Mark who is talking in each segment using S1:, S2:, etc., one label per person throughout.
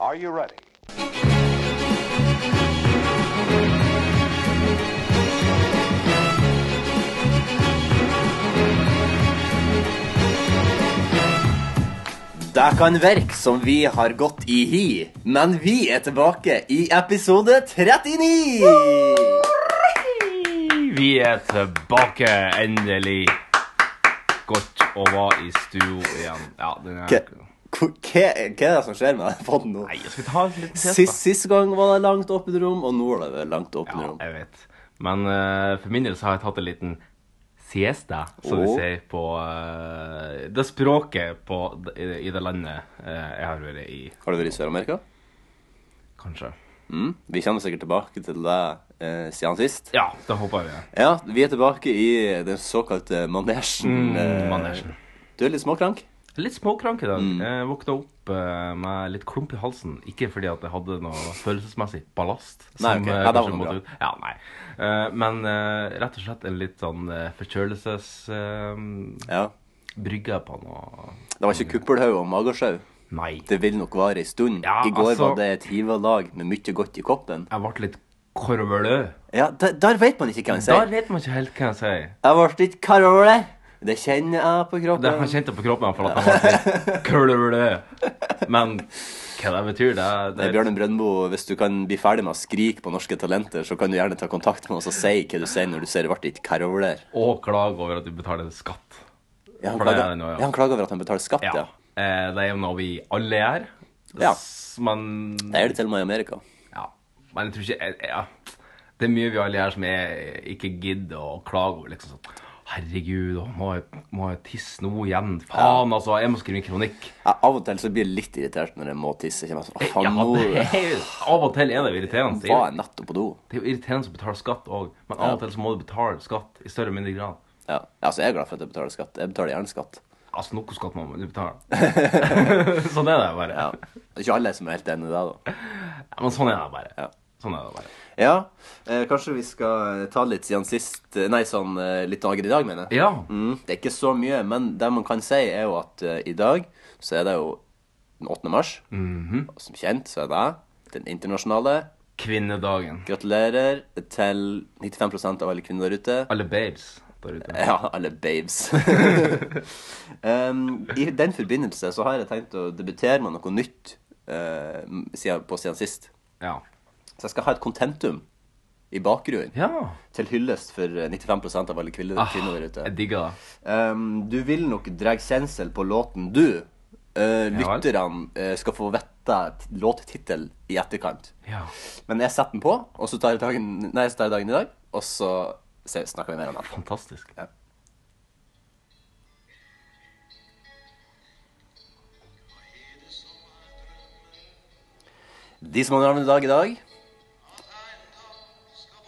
S1: Are you ready?
S2: Det kan virke som vi har gått i hi, men vi er tilbake i episode 39!
S3: Vi er tilbake, endelig. Godt å være i studio igjen. Ja, den er...
S2: Hva, hva, hva er det som skjer med den podden nå?
S3: Nei, jeg skal ta en liten test, da.
S2: Sist, sist gang var det langt åpent rom, og nå er det vel langt åpent
S3: Ja,
S2: rom.
S3: jeg vet. Men eh, for min del så har jeg tatt en liten siesta, som vi
S2: Åh.
S3: sier på eh, det språket på, i, det- i det landet eh, jeg har vært i,
S2: Har du vært i Sør-Amerika?
S3: kanskje.
S2: Mm. Vi kommer sikkert tilbake til det eh, siden sist.
S3: Ja, det håper jeg.
S2: Ja, vi er tilbake i den såkalte manesjen. eh,
S3: Mm, Manesjen.
S2: Du er litt småkrank?
S3: Litt småkrank i dag.
S2: Mm.
S3: Jeg våkna opp eh, med litt klump i halsen. Ikke fordi at jeg hadde noe følelsesmessig ballast.
S2: Nei, ok.
S3: eh,
S2: Ja, det var
S3: kanskje
S2: noe
S3: måtte
S2: bra.
S3: ut. Ja, nei. Eh, men eh, rett og slett en litt sånn uh, forkjølelsesbrygge
S2: Ja.
S3: på noe
S2: Det var
S3: Mm.
S2: ikke kuppelhaug og magesjau.
S3: Nei.
S2: Det vil nok vare ei stund.
S3: Ja,
S2: I går
S3: altså-
S2: var det et hivelag med mye godt i koppen.
S3: Jeg ble litt korvelø.
S2: Ja, der, der vet man ikke hva en sier.
S3: Der vet man ikke helt hva jeg sier.
S2: Jeg ble litt klar over det. Det kjenner jeg på
S3: Det har
S2: kroppen.
S3: jeg kjent det på kroppen i hvert fall, at jeg ble litt korvelø. Men hva det betyr, det,
S2: Nei, Bjørn Eh, Brøndbo, hvis du kan bli ferdig med å skrike på norske talenter, så kan du gjerne ta kontakt med oss og si hva du sier når du ser det ble litt kar over der.
S3: Og klage over at du betaler skatt.
S2: Ja, han
S3: For det er
S2: klager,
S3: det nå, ja.
S2: ja, han klager over at han betaler skatt,
S3: Ja.
S2: ja.
S3: Eh, det er jo noe vi alle gjør.
S2: Ja.
S3: S- Men
S2: Det er det til og med i Amerika.
S3: ja. Men jeg tror ikke jeg- ja. Det er mye vi alle gjør som jeg ikke gidder å klage over. liksom sånn. Herregud, å, må jeg, må jeg tisse nå igjen? Faen, altså! Jeg må skrive en kronikk.
S2: Jeg, av og til så blir jeg litt irritert når jeg må tisse. Jeg kommer sånn, «Åh, faen,
S3: Ja,
S2: nå
S3: det er, av og til er det jo irriterende. Det
S2: var
S3: er,
S2: jeg nettopp på do.
S3: det er jo irriterende å betale skatt òg, men av og til så må du betale skatt i større eller mindre grad.
S2: Ja, altså jeg er glad for at jeg betaler skatt. Jeg betaler gjerne skatt.
S3: Altså, noe skatt må man betale. sånn er det bare.
S2: Ja. Det er ikke alle som er helt enig i det, da.
S3: Ja, men sånn er det bare. Sånn er det bare.
S2: Ja, eh, kanskje vi skal ta litt siden sist, nei, sånn eh, litt dager i dag, mener jeg.
S3: Ja.
S2: Mm, det er ikke så mye, men det man kan si, er jo at eh, i dag så er det jo den 8. mars.
S3: Mhm.
S2: Og som kjent så er det den internasjonale.
S3: Kvinnedagen.
S2: Gratulerer til 95 av alle kvinner der ute.
S3: Alle babes der ute.
S2: Ja, alle babes. um, I den forbindelse så har jeg tenkt å debutere med noe nytt eh, siden- på siden sist.
S3: Ja.
S2: Så jeg skal ha et kontentum i bakgrunnen
S3: ja. Ah.
S2: til hyllest for eh, 95 av alle kvinner, kvinner der ute.
S3: Jeg digger det.
S2: Ehm, du vil nok dra kjensel på låten du. Eh,
S3: vel.
S2: lytterne eh, skal få vite t- låttittel i etterkant.
S3: Ja.
S2: Men jeg setter den på, og så tar jeg dagen, nei, så tar jeg dagen i dag, og så se, snakker vi mer om den.
S3: Fantastisk.
S2: Ja. De som har navn i dag i dag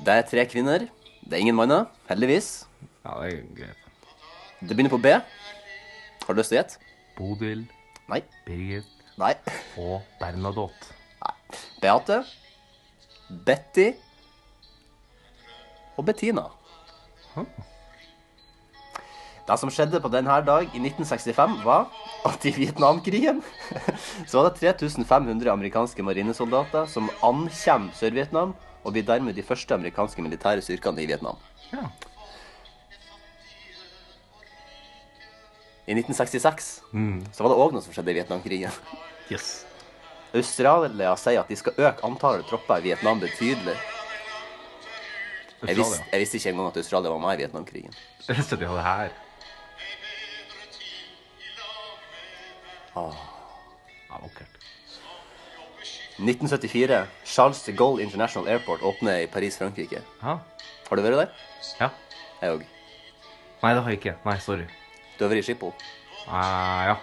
S2: Det er tre kvinner. Det er ingen manner, heldigvis.
S3: Ja, det er greit.
S2: Det begynner på B. Har du lyst til å gjette?
S3: Bodil,
S2: Nei.
S3: Birgit
S2: Nei.
S3: og Bernadotte.
S2: Beate. Betty. Og Bettina. Det som skjedde på denne dag i 1965, var at i Vietnamkrigen så var det 3500 amerikanske marinesoldater som ankom Sør-Vietnam og blir dermed de første amerikanske militære styrkene i Vietnam.
S3: Ja.
S2: I 1966 så var det òg noe som skjedde i Vietnamkrigen.
S3: Yes.
S2: Australia sier at de skal øke antallet tropper i Vietnam betydelig. Jeg visste,
S3: Australia.
S2: jeg visste ikke engang at Australia var med i Vietnamkrigen.
S3: Jeg visste at de hadde det her.
S2: Ah.
S3: Ja, vakkert.
S2: 1974. Charles de Gaulle International Airport åpner i Paris, Frankrike.
S3: Ja.
S2: Har du vært der?
S3: ja.
S2: Jeg òg.
S3: Nei, det har jeg ikke. Nei, sorry.
S2: Du har vært i Schiphol?
S3: Eh, ja.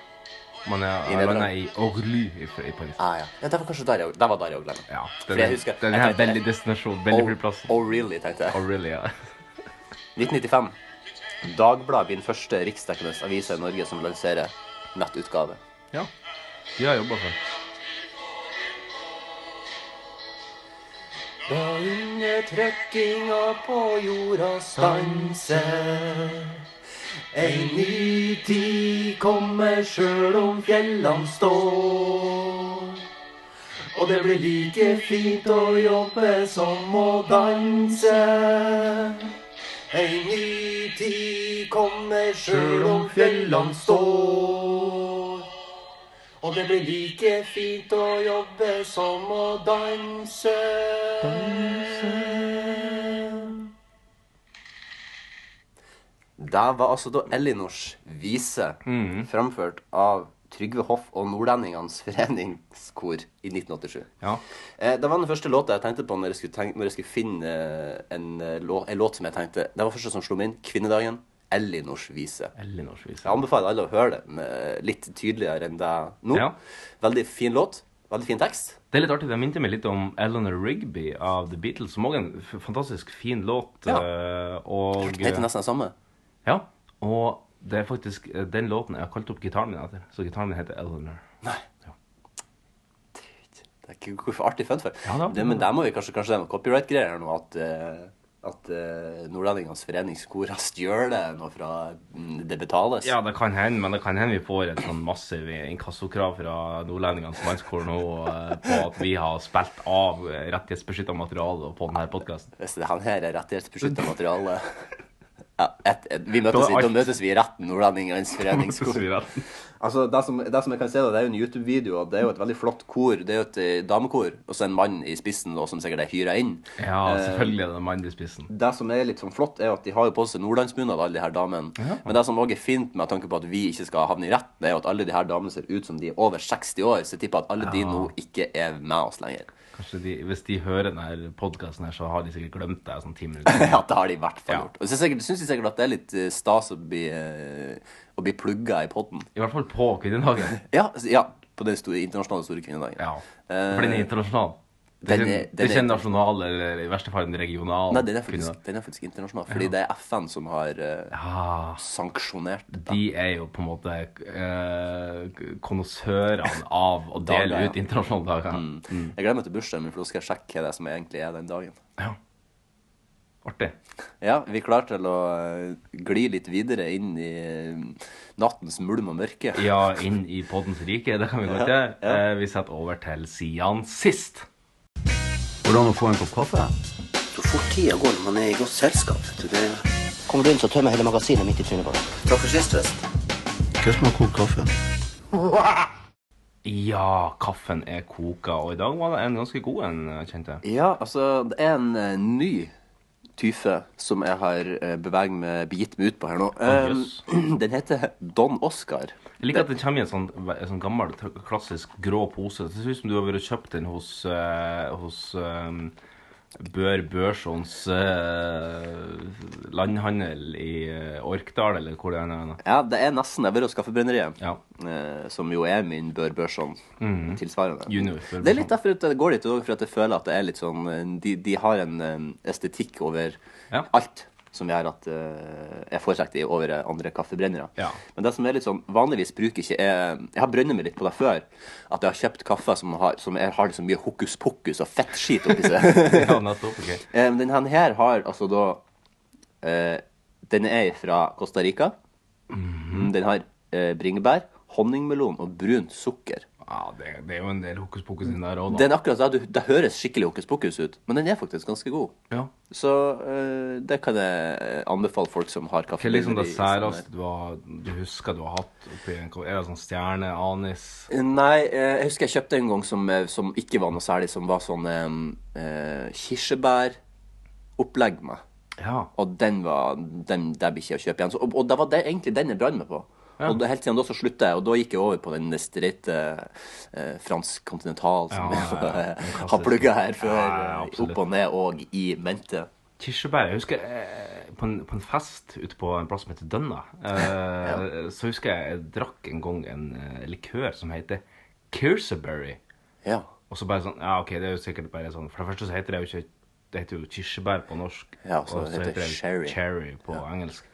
S3: Men
S2: I
S3: jeg, jeg
S2: Nederland.
S3: landa i Orly i, i Paris.
S2: Ah, ja. ja. Det var kanskje der jeg, det var der jeg òg landa.
S3: Ja.
S2: For
S3: Den,
S2: jeg husker-
S3: den
S2: jeg
S3: her
S2: tenkte-
S3: veldig destinasjonen. Veldig flyplassen.
S2: oh, really, tenkte jeg.
S3: Orly, ja.
S2: 1995. Dagbladet blir den første riksdekkende avisa i Norge som lanserer nettutgave.
S3: Ja. De har jobba for.
S2: Da undertrykkinga på jorda stanser Ei ny tid kommer sjøl om fjellene står Og det blir like fint å jobbe som å danse. Ei ny tid kommer sjøl om fjellene står. Og det blir like fint å jobbe som å danse. Det var altså da Elinors vise framført av Trygve Hoff og Nordlendingenes foreningskor i 1987.
S3: Ja.
S2: Eh, det var den første låta jeg tenkte på når jeg skulle, tenke, når jeg skulle finne eh, en, eh, lå, en låt som jeg tenkte Det var første som slo meg inn. 'Kvinnedagen'. Elinors vise.
S3: Elinors vise.
S2: Jeg anbefaler alle å høre den eh, litt tydeligere enn deg nå.
S3: Ja.
S2: Veldig fin låt. Veldig fin tekst.
S3: Det er litt artig, det minte meg litt om Eleanor Rigby av The Beatles, som også er en f- fantastisk fin låt.
S2: Ja.
S3: eh, Og,
S2: Den heter nesten det samme.
S3: ja, og det er faktisk eh, den låten jeg har kalt opp gitaren min etter. Så gitaren min heter Eleanor.
S2: Nei.
S3: Ja.
S2: Det er ikke hvorfor artig fun fact.
S3: Ja, det var-
S2: det, men der må vi kanskje, kanskje det er noen copyright-greier nå, at, eh, at eh, Nordlendingenes foreningskor har stjålet noe fra mm, Det betales.
S3: Ja, det kan hende, men det kan hende vi får et sånn massiv inkassokrav fra Nordlendingenes landskår nå eh, på at vi har spilt av rettighetsbeskytta materiale på denne podkasten.
S2: Hvis det han her er rettighetsbeskytta materiale ja, et, et, vi møtes,
S3: Da er alt-
S2: Da møtes vi i retten, Nordlendingenes foreningskor. Altså, det som, det som jeg kan se, da, det er jo en YouTube-video, og det er jo et veldig flott kor. Det er jo et eh, damekor, og så en mann i spissen da, som sikkert er hyra inn.
S3: Ja,
S2: Eh,
S3: selvfølgelig er det mann i spissen.
S2: Det som er litt sånn flott, er jo at de har jo på seg nordlandsbunad, alle de her damene. Men det som også er fint med tanke på at vi ikke skal havne i retten, det er jo at alle de her damene ser ut som de er over 60 år, så jeg tipper at alle de
S3: Ja.
S2: nå ikke er med oss lenger.
S3: Kanskje de, Hvis de hører denne podkasten, her, så har de sikkert glemt deg sånn ti minutter.
S2: ja, det har de i hvert fall
S3: Ja.
S2: gjort. Og så syns jeg synes sikkert at det er litt eh, stas å bli, eh, å bli plugga i podden.
S3: I hvert fall på kvinnedagen.
S2: Ja, s- ja på den store, internasjonale store kvinnedagen.
S3: Ja. For den er internasjonal. Det
S2: Eh,
S3: er
S2: den er-
S3: ikke- det er
S2: den
S3: ikke
S2: er-
S3: en nasjonal eller i verste fall en regional
S2: Nei, den er faktisk,
S3: kvinnedag.
S2: den er faktisk internasjonal, fordi det er FN som har eh,
S3: Ah,
S2: sanksjonert dette.
S3: de er jo på en måte eh, konnoissørene av å
S2: Dager,
S3: dele
S2: ja. Mm.
S3: ut internasjonale dager. mm.
S2: Jeg glemmer til bursdagen min, for da skal jeg sjekke hva det er som egentlig er den dagen.
S3: Ja. Artig.
S2: Ja, vi er klar til å eh, gli litt videre inn i eh, nattens mulm og mørke.
S3: Ja, inn i poddens rike. Det kan vi godt gjøre. Eh, vi setter over til Sian sist.
S1: Hvordan å få en kopp kaffe?
S4: Så fort tida går når man er i godt selskap. vet du, det
S5: Kommer du inn, så tømmer jeg hele magasinet midt i trynet på deg.
S4: Takk for sist, Vest.
S1: Hva som er kokt kaffe?
S3: Ja, kaffen er koka, og i dag var det en ganske god en, eh, kjente jeg.
S2: Ja, altså, det er en eh, ny tyfe som jeg har eh, beveget meg, begitt meg ut på her nå. Eh,
S3: jøss.
S2: den heter Don Oscar.
S3: Jeg liker at den kommer i en sånn, en sånn gammel, t- klassisk grå pose. Det ser ut som du har vært og kjøpt den hos, eh, hos eh, Bør Børsons eh, landhandel i eh, Orkdal, eller hvor det er.
S2: Ja, det er nesten jeg vil og Skaffebrenneriet,
S3: Ja.
S2: eh, som jo er min Bør Børson tilsvarende.
S3: Mm. Junior Bør
S2: Det er litt
S3: Børson.
S2: derfor at jeg går dit, og for at jeg føler at det er litt sånn eh, De, de har en eh, estetikk over
S3: Ja.
S2: alt som gjør at eh, jeg foretrekker de over eh, andre kaffebrennere.
S3: Ja.
S2: Men det som er litt sånn, vanligvis bruker ikke jeg Jeg har brønnet meg litt på det før. At jeg har kjøpt kaffe som har, som er, har så mye hokus pokus og fettskit oppi seg.
S3: Ja, nettopp. ok.
S2: Eh, Men denne her har altså da eh, Den er fra Costa Rica.
S3: Mhm.
S2: Den har eh, bringebær, honningmelon og brunt sukker.
S3: Ja, det, det er jo en del hokus pokus inn der òg, da.
S2: Den er akkurat det, det høres skikkelig hokus pokus ut, men den er faktisk ganske god.
S3: Ja.
S2: Så eh, det kan jeg eh, anbefale folk som har
S3: Hva er
S2: kaffebønner.
S3: liksom det
S2: i- sånn i sånne-
S3: særeste du, har, du husker du har hatt oppi en kopp? Er det sånn stjerne, anis?
S2: Nei, eh, jeg husker jeg kjøpte en gang som, eh, som ikke var noe særlig, som var sånn eh, eh, kirsebæropplegg med.
S3: Ja.
S2: Og den var den der blir ikke å kjøpe igjen. Så, og, og det var det, egentlig den jeg brant meg på. Og da- helt siden da så slutta jeg, og da gikk jeg over på den streite eh, fransk kontinental som
S3: Ja,
S2: jeg
S3: ja, ja.
S2: eh,
S3: Fantastisk.
S2: har plugga her før.
S3: Ja, ja,
S2: eh, opp og ned og i mente.
S3: Kirsebær. Jeg husker eh, på, en, på en fest ute på en plass som heter Dønna, eh, så husker jeg jeg drakk en gang en eh, likør som heter Kirseberry.
S2: Ja.
S3: Og så bare sånn Ja, OK, det er jo sikkert bare sånn For det første så heter det jo ikke Det heter jo kirsebær på norsk,
S2: Ja, så heter det
S3: jo
S2: cherry.
S3: cherry på engelsk.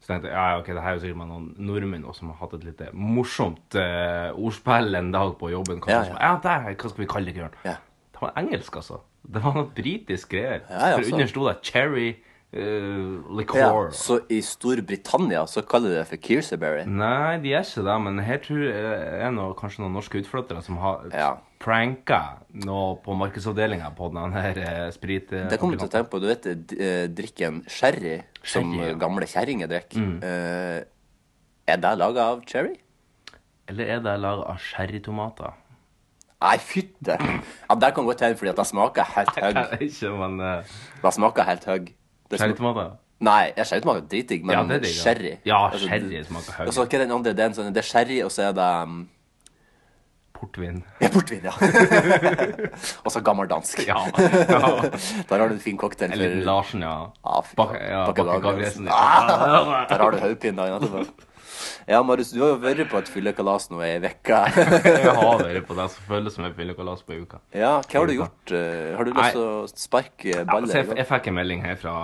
S3: Så tenkte jeg ja, ja, OK, det her er jo sikkert med noen nordmenn også som har hatt et lite morsomt eh, ordspill en dag på jobben. Hva,
S2: Ja,
S3: Som, ja
S2: ja.
S3: der, hva skal vi kalle likøren?
S2: Ja.
S3: Det var engelsk, altså. Det var noe britisk greier.
S2: Ja, ja,
S3: For
S2: så-
S3: under sto det cherry eh, liqueur.
S2: ja. Så i Storbritannia så kaller de det for
S3: Mm.
S2: Kirseberry.
S3: Nei, de er ikke det, men her tror jeg er noe, kanskje noen norske utflyttere som har
S2: Ja.
S3: pranka noe på markedsavdelinga på den her eh, sprit...
S2: Det kommer jeg til å tenke på. Du vet eh, drikken sherry, som
S3: Sherry, ja. Mm.
S2: gamle kjerringer drikker. Eh, er det laga av cherry?
S3: Eller er det laget av sherrytomater?
S2: Nei, fytte!
S3: Mm.
S2: Ja, det kan godt hende, fordi at det smaker helt
S3: Jeg
S2: høgg.
S3: vet ikke, men eh,
S2: Det smaker helt høgg. Det smaker-
S3: Sherrytomater?
S2: Nei, jeg sherry smaker dritdigg, men
S3: Ja, det er digg, ja.
S2: sherry Altså,
S3: Ja, sherry smaker høy.
S2: Og så hva er den andre? Det er, en sånn, det er sherry, og så er det um,
S3: Portvin.
S2: ja, portvin, ja. og så gammeldansk.
S3: Ja. ja.
S2: Der har du en fin cocktail.
S3: En liten
S2: for-
S3: Larsen, ja.
S2: Ja, fy
S3: Bak,
S2: faen.
S3: ja,
S2: Bakke Ah!
S3: Bakke
S2: Gabrielsen.
S3: Gabrielsen. Ja.
S2: Der har du hodepine dagen etterpå. altså. Ja, Marius, du har jo vært på et fyllekalas nå i ei uke.
S3: Jeg har vært på det som føles som en fyllekalas på uka.
S2: Ja, hva har du gjort? Eh, Har du lyst til å sparke
S3: Ja,
S2: baller?
S3: så jeg,
S2: eller?
S3: jeg fikk en melding her fra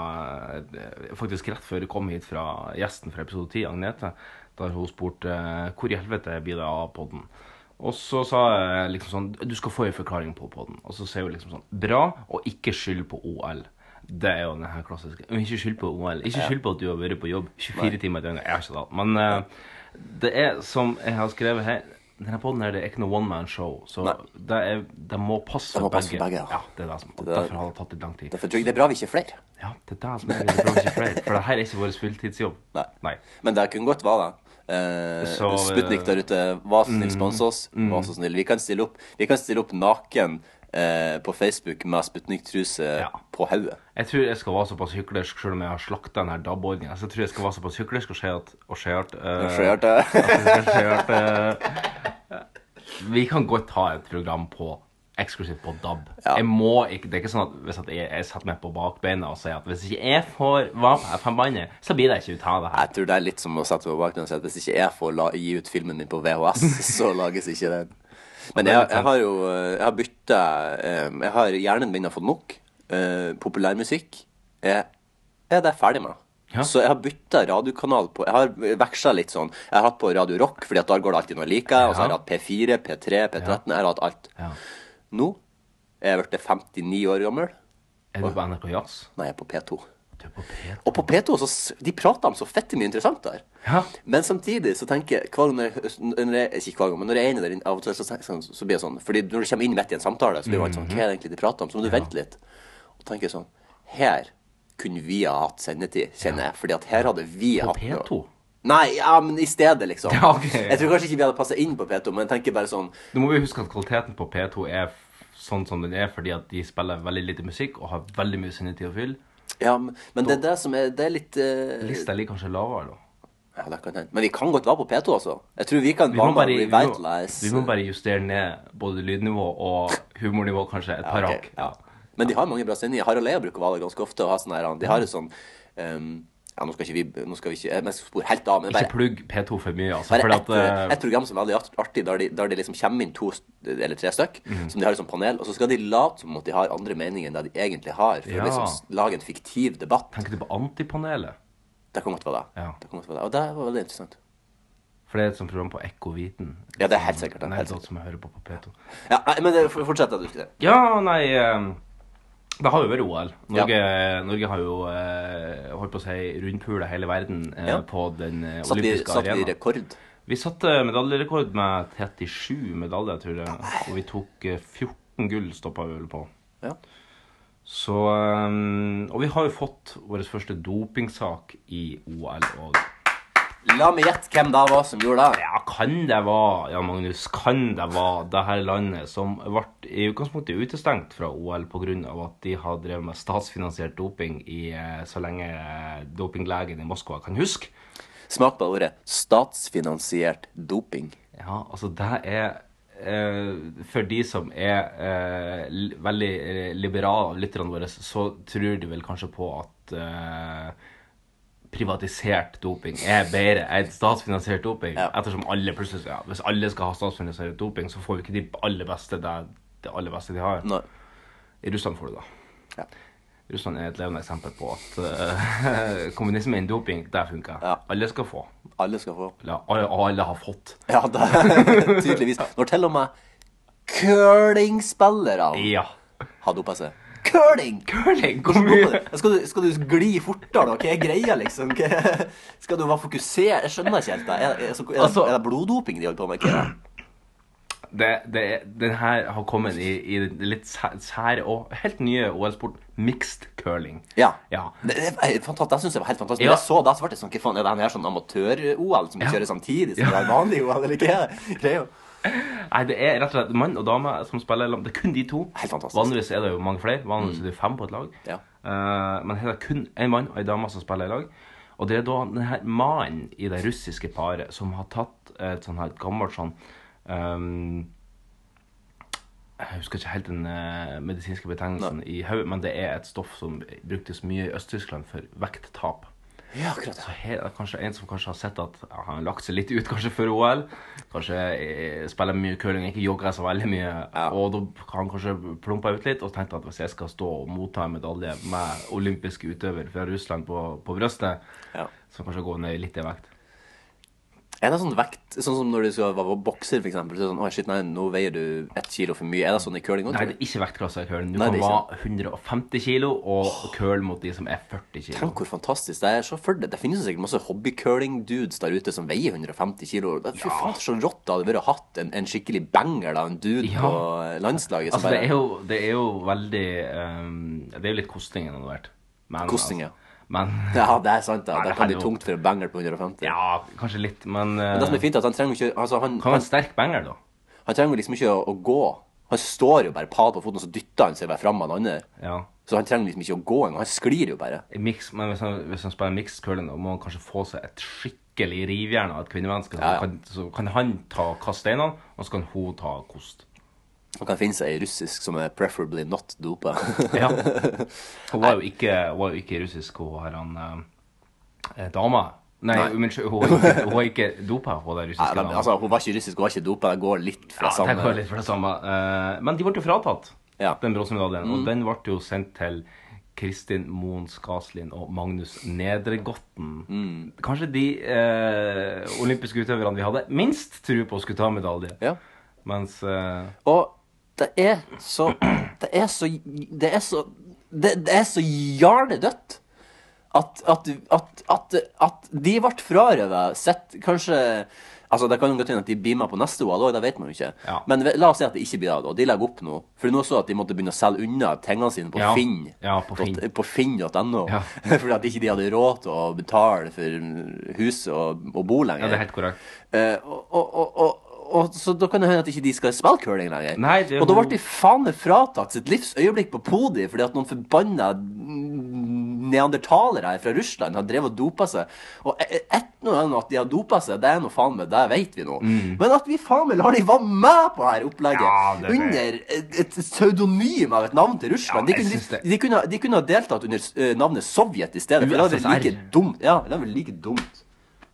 S3: eh, Faktisk rett før jeg kom hit fra gjesten fra episode 10, Agnete, der hun spurte eh, hvor i helvete blir det av podden. Og så sa jeg liksom sånn Du skal få en forklaring på podden. Og så sier hun liksom sånn Bra, og ikke skyld på OL. Det er jo den her klassiske. Men ikke skyld på OL. Ikke skyld på at du har vært på jobb 24 timer i døgnet. Jeg har ikke det. Men eh, det er som jeg har skrevet her Denne podden her, det er ikke noe one man show. Så det, er, det må passe
S2: Det må
S3: for
S2: passe for
S3: begge.
S2: begge, ja.
S3: ja, det er det som, og
S2: er-
S3: derfor har det tatt litt lang tid.
S2: Derfor tror jeg det er bra vi ikke er flere.
S3: Ja, det er det som er litt bra med Shifrey, For det her er ikke vår fulltidsjobb.
S2: Nei. Men det kunne godt være det. Eh,
S3: Så, Mm. eh,
S2: Sputnik der ute, vær så snill, spons oss. Vær så snill. Vi kan stille opp, vi kan stille opp naken eh, på Facebook med Sputnik-truse
S3: Ja.
S2: på hodet.
S3: Jeg tror jeg skal være såpass hyklersk, selv om jeg har slakta denne DAB-ordninga. Så jeg tror jeg skal være såpass hyklersk og si at og si at, eh,
S2: Så jeg hørte
S3: at- si at, eh, Vi kan godt ha et program på eksklusivt på DAB. Jeg må ikke, det er ikke sånn at hvis at jeg, jeg setter meg på bakbeina og sier at hvis ikke jeg får være på FM-bandet, så blir det ikke ut av det her.
S2: Jeg tror det er litt som å sette meg bak den og si at hvis ikke jeg får la, gi ut filmen min på VHS, så lages ikke den. Men jeg, jeg har jo eh, Jeg har bytta Jeg har Hjernen min har fått nok. Eh, Populærmusikk er, er det jeg ferdig med.
S3: Ja.
S2: Så jeg har bytta radiokanal på Jeg har veksla litt sånn. Jeg har hatt på Radio Rock, Fordi at da går det alltid noe jeg liker. Og så har jeg hatt P4, P3, P13. Jeg har hatt alt.
S3: Ja.
S2: Nå er jeg blitt 59 år gammel.
S3: Er du på NRK Jazz?
S2: Nei, jeg er på P2.
S3: Du er på P...
S2: Og på P2 så s- de prater om så fette mye interessant der.
S3: Ja.
S2: Men samtidig så tenker jeg hver gang jeg, når jeg Ikke hver gang, men når jeg er inne der inne, av og til, så, tenker jeg sånn- så blir jeg sånn Fordi når du kommer inn midt i en samtale, så blir man
S3: Mm.
S2: sånn Hva er det egentlig de prater om? Så må du vente litt. Og tenke sånn Her kunne vi ha hatt sendetid, kjenner jeg. Fordi at her hadde vi hatt noe-
S3: P2?
S2: Nei, ja, men i stedet, liksom.
S3: Ja, ok, ja.
S2: Jeg tror kanskje ikke vi hadde passa inn på P2, men jeg tenker bare sånn
S3: Du må jo huske at kvaliteten på P2 er f- sånn som den er, fordi at de spiller veldig lite musikk og har veldig mye sendetid å fylle.
S2: Ja, men, men det er det som er Det er litt eh,
S3: Lista ligger kanskje lavere, da.
S2: Ja, det kan hende. Men vi kan godt være på P2, altså. Jeg tror vi kan
S3: Vi må,
S2: være
S3: bare,
S2: med
S3: vi, må,
S2: revitalize
S3: vi må bare justere ned både lydnivå og humornivå, kanskje. Et par
S2: Ok,
S3: hakk.
S2: ja. Men de har mange bra sendinger. Harald Eia bruker å være der ganske ofte. Og ha sånne her, de har et sånn ehm, Ja, nå skal ikke vi nå skal vi ikke, eh, men Jeg skal spore helt av, men
S3: Ikke
S2: bare,
S3: plugg P2 for mye, altså.
S2: bare
S3: Fordi
S2: et,
S3: at eh,
S2: et program som er veldig art- artig, der de, der de liksom kommer inn to st- eller tre stykk,
S3: Mhm.
S2: som de har i sånn panel, og så skal de late som at de har andre meninger enn det de egentlig har, for
S3: Ja.
S2: å liksom s- lage en fiktiv debatt.
S3: Tenker du på Antipanelet?
S2: Det kan godt være det.
S3: Ja.
S2: det, kan godt være det. Og det var veldig interessant.
S3: For det er et sånt program på Ekko Viten.
S2: Ja, det er helt sikkert, det er
S3: Nei,
S2: helt
S3: det er som jeg hører på på P2.
S2: Ja, nei, men eh, f- fortsett, jeg husker det.
S3: Ja, nei eh, Det har jo vært OL. Norge,
S2: Ja.
S3: Norge har jo eh, holdt på å si rundpula hele verden eh,
S2: Ja.
S3: på den eh,
S2: Satt vi,
S3: olympiske
S2: satt vi
S3: arena.
S2: rekord?
S3: Vi satte eh, medaljerekord med 37 medaljer, tror jeg. Og vi tok eh, 14 gull, stoppa vi vel på.
S2: Ja.
S3: Så eh, Og vi har jo fått vår første dopingsak i OL og
S2: La meg gjette hvem det var som gjorde det.
S3: Ja, kan det være, Jan Magnus, kan det være det her landet som ble i utgangspunktet utestengt fra OL pga. at de har drevet med statsfinansiert doping i eh, så lenge eh, dopinglegen i Moskva kan huske?
S2: Smak på ordet statsfinansiert doping.
S3: Ja, altså det er eh, For de som er eh, li- veldig eh, liberale av lytterne våre, så tror de vel kanskje på at eh, privatisert doping er bedre enn statsfinansiert doping.
S2: Ja.
S3: Ettersom alle plutselig ja, Hvis alle skal ha statsfinansiert doping, så får vi ikke de aller beste det, det aller beste de har.
S2: Nei.
S3: I Russland får du det.
S2: Ja.
S3: Russland er et levende eksempel på at eh, kommunisme innen doping, det funker.
S2: Ja.
S3: Alle skal få.
S2: Alle skal få.
S3: Eller alle, alle har fått.
S2: Ja, da, tydeligvis. Når til og med curlingspillere
S3: Ja.
S2: har dopa seg. Curling!
S3: Curling! Hvor
S2: Hvordan doper
S3: mye
S2: du? Skal, du, skal du gli fortere? da? Hva er greia, liksom? Hva, skal du være fokusert? Jeg skjønner ikke helt det. Er, er, er, er,
S3: Altså-
S2: er det bloddoping de holder på med? Hva er det?
S3: det, det, den her har kommet i, i den litt sæ- sære og helt nye OL-sport, mixed curling.
S2: Ja.
S3: Ja.
S2: Det, det, er fantastisk. Jeg synes det var helt fantastisk.
S3: Ja.
S2: Når jeg så det, så ble det sånn Hva faen, er det her sånn amatør-OL som
S3: Ja.
S2: kjører samtidig som det er vanlig OL, eller hva er det? Det er jo
S3: Nei, det er rett og slett mann og dame som spiller sammen. Det er kun de to.
S2: Helt fantastisk.
S3: Vanligvis er det jo mange flere. Vanligvis er det jo fem på et lag.
S2: Ja.
S3: Eh, men her er det kun en mann og en dame som spiller i lag. Og det er da den her mannen i det russiske paret som har tatt et sånn her gammelt sånn ehm, Jeg husker ikke helt den eh, medisinske betegnelsen i hodet, men det er et stoff som bruktes mye i Øst-Tyskland for vekttap.
S2: Ja, akkurat.
S3: Så her er det kanskje en som kanskje har sett at ja, han har lagt seg litt ut kanskje før OL. Kanskje eh, spiller mye curling, ikke jogger så veldig mye. Og da har han kanskje plumpa ut litt og tenkt at hvis jeg skal stå og motta en medalje med olympisk utøver fra Russland på, på brystet,
S2: Ja.
S3: så kanskje jeg går ned litt i vekt.
S2: Er det sånn vekt Sånn som når du skal være bokser, for eksempel. Så er det sånn Å, shit, nei, nå veier du ett kilo for mye. Er det sånn i curling òg?
S3: Nei, det er ikke vektklasse i curling. Du
S2: Nei,
S3: kan
S2: det er
S3: være 150 kilo og curl mot de som er 40 kilo.
S2: Tenk hvor fantastisk det er. Se for deg, det finnes jo sikkert masse hobby-curling-dudes der ute som veier 150 kilo. Fy faen, så rått det hadde vært å hatt en, en skikkelig banger av en dude
S3: Ja.
S2: på landslaget.
S3: Altså,
S2: Som
S3: det er
S2: bare,
S3: jo, det er jo veldig ehm, Det er jo litt kosting involvert. Men, altså,
S2: Kosting, ja.
S3: Men
S2: ja, det er sant, da. Da
S3: Nei, det
S2: kan det
S3: her er
S2: bli
S3: jo-
S2: tungt for en banger på 150.
S3: Ja, kanskje litt, men
S2: Men Det som
S3: eh,
S2: er fint, er at han trenger jo ikke altså, han,
S3: Kan være en
S2: han,
S3: sterk banger, da.
S2: han trenger jo liksom ikke å, å gå. Han står jo bare pal på foten, og så dytter han seg bare fram av den andre.
S3: Ja.
S2: Så han trenger liksom ikke å gå engang. Han sklir jo bare.
S3: I Mix, men hvis han, hvis han spiller mixed curling, da må han kanskje få seg et skikkelig rivjern av et kvinnemenneske. Så,
S2: Ja, ja.
S3: Kan, så kan han ta kaste steinene, og så kan hun ta kost.
S2: Han kan finne seg ei russisk som er preferably not dopa.
S3: Ja. Hun var jo ikke, hun var jo ikke russisk, hun her han eh, dama. Nei,
S2: Nei.
S3: unnskyld. Hun var ikke, hun var ikke dopa, hun der
S2: Nei,
S3: russiske
S2: de,
S3: dama.
S2: altså, hun var ikke russisk, hun var ikke dopa. Det går litt fra
S3: ja,
S2: samme
S3: det går litt for det samme. Eh, men de ble jo fratatt,
S2: Ja. Mm.
S3: den bronsemedaljen. Og den ble jo sendt til Kristin Moen Skaslin og Magnus Nedregotten.
S2: Mm.
S3: Kanskje de eh, olympiske utøverne vi hadde minst tro på skulle ta medalje.
S2: Ja.
S3: Mens eh,
S2: Og det er så Det er så Det er så Det, det er så jarnedødt at, at, at, at, at de ble frarøvet sitt Kanskje Altså, Det kan jo godt hende at de beamer på neste OL òg, det vet man jo ikke.
S3: Ja.
S2: Men ve- la oss si at det ikke blir det. da. De legger opp nå. For nå så jeg at de måtte begynne å selge unna tingene sine på
S3: Ja.
S2: Finn.
S3: Ja, på Finn.
S2: Dot- På Finn.no.
S3: Ja.
S2: Fordi at ikke de hadde råd til å betale for hus og, og bo
S3: Ja,
S2: lenger.
S3: det er helt korrekt.
S2: Eh, og, og, og, og så da kan det hende at ikke de skal spille curling lenger.
S3: Nei, det er
S2: og da
S3: jo-
S2: ble de faen meg fratatt sitt livs øyeblikk på podiet fordi at noen forbanna neandertalere her fra Russland har drevet og dopa seg. Og e- e- ett noe annet at de har dopa seg, det er nå faen meg, det vet vi nå. Men at vi faen meg lar de være med på her opplegget
S3: Mm. Ja, det er det.
S2: under et, et pseudonym av et navn til Russland
S3: Ja,
S2: de,
S3: jeg
S2: kunne,
S3: synes det.
S2: de, de, kunne, de kunne ha deltatt under eh, navnet Sovjet i stedet, for det hadde vært
S3: USSR.
S2: like dumt. Ja, det hadde vært like dumt.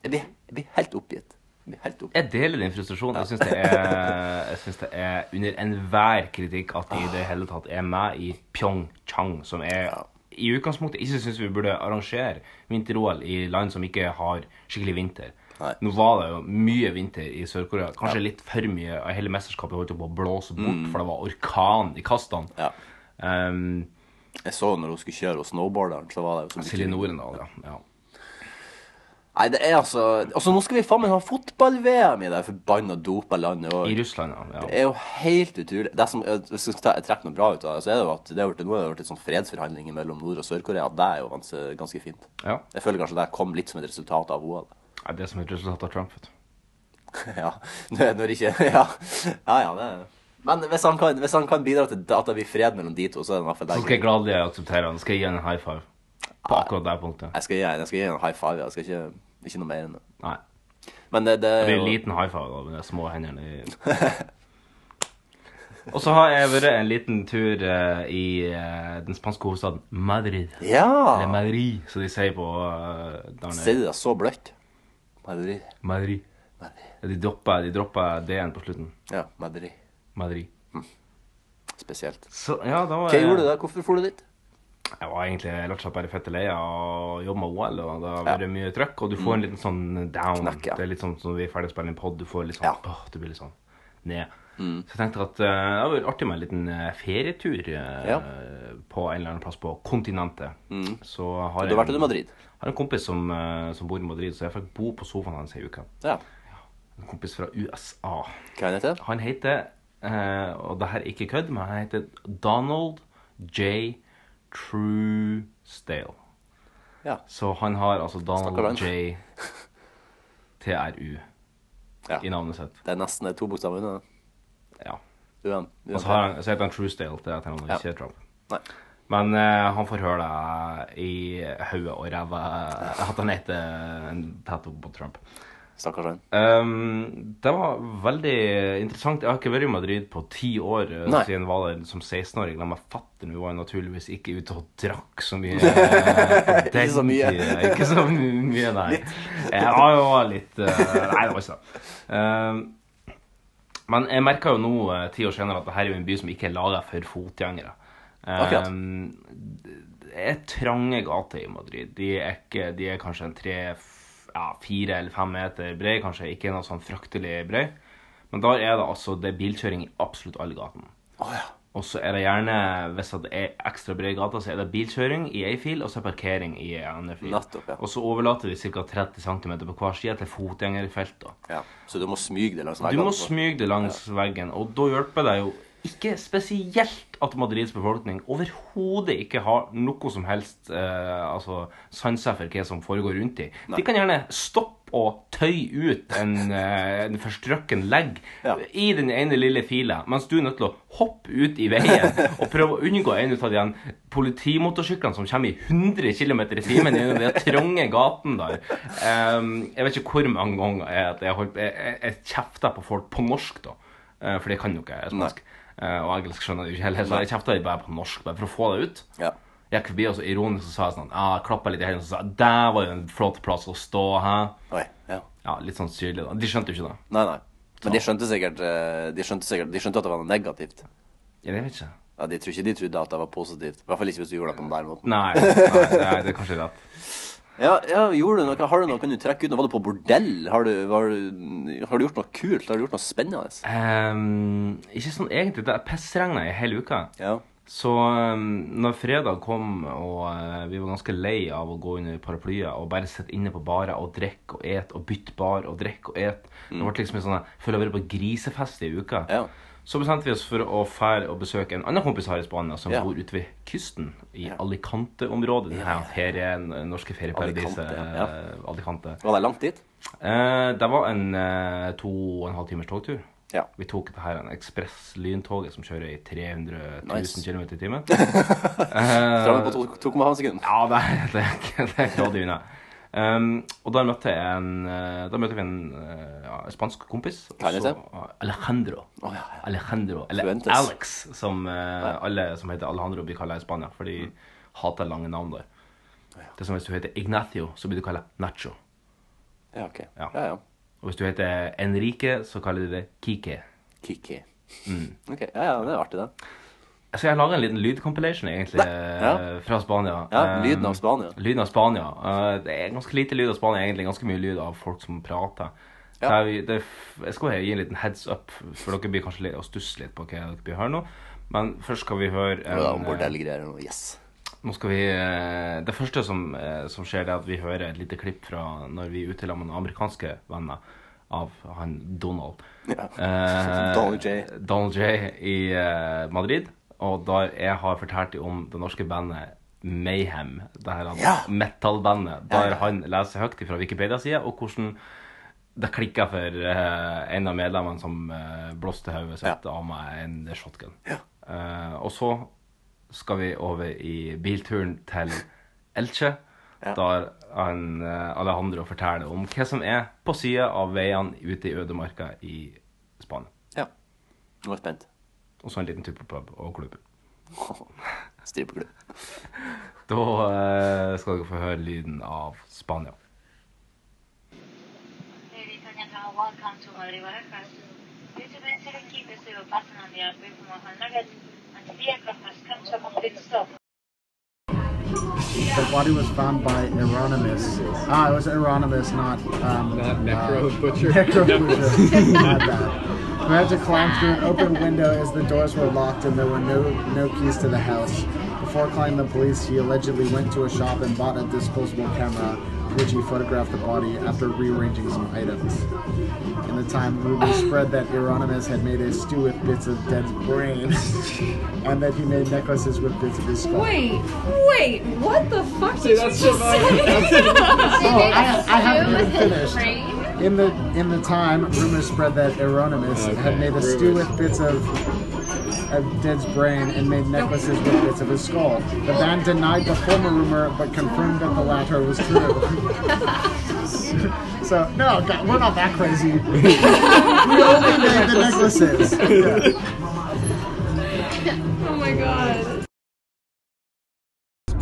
S2: Jeg blir, jeg blir helt oppgitt. Jeg blir helt oppgitt.
S3: Jeg deler din frustrasjon. Jeg syns det, er- jeg synes det er under enhver kritikk at de i det hele tatt er med i Pyeongchang, som er i utgangspunktet ikke syns vi burde arrangere vinter-OL i land som ikke har skikkelig vinter.
S2: Nei.
S3: Nå var det jo mye vinter i Sør-Korea. Kanskje litt for mye. og Hele mesterskapet holdt jo på å blåse bort, for det var orkan i kastene.
S2: Mm. Ja.
S3: Um,
S2: Jeg så når hun skulle kjøre og snowboarderen, så var det jo så mye
S3: Silje Norendal, ja. ja.
S2: Nei, det er altså Altså, nå skal vi faen meg ha fotball-VM i det forbanna dopa landet
S3: I
S2: òg.
S3: Russland, ja.
S2: Det
S3: ja.
S2: er jo helt utrolig. Det som, jeg jeg skal ta- jeg trekke noe bra ut av det, så er det jo at det har vært, nå har det vært en sånn fredsforhandling mellom Nord- og Sør-Korea. Det er jo ganske, ganske fint.
S3: ja.
S2: Jeg føler kanskje det kom litt som et resultat av OL.
S3: Det er det som er et resultat av Trump, vet du.
S2: Ja, når når ikke Ja, ja, ja det er Men hvis han kan, hvis han kan bidra til at det blir fred mellom de to, så er det i hvert fall det.
S3: Så skal jeg gladelig akseptere han. Skal jeg gi han en high five på
S2: Ah.
S3: akkurat det punktet?
S2: Jeg skal gi jeg skal gi en high five. Jeg skal ikke, ikke noe mer enn det.
S3: Nei.
S2: Men det, det
S3: Det
S2: er
S3: blir en
S2: jo
S3: liten high five da, med de små hendene. i- Og så har jeg vært en liten tur eh, i eh, den spanske hovedstaden Madrid. Eller
S2: Ja!
S3: Madrid, som de sier på uh, der
S2: Ser
S3: nede.
S2: du det er så bløtt? Madrid.
S3: Madrid.
S2: Madrid.
S3: Ja, De dropper, de dropper D-en på slutten.
S2: Ja, Madrid.
S3: Madrid.
S2: Spesielt.
S3: Så, ja, da var
S2: Hva
S3: jeg,
S2: gjorde du der? Hvorfor dro du dit?
S3: Jeg var egentlig rett og slett bare fette lei av å jobbe med OL, og det har vært mye trøkk. Og du får en liten sånn down.
S2: Knekk, ja.
S3: Det er litt sånn som når vi er ferdig å spille en pod, du får litt sånn
S2: Ja. Mm.
S3: åh, du blir litt sånn ned. Så jeg tenkte at eh, det hadde vært artig med en liten eh, ferietur eh,
S2: Ja. Mm.
S3: på en eller annen plass på kontinentet. Så har
S2: Du har vært i Madrid?
S3: Jeg har en kompis som, eh, som bor i Madrid, så jeg fikk bo på sofaen hans ei uke.
S2: Ja.
S3: En kompis fra USA.
S2: Hva han heter
S3: Han heter, eh, og det her er ikke kødd, men han heter Donald J. Truesdale.
S2: Ja.
S3: Så han har altså
S2: Stakkar han.
S3: Donald J. TRU
S2: Ja.
S3: i navnet sitt.
S2: Det er nesten det er to bokstaver unna.
S3: Ja.
S2: Uan.
S3: Og så, har han, så heter han Truesdale til at han
S2: Ja.
S3: ikke er Trump.
S2: Nei.
S3: Men eh, han får høre det i hodet og ræva at han heter en tattoo på Trump.
S2: Stakkars han.
S3: Ehm, det var veldig interessant. Jeg har ikke vært i Madrid på ti år eh,
S2: Nei.
S3: siden jeg var der som 16-åring. La meg fatte, nå var jeg naturligvis ikke ute og drakk så mye. eh, på den
S2: Ikke så mye.
S3: tiden. ikke så mye, nei. Jeg var jo litt eh, Nei, det var ikke det. Ehm, men jeg merka jo nå, eh, ti år senere, at dette er jo en by som ikke er laga for fotgjengere.
S2: Akkurat.
S3: Ehm, det er trange gater i Madrid. De er, ikke, de er kanskje en tre, f- ja, fire eller fem meter brei, kanskje ikke noe sånn fryktelig brei. Men da er det altså det er bilkjøring i absolutt alle gatene.
S2: Å ja.
S3: Og så er det gjerne, hvis det er ekstra brei gata, så er det bilkjøring i ei fil, og så er parkering i en annen fil.
S2: Nettopp, ja.
S3: Og så overlater de ca. 30 cm på hver side til fotgjengerfelter.
S2: ja. Så du må smyge det langs
S3: Altså, Du
S2: veggene.
S3: må smyge det langs veggen, og da hjelper det jo ikke spesielt at Madrids befolkning overhodet ikke har noe som helst eh, altså, sanser for hva som foregår rundt dem. De kan gjerne stoppe og tøye ut en, eh, en forstrøkken legg
S2: Ja.
S3: i den ene lille fila, mens du er nødt til å hoppe ut i veien og prøve å unngå en ut av de her politimotorsyklene som kommer i 100 km i timen gjennom den trange gaten der. Ehm, jeg vet ikke hvor mange ganger jeg, at jeg, holdt, jeg, jeg, jeg kjefter på folk på norsk, da. Eh, for det kan jo ikke jeg spansk. Eh, og engelsk skjønner jeg jo ikke heller, så jeg kjefter bare på norsk bare for å få det ut.
S2: Ja.
S3: Jeg gikk forbi og så ironisk så sa jeg sånn ah, Klappa litt i hendene og sa Der var jo en flott plass å stå, hæ?
S2: Oi. Ja.
S3: Ja, litt sånn syrlig, da. De skjønte jo ikke det.
S2: Nei, nei. Men de skjønte sikkert eh, De skjønte sikkert De skjønte at det var noe negativt.
S3: Eller jeg vet ikke.
S2: Ja, de tror ikke de trodde at det var positivt. I hvert fall ikke hvis du gjorde det på den der måten.
S3: Nei, nei, nei det er kanskje rett.
S2: Ja, ja, gjorde du noe? Har du noe? Kan du trekke ut noe? Var du på bordell? Har du, var du, har du gjort noe kult? Har du gjort noe spennende?
S3: Ehm, ikke sånn egentlig. Det pissregna i hele uka.
S2: Ja.
S3: Så ehm, når fredag kom, og eh, vi var ganske lei av å gå under paraplyer og bare sitte inne på barer og drikke og et og bytte bar og drikke og et Det ble liksom en sånn jeg Føler jeg har vært på grisefest i uka.
S2: Ja.
S3: Så bestemte vi oss for å fære og besøke en annen kompis her i Spania som
S2: Ja.
S3: bor ute ved kysten, i Alicante-området. Det her ferie, norske ferieparadiset
S2: Alicante,
S3: Alicante.
S2: ja.
S3: Alicante.
S2: Var det langt dit?
S3: Eh, det var en eh, to og en halv timers togtur.
S2: Ja.
S3: Vi tok det her en ekspress-lyntoget som kjører i 300 000
S2: Nice.
S3: km i timen.
S2: Framme på 2,5 sekunder.
S3: Ja, det er, det er, ikke- det er grådig unna. Um, og der møtte, jeg en, eh, der møtte vi en eh, ja, spansk kompis. og
S2: Hva heter
S3: så- eh, Alejandro.
S2: Å, ja, ja.
S3: Alejandro, Eller
S2: Fuentes.
S3: Alex, som eh, alle som heter Alejandro, blir kalt i Spania. For de
S2: Mm.
S3: hater lange navn der. Det er som hvis du heter Ignacio, så blir du kalt Nacho.
S2: Ja, ok.
S3: Ja.
S2: Ja, ja.
S3: Og hvis du heter Enrique, så kaller de det Kike.
S2: Kiki. Ok, ja, ja, det er artig, det.
S3: Så Altså, jeg lager en liten lydcompilation, egentlig,
S2: Ja.
S3: eh, fra Spania.
S2: Ja,
S3: Um,
S2: lyden av Spania.
S3: Lyden av Spania. Eh, det er ganske lite lyd av Spania, egentlig. Ganske mye lyd av folk som prater. Så
S2: Ja.
S3: jeg, det, jeg skal bare gi en liten heads up, for dere blir kanskje litt, å stusse litt på hva dere blir å høre nå. Men først skal vi høre
S2: Det var
S3: en, eh,
S2: bordellgreier og noe. Yes.
S3: Nå skal vi eh, Det første som, eh, som skjer, det er at vi hører et lite klipp fra når vi er ute sammen med noen amerikanske venner av han Donald.
S2: Ja.
S3: Eh,
S2: Donald J.
S3: Donald J. i eh, Madrid. Og der jeg har fortalt dem om det norske bandet Mayhem. Det her
S2: Ja.
S3: metal-bandet.
S2: Ja,
S3: Der
S2: ja.
S3: han leser høyt fra Wikipedia-sida, og hvordan det klikka for eh, en av medlemmene som eh, blåste hodet sitt av meg en shotgun. Eh, og så skal vi over i bilturen til Elche. Der han, eh, Alejandro forteller om hva som er på sida av veiene ute i ødemarka i Spania.
S2: Ja. Nå er jeg spent.
S3: Og så en liten tur på pub og klubb.
S2: Strippeklubb.
S3: Da eh, skal dere få høre lyden av Spania.
S6: Ladies and gentlemen, welcome to Madrigora Castle. Due to the selective pursuit of person on the airway from 100, and the vehicle has come to a complete stop.
S7: The body was found by Euronymous. Ah, it was Euronymous, not um, not Necro Butcher. Necro Butcher. My bad. We had to climb through an open window as the doors were locked and there were no no keys to the house. Before calling the police, he allegedly went to a shop and bought a disposable camera. Richie photographed the body after rearranging some items. In the time, rumors spread that Euronymous had made a stew with bits of Dead's brain, and that he made necklaces with bits of his skull.
S8: Wait, wait, what the fuck did
S3: that's
S8: you just
S3: about-
S8: say?
S7: Oh, I, I haven't even finished.
S8: Brain?
S7: In the in the time, rumors spread that Euronymous had
S3: Okay,
S7: made a stew
S3: rumors.
S7: with bits of of Dead's brain and made necklaces with bits of his skull. The band denied the former rumor but confirmed that the latter was true. so no, God, we're not that crazy. we only made the necklaces. Yeah.
S8: Oh my god.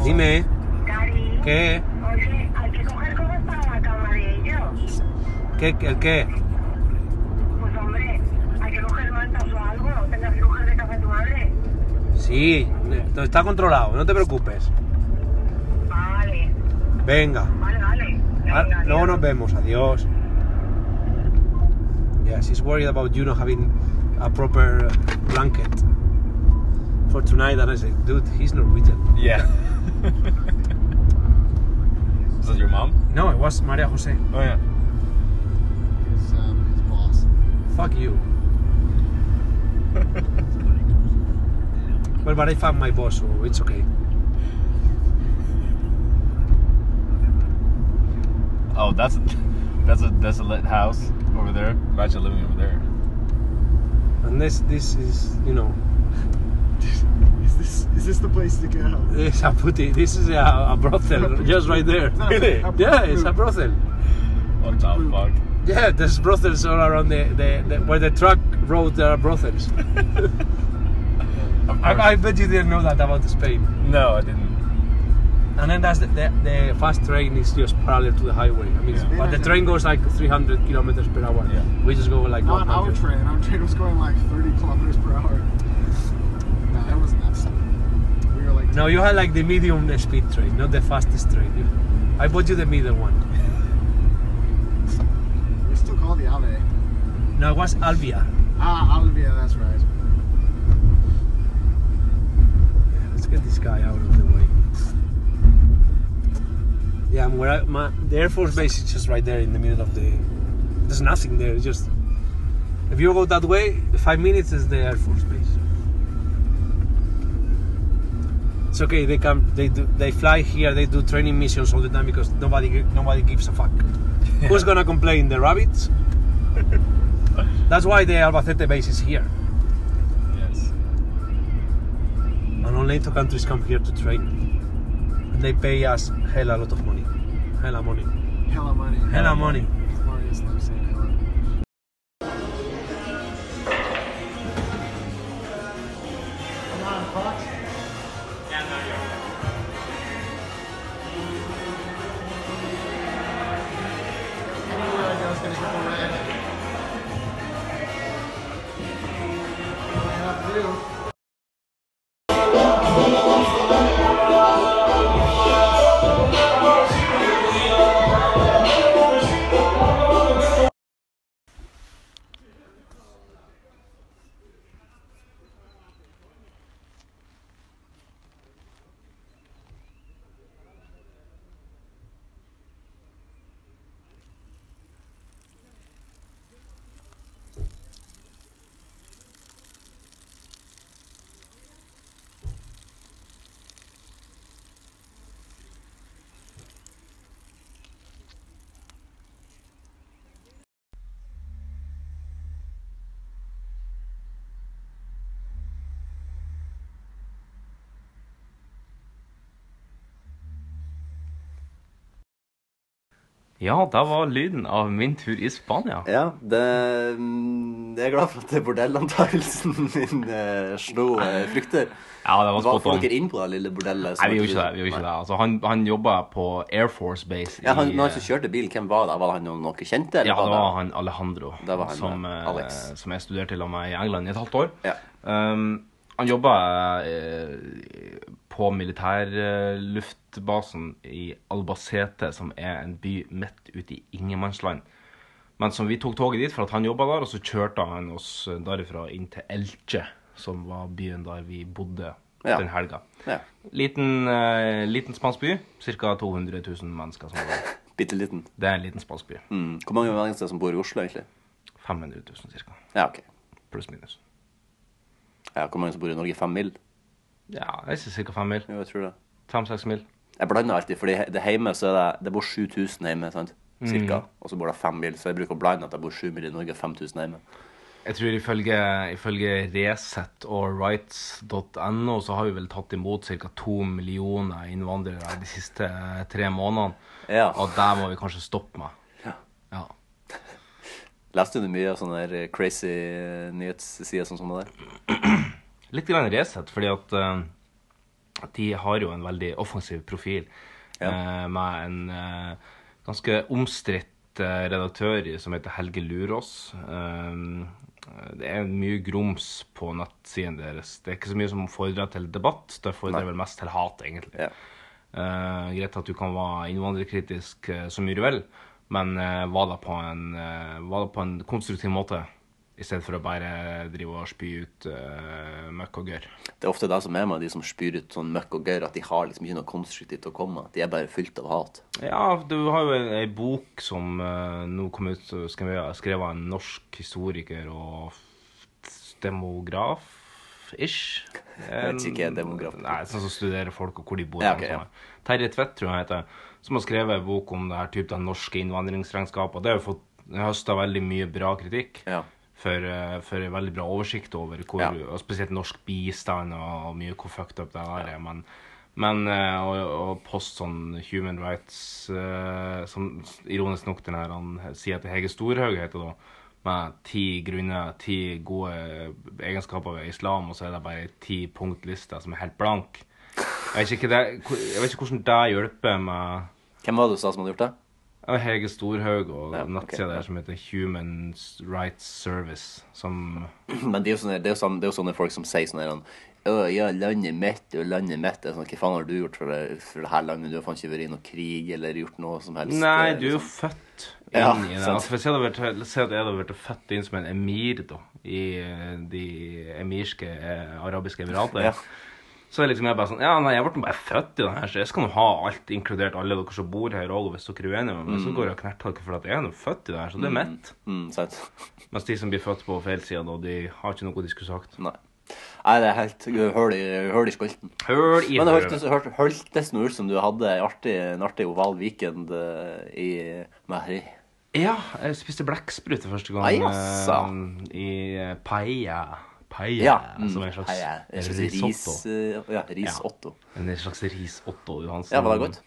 S9: Dime,
S10: Daddy,
S9: ¿qué?
S10: oye, hay que coger cosas para la cama de ellos.
S9: ¿Qué? ¿El qué?
S10: Pues hombre, hay que coger mantas o algo. Tendrás que coger de casa tu madre.
S9: Sí, está controlado, no te preocupes.
S10: Vale,
S9: Venga.
S10: vale, vale.
S9: Ah,
S10: Venga,
S9: Luego
S10: adiós.
S9: nos vemos, adiós. Yeah, she's worried about you not having a proper blanket for tonight. And I said, dude, he's Norwegian.
S3: Yeah. Is that your mom?
S9: No, it was Maria Jose.
S3: Oh yeah.
S9: Fuck you. well, but I found my boss, so it's okay.
S3: Oh, that's a, that's a desolate house over there. Imagine living over there.
S9: And this, this is, you know,
S7: Is this is this the place to go?
S9: this a putty, this is a, a brothel just right there.
S3: Really?
S9: Yeah, it's a brothel.
S3: Oh, top fuck.
S9: Yeah, there's brothels all around the, the, the where the truck road. There are brothels. I, I bet you didn't know that about Spain.
S3: No, I didn't.
S9: And then that's the, the, the fast train is just parallel to the highway. I mean,
S3: Yeah.
S9: but the train goes like 300 kilometers per hour.
S3: Yeah.
S9: We just go like
S7: Not our
S9: 100.
S7: train. Our train was going like 30 kilometers per hour. No, that was nuts. We were like,
S9: No, you had like the medium speed train, not the fastest train. You- I bought you the middle one.
S7: we still call the Ave.
S9: No, it was Albia.
S7: Ah, Alvia, that's right.
S9: Let's get this guy out of the way. Yeah, I'm where I, my, the Air Force Base is just right there in the middle of the. There's nothing there. It's just if you go that way, five minutes is the Air Force Base. It's okay. They come. They do. They fly here. They do training missions all the time because nobody gi- nobody gives a fuck. Who's gonna complain? The rabbits. That's why the Albacete base is here,
S3: Yes.
S9: and all NATO countries come here to train. And they pay us hell a lot of money. Hella money.
S7: Hella money.
S9: Hella money.
S7: Marius loves saying hella.
S9: Ja, da var lyden av min tur i Spania.
S2: Ja, det mm, Jeg er glad for at det bordellantakelsen min eh, slo eh, frukter.
S9: Ja, det var
S2: Var
S9: spot on.
S2: folk dere inn på det lille bordellet? som
S9: Nei, vi gjorde ikke det. vi gjorde ikke
S2: Nei.
S9: det. Altså, han han jobba på Air Force Base.
S2: Ja, han,
S9: i,
S2: når han som kjørte bilen, hvem var det? Var det han noen dere kjente? eller
S9: Ja, det var
S2: det-
S9: han Alejandro,
S2: Det var han,
S9: som,
S2: ja.
S9: eh,
S2: Alex.
S9: som jeg studerte til med i England i et halvt år.
S2: Ja.
S9: Um, han jobba eh, på militærluftbasen i Albacete, som er en by midt ute i ingenmannsland. Men som vi tok toget dit for at han jobba der, og så kjørte han oss derifra inn til Elche, som var byen der vi bodde
S2: Ja.
S9: den helga.
S2: Ja.
S9: Liten, eh, liten spansk by, ca. 200 000 mennesker som var der.
S2: Bitte liten.
S3: Det er en liten spansk by.
S2: Mm. Hvor mange mennesker som bor i Oslo, egentlig?
S3: 500 000 cirka.
S2: Ja, ok.
S3: Pluss minus.
S2: Ja, hvor mange som bor i Norge? Fem mil?
S3: Ja, jeg sier cirka fem mil.
S2: Jo, jeg tror det.
S3: Fem-seks mil.
S2: Jeg blander alltid, fordi he- det hjemme så er det, det bor 7000 hjemme, sant?
S9: Mm.
S2: Cirka. Og så bor det fem mil, så jeg bruker å blande at det bor 7 mil i Norge og 5000 hjemme.
S3: Jeg tror ifølge, ifølge Resett og Rights.no så har vi vel tatt imot ca. to millioner innvandrere de siste tre månedene.
S2: Ja.
S3: Og der må vi kanskje stoppe med.
S2: Ja.
S3: Ja.
S2: Leste du mye av sånne der crazy eh, nyhetssider sånn som det der?
S3: Litt grann Resett, fordi at eh, de har jo en veldig offensiv profil
S2: Ja.
S3: eh, med en eh, ganske omstridt eh, redaktør i- som heter Helge Lurås. Eh, det er mye grums på nettsiden deres. Det er ikke så mye som fordrer til debatt, det fordrer vel mest til hat, egentlig.
S2: Ja.
S3: Eh, greit at du kan være innvandrerkritisk eh, så mye du vil, men eh, var, det på en, eh, var det på en konstruktiv måte, i stedet for å bare drive og spy ut eh, møkk og gørr.
S2: Det er ofte det som er med de som spyr ut sånn møkk og gørr, at de har liksom ikke noe konstruktivt å komme med. De er bare fylt av hat.
S3: Ja, du har jo ei bok som eh, nå kom ut, og skrevet skrevet av en norsk historiker og f- demograf-ish.
S2: Jeg vet ikke, demograf.
S3: Nei, sånn som studerer folk og hvor de bor.
S2: Ja, ok,
S3: og sånn. Terje Tvedt, tror jeg han heter, som har skrevet ei bok om det her type det norske innvandringsregnskapet. og Det har jo fått høsta veldig mye bra kritikk.
S2: Ja.
S3: For, eh, for en veldig bra oversikt over hvor,
S2: Ja.
S3: og spesielt norsk bistand og mye hvor fucked up det der er. Men, men eh, å, å poste sånn human rights eh, Som ironisk nok den her han sier til Hege Storhaug heter da, med ti grunner, ti gode egenskaper ved islam, og så er det bare ei ti punktliste som er helt blank. Jeg vet ikke, det, jeg vet ikke hvordan det hjelper med
S2: Hvem var det du sa som hadde gjort det?
S3: ja, Hege Storhaug og
S2: Ja,
S3: ja,
S2: ok,
S3: nettsida
S2: ja.
S3: der som heter Human Rights Service, som
S2: Men det er jo sånne, det er jo sånne, det er jo sånne folk som sier sånn her han, «Å, ja, landet mitt og landet mitt. Det er Sånn, Hva faen har du gjort for det, for det her landet? Du har faen ikke vært i noe krig eller gjort noe som helst.
S3: Nei,
S2: Det
S3: du er jo
S2: liksom-
S3: født inn
S2: Ja,
S3: i det.
S2: sant.
S3: Altså, for si at jeg hadde vært- si at jeg hadde vært født inn som en emir da, i eh, de emirske eh, arabiske emirater.
S2: Ja.
S3: Så er liksom jeg bare sånn Ja, nei, jeg ble bare født i det her, så jeg skal nå ha alt, inkludert alle dere som bor her òg, hvis dere er uenige med meg. Men så går jeg og knerter dere for at jeg er nå født i det her, så det er mitt.
S2: Mm, sant.
S3: Mens de som blir født på feil side, da, de har ikke noe de skulle sagt.
S2: Nei. Nei, det er helt høl i, høl i skolten.
S3: Høl i
S2: Men det
S3: hølet.
S2: hørtes hørt, hørtes noe ut som du hadde en artig, en artig oval weekend eh, i Mahri.
S3: Ja, jeg spiste blekkspruter første gang
S2: Ai, asså.
S3: eh, i eh, paella. Paella,
S2: Ja. mm.
S3: som er en slags
S2: Nei, jeg- jeg synes
S3: risotto.
S2: Ris, eh, ja, ris
S3: Ja.
S2: otto.
S3: En slags risotto Johansen.
S2: Ja, var det godt?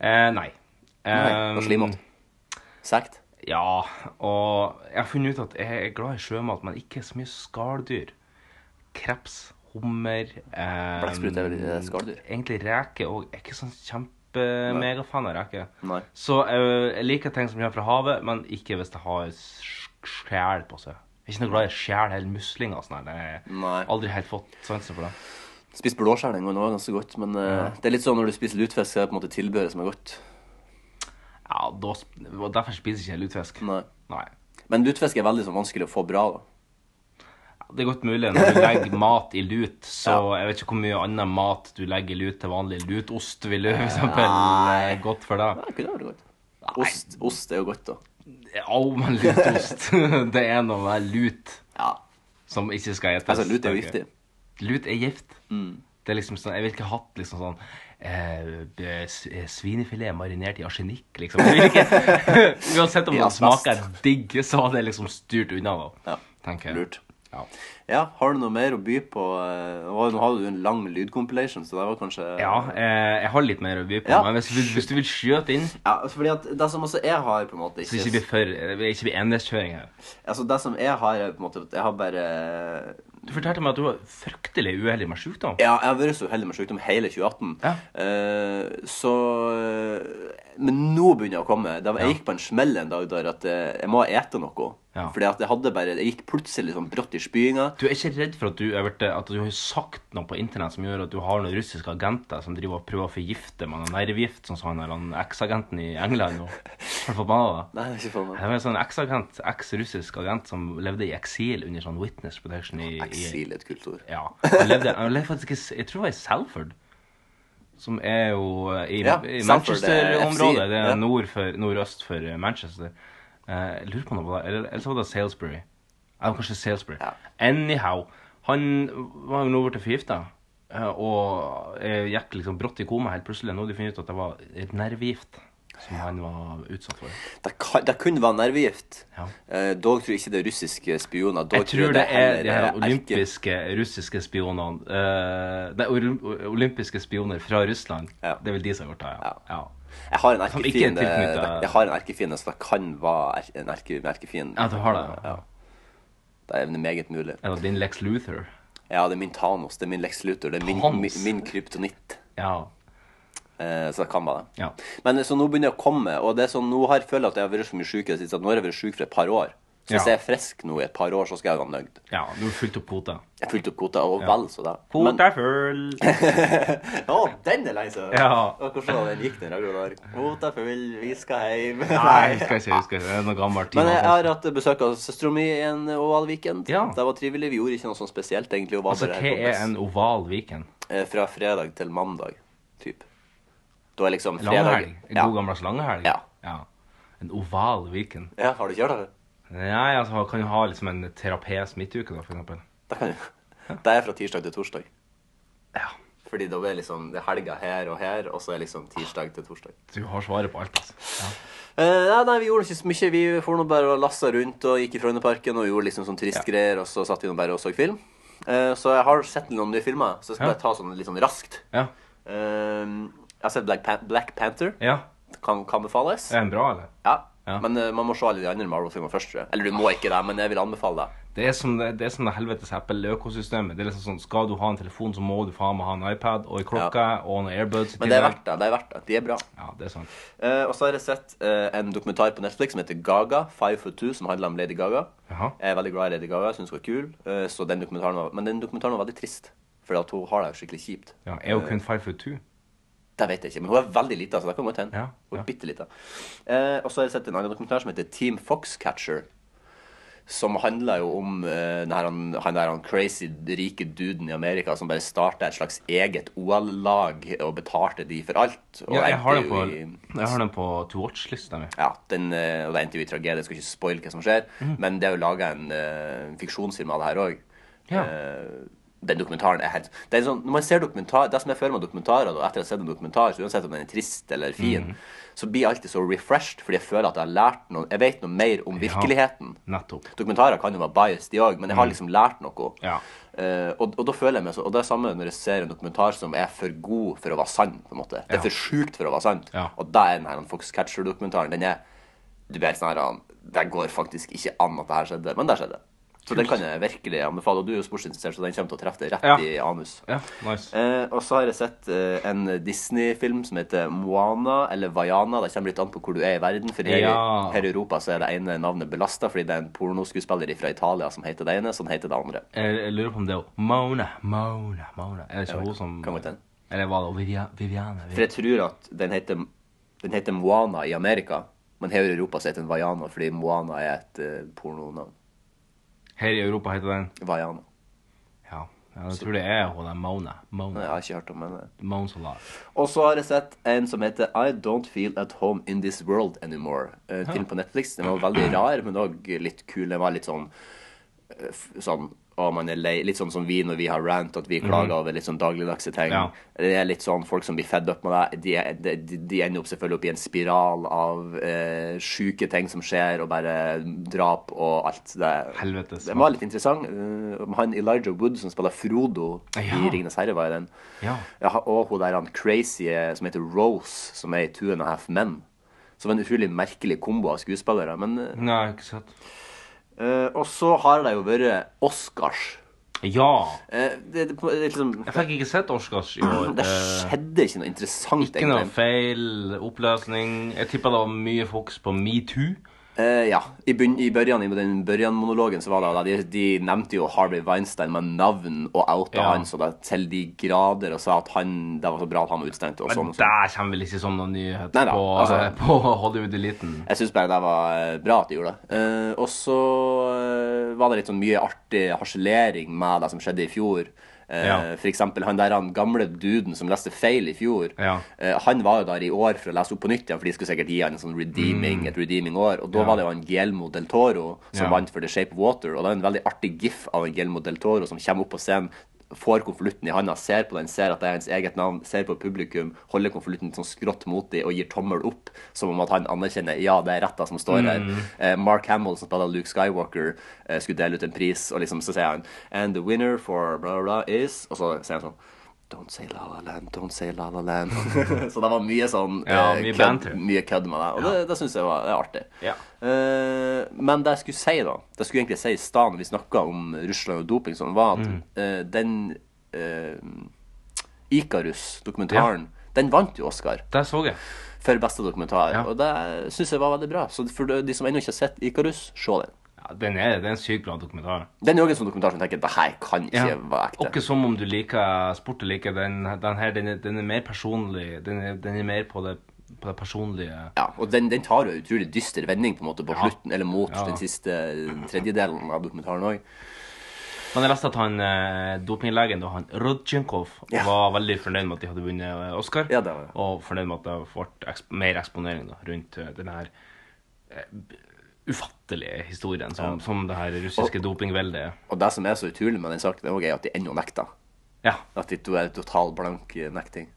S3: Eh, nei.
S2: Nei, på
S3: Eh,
S2: slimått. Sekt?
S3: Ja, og jeg har funnet ut at jeg er glad i sjømat, men ikke så mye skalldyr. Kreps, hummer eh,
S2: Blekksprut er vel, eh, skalldyr?
S3: Egentlig reker òg. Jeg er ikke sånn kjempemegafan av reker.
S2: Nei.
S3: Så eh, jeg liker ting som kommer fra havet, men ikke hvis det har sk- skjell på seg. Jeg er ikke noe glad i skjell eller muslinger og sånn. her. Jeg
S2: Nei.
S3: har aldri helt fått sansen for det.
S2: Spist blåskjell en gang, det var ganske godt. Men eh, det er litt sånn når du spiser lutefisk, så er det på en måte tilbehøret som er godt.
S3: Ja, da, sp- og Derfor spiser ikke jeg lutefisk.
S2: Nei.
S3: Nei.
S2: Men lutefisk er veldig sånn vanskelig å få bra, da.
S3: Det er godt mulig. Når du legger mat i lut, så jeg vet ikke hvor mye annen mat du legger i lut til vanlig lutost, vil du for eksempel eh, godt for deg.
S2: Det kunne vært godt. Ost, ost er jo godt, da.
S3: Au, men lutost. det er noe med lut
S2: Ja.
S3: som ikke skal etes.
S2: Altså, lut er jo
S3: tenker
S2: giftig. Mm.
S3: jeg. Lut er gift. Det er liksom sånn, Jeg ville ikke hatt liksom sånn eh, eh, s- eh, Svinefilet marinert i arsenikk, liksom. Jeg vil ikke, uansett om
S2: I
S3: det
S2: asbest.
S3: smaker digg, så hadde jeg liksom styrt unna, da.
S2: Ja.
S3: Tenker jeg.
S2: Lurt.
S3: Ja.
S2: Ja, har du noe mer å by på? eh, og Nå hadde du en lang lydcompilation, så det var kanskje
S3: Ja, eh, jeg har litt mer å by på,
S2: Ja.
S3: men hvis du, vil- hvis du vil skjøte inn
S2: Ja, altså, fordi at det som også jeg har, på en måte
S3: Så det ikke blir for det ikke blir enveiskjøring her.
S2: Altså, det som jeg har, er på en måte at Jeg har bare
S3: Du fortalte meg at du var fryktelig uheldig med sjukdom.
S2: Ja, jeg har vært så uheldig med sykdom hele 2018.
S3: Ja.
S2: Eh, så eh, Men nå begynner jeg å komme. Da, jeg gikk på en smell en dag der at eh, jeg må ete noe.
S3: Ja.
S2: Fordi at jeg hadde bare Jeg gikk plutselig sånn brått i spyinga.
S3: Du er ikke redd for at du, jeg vet, det, at du har sagt noe på internett som gjør at du har noen russiske agenter som driver og prøver å forgifte med noen nervegift, sånn som han der, han eksagenten i England? Og, har du fått med deg det?
S2: Nei, ikke faen meg.
S3: Det var en sånn eksagent, eks-russisk agent som levde i eksil under sånn witness protection i, i
S2: Eksil er et kult ord.
S3: Ja. Han levde, han levde faktisk i Jeg tror det var i Salford. som er jo eh, i,
S2: Ja,
S3: i
S2: Stamford, eh,
S3: Manchester-området.
S2: FC,
S3: Det
S2: ja.
S3: er nord for, nordøst for eh, Manchester. Eh, Jeg lurer på om det var eller, eller så var det Salisbury. Ja, det var kanskje Salisbury.
S2: Ja.
S3: Anyhow, han var jo nå blitt forgifta. Og eh, gikk liksom brått i koma helt plutselig. Nå har de funnet ut at det var et nervegift som han var utsatt for.
S2: Det, kan, det kun var nervegift.
S3: Ja.
S2: Eh, dog tror jeg ikke det er russiske spioner. Dog
S3: Jeg tror det er de her
S2: heller erke-
S3: olympiske russiske spionene eh, Nei, olym- olympiske spioner fra Russland.
S2: Ja.
S3: Det er vel de som har gjort det, ja. ja.
S2: Jeg har en
S3: Som Sånn ikke er
S2: erkefiende,
S3: tilknyttet-
S2: det- jeg har en erkefiende, så det kan være er- en erke, en erkefiende.
S3: Ja, du har det, ja.
S2: Ja. Det er meget mulig.
S3: Eller din Lex Luther.
S2: Ja, det er min Thanos, det er min Lex Luthor, det er min,
S3: Thanos?
S2: min, min kryptonitt.
S3: Ja.
S2: Eh, så det kan være det.
S3: ja.
S2: Men eh, så nå begynner jeg å komme, og det er sånn, nå har jeg følt at jeg har vært så mye syk i det siste, at nå har jeg vært syk for et par år. Så hvis
S3: Ja.
S2: jeg er frisk nå i et par år, så skal jeg være nøyd.
S3: ja du har fylt opp kvota.
S2: Jeg fulgte opp kvota, og vel så det.
S3: Kvota er full!
S2: Å, den er lenge siden!
S3: Ja.
S2: Og hvordan den gikk den ragla der? Kvota full, vi skal hjem.
S3: Nei, skal jeg ikke huske. Det er noe gammelt.
S2: Men jeg
S3: Tina
S2: har
S3: Fossil.
S2: hatt besøk av søstera mi i en oval weekend.
S3: Ja.
S2: Det var trivelig. Vi gjorde ikke noe sånn spesielt, egentlig. og var
S3: Altså,
S2: bare
S3: hva
S2: her på
S3: er
S2: plass.
S3: en oval weekend?
S2: Eh, Fra fredag til mandag, typ. Da er liksom fredag
S3: Langhelg?
S2: ja.
S3: En god gammeldags langhelg?
S2: Ja.
S3: En oval weekend?
S2: ja, har du ikke hørt det?
S3: Nei, altså, kan jo ha liksom en terapes midtuke, da, for eksempel.
S2: Det kan jo. Det er fra tirsdag til torsdag.
S3: Ja.
S2: Fordi da er liksom det er helga her og her, og så er liksom tirsdag til torsdag.
S3: Du har svaret på alt, altså.
S2: Eh, nei, nei, vi gjorde ikke så mye. Vi for nå bare og lassa rundt og gikk i Frognerparken og gjorde liksom sånn turistgreier, og så satt vi nå bare og så film. Eh, så jeg har sett noen nye filmer, så jeg skal
S3: Ja.
S2: bare ta sånn litt sånn raskt.
S3: Ja.
S2: Eh, jeg har sett Black, Pan Black Panther.
S3: Ja.
S2: Kan, kan befales.
S3: Er den bra, eller?
S2: Ja.
S3: Ja.
S2: Men eh, man må se alle de andre Marvel-filmene først, tror jeg. Eller du må ikke det, men jeg vil anbefale det.
S3: Det er som det, det, er som det helvetes Apple-økosystemet. Det er liksom sånn, Skal du ha en telefon, så må du faen meg ha en iPad og en klokke og noen airbuds. i
S2: Men det er
S3: tillegg.
S2: verdt det. Det er verdt det. De er bra.
S3: Ja, det er sant.
S2: Eh, og så har jeg sett eh, en dokumentar på Netflix som heter Gaga, Five for Two, som handler om Lady Gaga.
S3: Jaha.
S2: Jeg er veldig glad i Lady Gaga, syns hun er kul, eh, så den dokumentaren var, men den dokumentaren var veldig trist. For at hun har det jo skikkelig kjipt.
S3: Ja, er jo kun five foot two.
S2: Det vet jeg ikke, men hun er veldig lita, så det kan godt hende.
S3: Ja,
S2: Hun
S3: ja.
S2: er bittelita. Eh, og så har jeg sett en annen dokumentar som heter Team Foxcatcher. Som handler jo om eh, den her, han, han der han crazy rike duden i Amerika som bare starta et slags eget OL-lag og betalte de for alt. Og
S3: Ja, jeg har den
S2: endte
S3: på,
S2: jo
S3: jeg har den på to watch-lista mi.
S2: ja, den, eh, og det endte jo i tragedie. Jeg skal ikke spoile hva som skjer.
S3: Mhm.
S2: Men det er jo laga en eh, fiksjonsfilm av det her òg.
S3: Ja.
S2: eh, Den dokumentaren er helt det er sånn, Når man ser dokumentar Det som jeg føler med dokumentarer, og etter å ha sett en dokumentar, så uansett om den er trist eller fin, så blir jeg alltid så refreshed, fordi jeg føler at jeg har lært noe Jeg vet noe mer om virkeligheten.
S3: Nettopp.
S2: Dokumentarer kan jo være biased, de òg, men jeg har liksom lært noe.
S3: Mm. Ja.
S2: Eh, og, og da føler jeg meg så Og det er samme når jeg ser en dokumentar som er for god for å være sann. på en måte Det er
S3: Ja.
S2: for sjukt for å være sant.
S3: Ja.
S2: Og da er den her Foxcatcher-dokumentaren Den er Du blir helt sånn her han, Det går faktisk ikke an at det her skjedde, men det skjedde. Så den kan jeg virkelig anbefale. Og du er jo sportsinteressert, så den kommer til å treffe deg rett
S3: Ja.
S2: i anus.
S3: Ja, nice.
S2: Eh, og så har jeg sett eh, en Disney-film som heter Moana, eller Vaiana. Det kommer litt an på hvor du er i verden, for her, i-
S3: Ja.
S2: her i Europa så er det ene navnet belasta fordi det er en pornoskuespiller fra Italia som heter det ene, sånn heter det andre.
S3: Jeg, jeg lurer på om det er hun- Mona, Mona, Mona. Er det ikke hun som
S2: kan godt hende.
S3: Eller var det hun Vivian- Viviane?
S2: For jeg tror at den heter, den heter Moana i Amerika, men her i Europa så heter den Vaiana fordi Moana er et eh, pornonavn.
S3: Her i Europa heter den
S2: Vaiana.
S3: Ja. ja jeg tror det er hun der Mona.
S2: Nei,
S3: Mona.
S2: Jeg har ikke hørt om henne.
S3: Mona Solar.
S2: Og så har jeg sett en som heter I Don't Feel At Home In This World Anymore. En film på Netflix. Den var veldig rar, men òg litt kul. Den var litt sånn eh, f- sånn å, man er lei. Litt sånn som vi når vi har rant, at vi klager over litt sånn dagligdagse ting.
S3: Mhm. Ja.
S2: Det er litt sånn folk som blir fedd opp med det. De, er- de, de- de ender opp selvfølgelig opp i en spiral av eh, sjuke ting som skjer, og bare drap og alt. Det,
S3: Helvetes.
S2: den var litt interessant. Eh, han Elijah Wood som spiller Frodo i
S3: Ja.
S2: 'Ringenes herre', var i den.
S3: Ja.
S2: Ja, og hun der han crazy eh, som heter Rose, som er i Two and a Half Men. Så det var en utrolig merkelig kombo av skuespillere. Men, eh,
S3: Nei, jeg har ikke sett.
S2: eh, og så har det jo vært Oscars.
S3: Ja!
S2: Eh, det, det, på- det, er liksom,
S3: Jeg fikk ikke sett Oscars i år.
S2: det
S3: Eh,
S2: skjedde ikke noe interessant,
S3: Ikke noe feil oppløsning. Jeg tipper det var mye fokus på metoo.
S2: Eh, ja. I, bunn, I børjan, i den børjan-monologen så var det da, de, de nevnte jo Harvey Weinstein med navn og outa
S3: Ja.
S2: han så da, til de grader og sa at han, det var så bra at han var utestengt. og sånn
S3: Men
S2: og sånn.
S3: der kommer vel ikke som noen nyhet
S2: Nei da,
S3: på,
S2: altså-
S3: på Hollywood-eliten.
S2: Jeg syns bare det var eh, bra at de gjorde det. Eh, og så eh, var det litt sånn mye artig harselering med det som skjedde i fjor. Eh,
S3: Ja.
S2: For eksempel han der han gamle duden som leste feil i fjor.
S3: Ja.
S2: eh, han var jo der i år for å lese opp på nytt igjen, for de skulle sikkert gi han en sånn redeeming, et redeeming år. Og da var det jo han Guillermo del Toro som
S3: Mm. Ja.
S2: vant for The Shape of Water. Og det er en veldig artig gif av han Guillermo del Toro som kommer opp på scenen, får konvolutten i handa, ser på den, ser at det er hans eget navn, ser på publikum, holder konvolutten sånn skrått mot dem og gir tommel opp, som om at han anerkjenner ja, det er retta som står her.
S3: Mm.
S2: Eh, Mark Hamill, som spiller Luke Skywalker, eh, skulle dele ut en pris, og liksom så sier han And the winner for bla, bla, bla is Og så sier han sånn Don't say La La Land, don't say La La Land. så det var mye sånn
S3: Ja,
S2: eh,
S3: mye
S2: kødd-
S3: banter.
S2: mye kødd med deg, og det, det syns jeg var det er artig.
S3: Ja.
S2: Eh, men det jeg skulle si, da Det jeg skulle egentlig si i stedet når vi snakka om Russland og doping, sånn, var at
S3: Mm.
S2: eh, den eh, Ikarus-dokumentaren, den vant jo Oscar
S3: Der så jeg.
S2: for beste dokumentar,
S3: Ja.
S2: og det syns jeg var veldig bra. Så for de som ennå ikke har sett Ikarus, se den.
S3: Ja, den er, det er en sykt bra dokumentar.
S2: Den er jo en sånn dokumentar som tenker det her kan ikke være ekte.
S3: Ikke som om du liker sport eller ikke. Den, den her, den er, den er mer personlig. Den er, den er mer på det, på det personlige.
S2: Ja, og den, den tar jo en utrolig dyster vending på en måte på
S3: Ja.
S2: slutten, eller mot
S3: Ja.
S2: den siste eh, tredjedelen av dokumentaren òg.
S3: Men jeg leste at han eh, dopinglegen, da, han Rodchenkov,
S2: Ja.
S3: var veldig fornøyd med at de hadde vunnet eh, Oscar.
S2: Ja, det var det.
S3: Og fornøyd med at det ble eksp mer eksponering da, rundt eh, den her eh, b- ufattelige historien som, som det her russiske dopingveldet er.
S2: Og det som er så utrolig med den saken, det er også at de ennå nekter.
S3: Ja.
S2: At de to er total blank eh, nekting.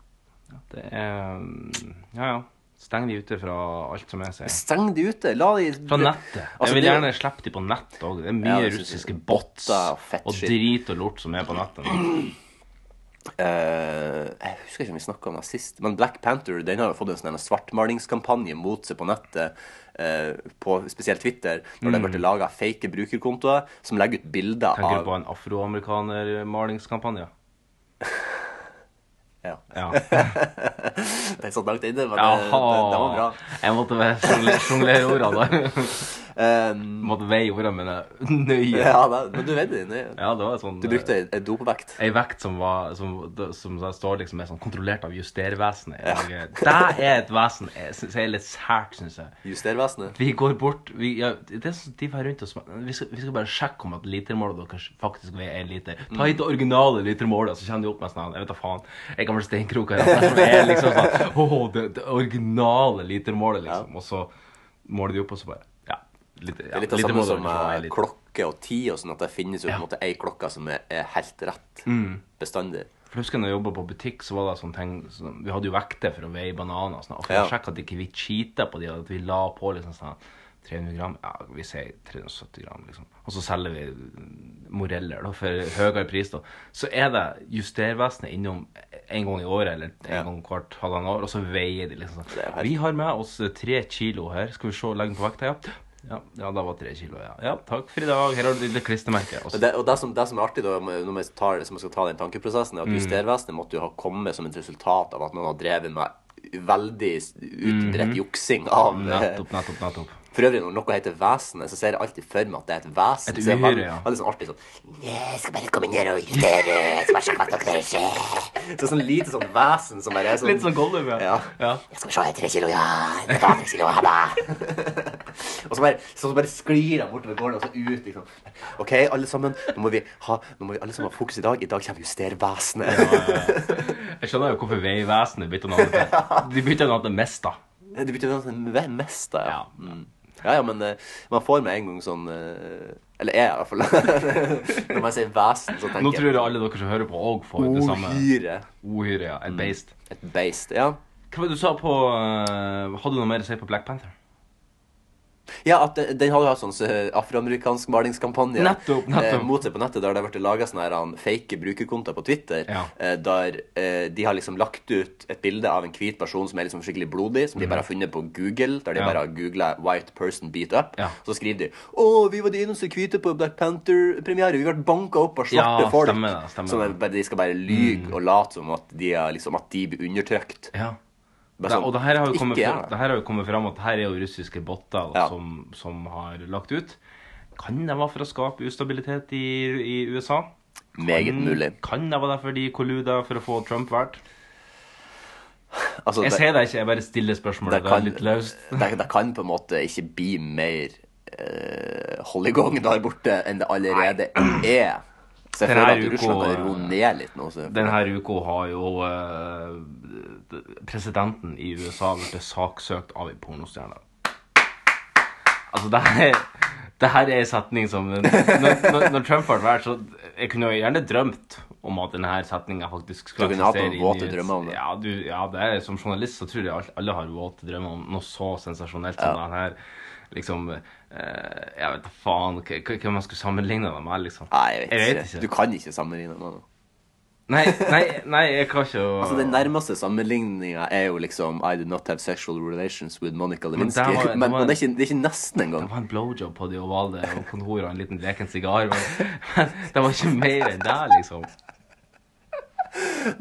S3: Det er mm, Ja, ja. Steng de ute fra alt som er seg.
S2: Steng de ute! La de
S3: Fra nettet.
S2: Altså,
S3: jeg vil
S2: det-
S3: gjerne slippe de på nettet òg. Det er mye
S2: Ja, det synes jeg.
S3: russiske bots
S2: Botter, fett
S3: og
S2: shit.
S3: drit og lort som er på nettet.
S2: Eh, jeg husker ikke om vi snakka om det sist, men Black Panther den har jo fått en sånn her svartmalingskampanje mot seg på nettet, eh, på spesielt Twitter, når det ble laga fake brukerkontoer som legger ut bilder
S3: Mm. Tenker du
S2: av
S3: på en afroamerikaner-malingskampanje?
S2: ja.
S3: Ja.
S2: Det er så langt inne, men det, det, det var
S3: Jaha.
S2: bra.
S3: Jeg måtte bare sjongle- sjonglere ordene da.
S2: Eh,
S3: Måtte veie ordene mine nøye.
S2: Ja, da, men du vet det. det-
S3: Ja, det var sånn eh,
S2: Du brukte en- en dopvekt.
S3: Ei vekt som, var, som, som da står liksom er sånn kontrollert av justervesenet. Ja. Det er et vesen jeg synes jeg er litt sært, syns jeg.
S2: Justervesenet.
S3: Vi går bort vi, ja, det er sånn, De her rundt oss vi skal, vi skal bare sjekke om at litermålet deres faktisk veier én liter. Ta hit det originale litermålet, så kommer de opp med sånn Jeg vet da faen. En gammel steinkrok her. altså, Som er liksom sånn Åh, det, det originale litermålet, liksom. Og så måler de opp, og så bare Ja. Liter,
S2: Det
S3: ja
S2: er litt det samme
S3: litermålet
S2: som
S3: deres veier
S2: eh,
S3: en liter.
S2: klokke og tid og sånn, at det finnes jo på en måte ei klokke som er, er helt rett
S3: Mm.
S2: bestandig.
S3: For jeg husker når jeg jobbet på butikk, så var det sånne ting sånn, Vi hadde jo vekter for å veie bananer og sånn. Og for
S2: Ja.
S3: å sjekke at ikke vi cheatet på de, at vi la på liksom sånn 300 gram Ja, vi sier 370 gram, liksom. Og så selger vi mm, moreller da, for høyere pris, da. Så er det justervesenet innom en gang i året eller en gang hvert halvannet år, og så veier de liksom
S2: Det er jo
S3: sånn.
S2: helt-
S3: Vi har med oss tre kilo her. Skal vi se, legge den på vekta, ja. Ja, ja, da var tre kilo, ja. Ja, takk for i dag. Her har du ditt klistremerke. Og så-
S2: Og Det, og det som, det som er artig, da, med- når man tar, hvis man skal ta den tankeprosessen,
S3: Mm.
S2: er at justervesenet måtte jo ha kommet som et resultat av at noen har drevet med veldig s- utbredt juksing av eh,
S3: Mm-hmm. Nettopp, nettopp, nettopp.
S2: For øvrig, når noe heter vesenet, så ser jeg alltid for meg at det er et vesen.
S3: Et
S2: Så det er
S3: uhyre,
S2: veldig-
S3: ja.
S2: Veldig sånn artig sånn Jeg skal bare komme ned og justere jeg skal bare sjekke hva som skal skje. Så sånn lite sånn vesen som bare er sånn
S3: Litt sånn Gollum,
S2: Ja.
S3: ja.
S2: Jeg skal se, jeg er tre kilo, ja. Jeg tar tre kilo, ha det. og så bare, så bare sklir han bortover gården og så ut, liksom. OK, alle sammen, nå må vi ha, nå må vi alle sammen ha fokus i dag. I dag kommer justervesenet.
S3: Jeg skjønner jo hvorfor Vegvesenet bytta navn til De bytta navn til Mesta.
S2: Det betyr noe sånn hvem mest, da. Ja.
S3: Ja.
S2: Mm. ja, ja, men eh, man får med en gang sånn eh, Eller jeg, i hvert fall. Når man sier vesen, så
S3: Nå
S2: tenker
S3: tror jeg alle dere som hører på, òg får det samme.
S2: Ohyre.
S3: Ohyre, ja.
S2: Mm.
S3: Et beist.
S2: Et beist. Ja.
S3: Hva var det du sa på eh, Hadde du noe mer å si på Black Panther?
S2: ja, at den, den hadde jo hatt sånn eh, afroamerikansk malingskampanje
S3: Nettopp, nettopp.
S2: Eh, mot seg på nettet, der det har blitt laga sånne her, han, fake brukerkontoer på Twitter,
S3: Ja.
S2: eh, der eh, de har liksom lagt ut et bilde av en hvit person som er liksom skikkelig blodig, som de bare har funnet på Google, der de
S3: Mhm. Ja.
S2: bare har googla 'white person beat up'.
S3: Ja.
S2: Så skriver de 'Å, vi var de eneste hvite på Black Panther-premiere', vi ble banka opp av svarte
S3: Ja,
S2: folk.
S3: stemmer det, stemmer
S2: Så
S3: det. Mhm.
S2: de bare- de skal bare lyge og late som at de, er, liksom, at de blir undertrykt.
S3: Ja.
S2: Bare
S3: Det,
S2: sånn,
S3: og det her har jo
S2: ikke
S3: kommet,
S2: er
S3: fram,
S2: det.
S3: det her har jo kommet fram at her er jo russiske botter da,
S2: Ja.
S3: som, som har lagt ut. Kan det være for å skape ustabilitet i, i USA?
S2: Meget mulig.
S3: Kan det være derfor de kolluda for å få Trump valgt?
S2: Altså,
S3: Jeg
S2: det-
S3: sier det ikke, jeg bare stiller spørsmålet. Det, er litt løst.
S2: det, det kan på en måte ikke bli mer eh, hold i gang der borte enn det allerede er. Så jeg
S3: Denne
S2: føler at
S3: uka-
S2: Russland kan roe ned litt nå. Så.
S3: Denne uka har jo eh, presidenten i USA blitt saksøkt av en pornostjerne. Altså, det her er, det her er en setning som Når, når, når Trump ble valgt, så Jeg kunne jo gjerne drømt om at denne setninga faktisk skulle
S2: Du kunne hatt noen
S3: eksistere i
S2: våte
S3: nyhets-
S2: drømmer om det.
S3: Ja, du, ja det er, som journalist så tror jeg alt- alle har våte drømmer om noe så sensasjonelt som denne her. Liksom eh, Jeg vet da faen hva- hva hva man skulle sammenligne det med, liksom.
S2: Nei, jeg vet,
S3: Jeg
S2: ikke.
S3: vet ikke.
S2: Du kan ikke sammenligne med noe.
S3: Nei, nei, nei, jeg kan ikke å
S2: Altså, den nærmeste sammenligninga er jo liksom I do not have sexual relations with Monica Lewinsky.
S3: der
S2: Men, men,
S3: var- det var-
S2: det, er ikke, det er ikke nesten
S3: Det
S2: engang.
S3: var en blowjob på det ovale og kontoret og en liten leken sigar. Men, men det var ikke mer enn det, liksom.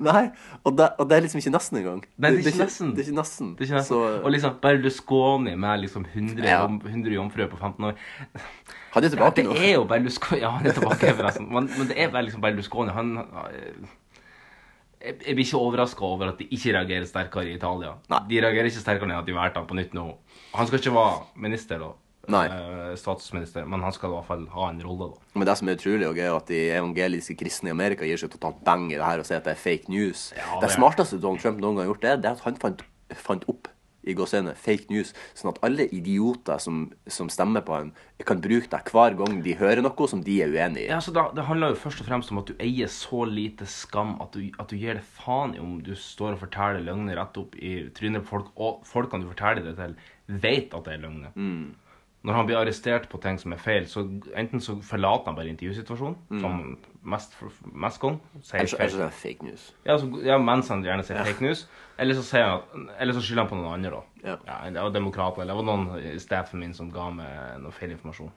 S2: Nei, og det, og det er liksom ikke nesten engang.
S3: Nei, det er ikke nesten.
S2: Det er ikke nesten.
S3: Det er ikke nesten.
S2: Så- eh,
S3: og liksom Berlusconi med liksom 100,
S2: Ja.
S3: jom- 100 jomfruer på 15 år.
S2: Han er tilbake
S3: det
S2: nå.
S3: er jo Berlusconi Ja, han er tilbake, forresten. Men, men det er bare liksom Berlusconi. Han eh, jeg, jeg blir ikke overraska over at de ikke reagerer sterkere i Italia.
S2: Nei.
S3: De reagerer ikke sterkere enn at de valgte han på nytt nå. Han skal ikke være minister, da.
S2: Nei.
S3: Eh, Statsminister. Men han skal i hvert fall ha en rolle, da.
S2: Men det som er utrolig og gøy, er at de evangeliske kristne i Amerika gir seg totalt bang i det her og sier at det er fake news.
S3: Ja,
S2: det
S3: det er-
S2: smarteste Donald Trump noen gang har gjort, det, det er at han fant, fant opp i gåseøynene fake news, sånn at alle idioter som, som stemmer på han, kan bruke det hver gang de hører noe som de er uenig i.
S3: Ja, så da, Det handler jo først og fremst om at du eier så lite skam at du, at du gir det faen i om du står og forteller løgner rett opp i trynet på folk, og folkene du forteller det til, vet at det er løgner. Når han blir arrestert på ting som er feil, så enten så forlater han bare intervjusituasjonen, som mest, mest gang, sier
S2: Ellers, ellers
S3: feil.
S2: er det fake news.
S3: Ja, så, ja, mens han gjerne sier fake news. Eller så, sier han, eller så skylder han på noen andre, da.
S2: Ja.
S3: det var demokrater, eller det var noen i staffen min som ga meg noe feil informasjon.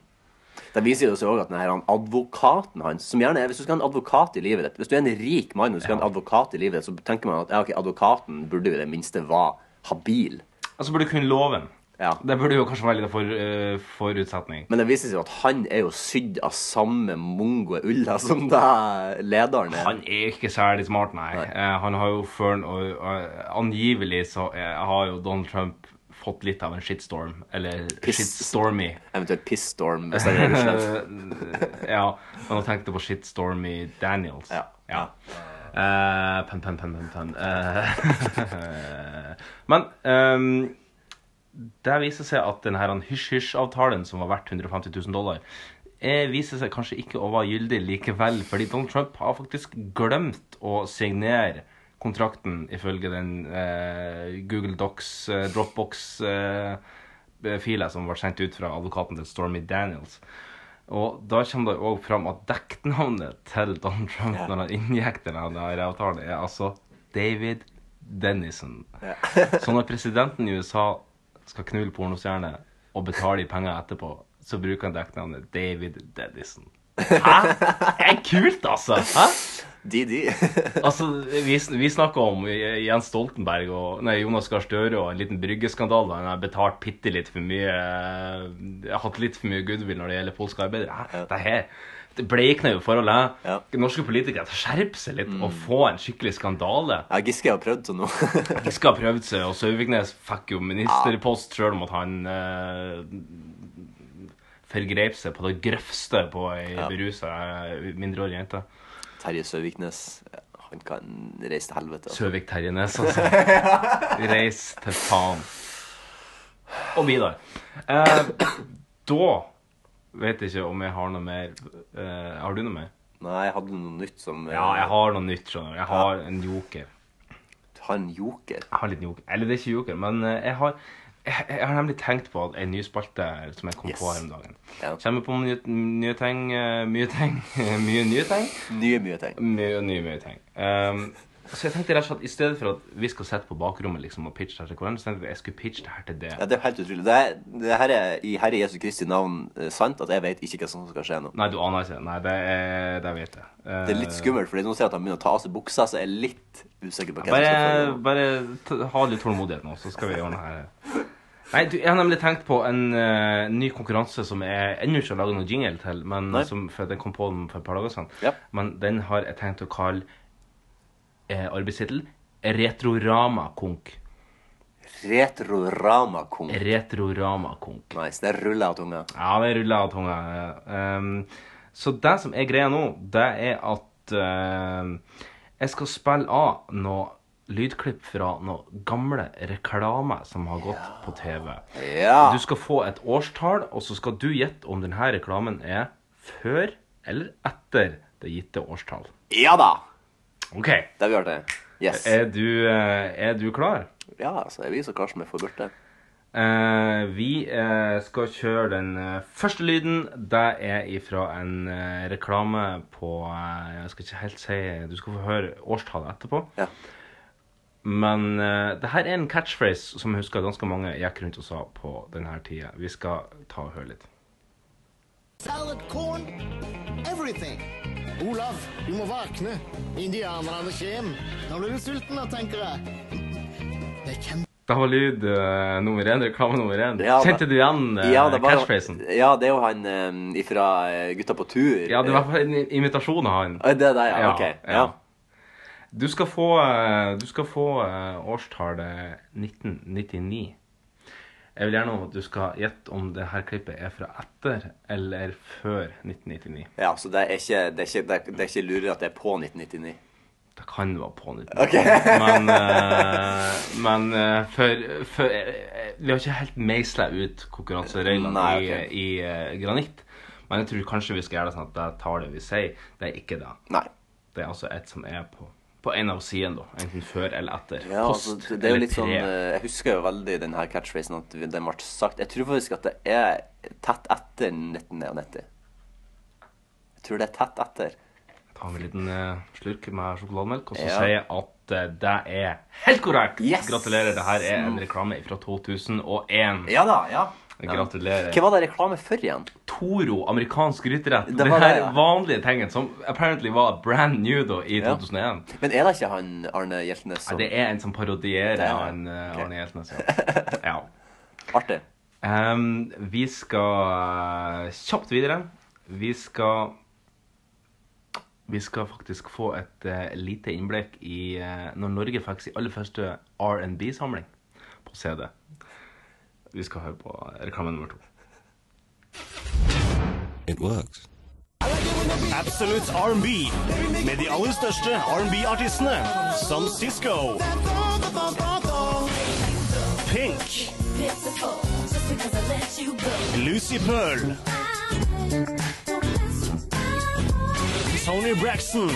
S2: Det viser jo seg også at denne her advokaten hans, som gjerne er, Hvis du skal ha en advokat i livet ditt Hvis du er en rik mann og du skal ha en advokat i livet ditt, så tenker man at ja, ok, advokaten burde jo i det minste være habil.
S3: Altså burde du kunne loven.
S2: Ja.
S3: Det burde jo kanskje være litt for, eh, forutsetning.
S2: Men det viser seg jo at han er jo sydd av samme mongo ulla som det lederen er.
S3: Han er ikke særlig smart, nei. Eh, han har jo før og, og angivelig så eh, har jo Donald Trump fått litt av en shitstorm. Eller
S2: Piss.
S3: shitstormy. Eh,
S2: Eventuelt pissstorm. Hvis han er i Russland.
S3: ja, men han tenkte på shitstormy Daniels.
S2: Ja.
S3: ja. Eh, pen, pen, pen, pen, pen. Eh, men ehm, det viser seg at denne her hysj-hysj-avtalen som var verdt 150 000 dollar, eh, viser seg kanskje ikke å være gyldig likevel, fordi Donald Trump har faktisk glemt å signere kontrakten ifølge den eh, Google Docs, eh, Dropbox-fila som ble sendt ut fra advokaten til Stormy Daniels. Og da kommer det òg fram at dekknavnet til Donald Trump når han inngikk denne her avtalen, er altså David Dennison. så når presidenten i USA skal knulle pornostjerne og betale i penger etterpå, så bruker han dekknavnet David Dennison. Hæ? Det er kult, altså! Hæ?
S2: Didi.
S3: Altså, Vi, sn- vi snakka om Jens Stoltenberg og nei, Jonas Gahr Støre og en liten bryggeskandale. Han har betalt bitte litt for mye eh, har Hatt litt for mye goodwill når det gjelder polske arbeidere. Hæ? Det her det bleikner jo forhold.
S2: Ja.
S3: Ja. Norske politikere skjerper seg litt og får en skikkelig skandale.
S2: Ja, Giske har prøvd sånn nå.
S3: Giske har prøvd seg, og Søviknes fikk jo ministerpost sjøl om at han eh, forgrep seg på det grøvste på ei
S2: Ja.
S3: berusa eh, mindreårig jente.
S2: Terje Søviknes. Han kan reise til helvete. altså.
S3: Søvik Terje Næss, altså. Reis til faen. Og Vidar. Eh, da vet jeg ikke om jeg har noe mer eh, Har du noe mer?
S2: Nei, jeg hadde noe nytt som eh,
S3: Ja, jeg har noe nytt. skjønner du. Jeg har en joker.
S2: har en eh, joker.
S3: Jeg har litt joker. Eller det er ikke joker, men eh, jeg har jeg, jeg har nemlig tenkt på en ny spalte som jeg kom
S2: Yes.
S3: på her om dagen.
S2: Ja.
S3: Kommer på nye, nye ting, eh, mye ting, mye nye ting.
S2: Nye mye ting.
S3: Mye, nye, mye ting. Ehm, så jeg tenkte rett og slett, i stedet for at vi skal sitte på bakrommet liksom, og pitche det her til hverandre, så tenkte jeg at jeg skulle pitche det her til det.
S2: Ja, Det er jo helt utrolig. Det, er, det her er i Herre Jesu Kristi navn eh, sant at jeg vet ikke hva som skal skje nå.
S3: Nei, du aner ikke. Nei, det, er, det vet jeg. Eh,
S2: Det er litt skummelt, fordi nå ser jeg at han begynner å ta av seg buksa, så jeg er litt usikker på hva som skal
S3: Eh, Bare,
S2: skje.
S3: bare t ha litt tålmodighet nå, så skal vi ordne her. Nei, du, jeg har nemlig tenkt på en eh, ny konkurranse som jeg ennå ikke har laget noen jingle til, men
S2: Nei.
S3: som, for den kom på den for et par dager siden.
S2: Ja.
S3: Men den har jeg tenkt å kalle eh, arbeidstittel Retrorama-konk.
S2: Retrorama-kong.
S3: Retrorama-konk.
S2: Nice. Det ruller av tunga.
S3: Ja, det ruller av tunga. Um, Så det som er greia nå, det er at eh, jeg skal spille av noe lydklipp fra noen gamle reklame som har gått på TV.
S2: Ja.
S3: Du skal få et årstall, og så skal du gjette om denne reklamen er før eller etter det gitte årstall.
S2: Ja da!
S3: OK.
S2: Det har vi gjort det. Yes.
S3: Er du, eh, er du klar?
S2: Ja, så er vi så Karsten er forburte.
S3: Eh, vi eh, skal kjøre den eh, første lyden. Det er ifra en eh, reklame på eh, Jeg skal ikke helt si eh, Du skal få høre årstallet etterpå.
S2: Ja.
S3: Men eh, det her er en catchphrase som jeg husker ganske mange gikk rundt og sa på denne tida. Vi skal ta og høre litt.
S11: Salad, corn, everything. Olav, du må våkne. Indianerne kommer. Nå blir du sulten, da, tenker jeg. Det er kan
S3: Det var lyd eh, nummer én. Reklame nummer én.
S2: Ja, det-
S3: Kjente du igjen eh,
S2: Ja, det var,
S3: catchphrasen?
S2: ja, det er jo han eh, ifra eh, Gutta på tur.
S3: Ja, det var i hvert fall en imitasjon av han.
S2: Eh, Det er det, ja. Ok. Ja.
S3: Du skal få, eh, du skal få eh, årstallet 1999. Jeg vil gjerne at du skal gjette om det her klippet er fra etter eller før 1999.
S2: ja, så det er, ikke, det, er ikke, det, er, det er ikke lurere at det er på 1999.
S3: Det kan være på 1999.
S2: Ok.
S3: Men, eh, men eh, for, for eh, Vi har ikke helt meisla ut konkurransereglene
S2: Nei, ok.
S3: i, i eh, granitt. Men jeg tror kanskje vi skal gjøre det sånn at det tallet vi sier, det er ikke det.
S2: Nei.
S3: Det er altså et som er på, på en av sidene, da. Enten før eller etter.
S2: Ja,
S3: Post
S2: altså, det- det er jo
S3: eller
S2: litt sånn,
S3: tre.
S2: eh, jeg husker jo veldig den her catchphrasen at den ble sagt. Jeg tror faktisk at det er tett etter 1999. Jeg tror det er tett etter.
S3: Ta en liten eh, slurk med sjokolademelk, og så
S2: Ja.
S3: sier jeg at eh, det er helt korrekt!
S2: Yes!
S3: Gratulerer. Det her er en reklame fra 2001.
S2: Ja da, ja.
S3: Gratulerer.
S2: Hva var det reklame for igjen?
S3: Toro, amerikansk gryterett.
S2: Det
S3: Det
S2: var
S3: her
S2: det, ja.
S3: vanlige tingen som apparently var brand new da i
S2: Ja.
S3: 2001.
S2: Men er det ikke han Arne Hjeltnes som
S3: Det er en som parodierer
S2: Det er
S3: han,
S2: han.
S3: eh,
S2: Ok.
S3: Arne Hjeltnes. Ja. ja.
S2: Artig.
S3: Ehm, vi skal eh, kjapt videre. Vi skal Vi skal faktisk få et eh, lite innblikk i eh, når Norge fikk sin aller første R&B-samling på CD. Vi skal høre på reklame nummer to.
S11: Absolutt R&B med de aller største R&B-artistene som Cisco, Pink, Lucy Pearl, Tony Braxton,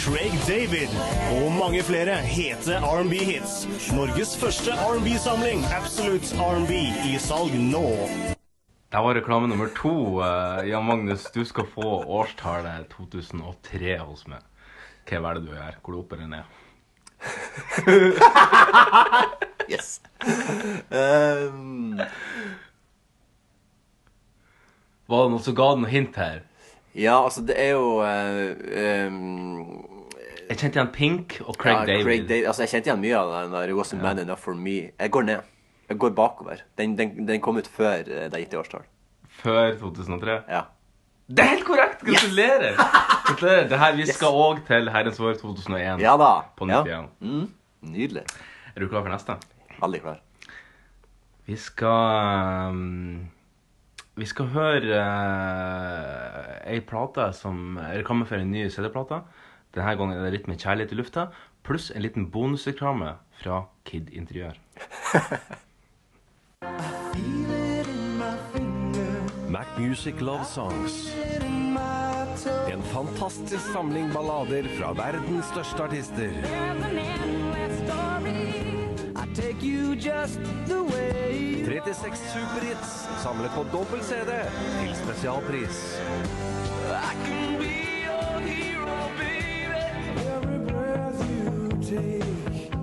S11: Craig David og mange flere hete R&B-hits. Norges første R&B-samling, Absolutt R&B, i salg nå.
S3: Det var reklame nummer to. Eh, Jan Magnus, du skal få årstallet 2003 hos meg. Hva er det du gjør? Går du opp eller ned?
S2: Yes. Ehm,
S3: Var det noen som ga deg noe hint her?
S2: ja, altså, det er jo eh, ehm,
S3: Jeg kjente igjen Pink og Craig
S2: ja,
S3: David.
S2: Craig David. Altså, jeg kjente igjen mye av den der It wasn't man enough for me. Jeg går ned. Jeg går bakover. Den, den, den kom ut før eh, det er gitt i årstall.
S3: Før 2003.
S2: Ja.
S3: Det er helt korrekt! Gratulerer! Gratulerer. Det her, vi skal òg til herrens år 2001.
S2: Ja da.
S3: På
S2: ja.
S3: nytt igjen.
S2: Mm, nydelig.
S3: Er du klar for neste?
S2: Veldig klar.
S3: Vi skal um, Vi skal høre uh, ei plate som reklame for en ny CD-plate. Denne gangen er det litt med kjærlighet i lufta, pluss en liten bonusreklame fra Kid Interiør.
S11: Mac Music Love Songs. En fantastisk samling ballader fra verdens største artister. I take you just the way 36 superhits samlet på dobbel CD til spesialpris.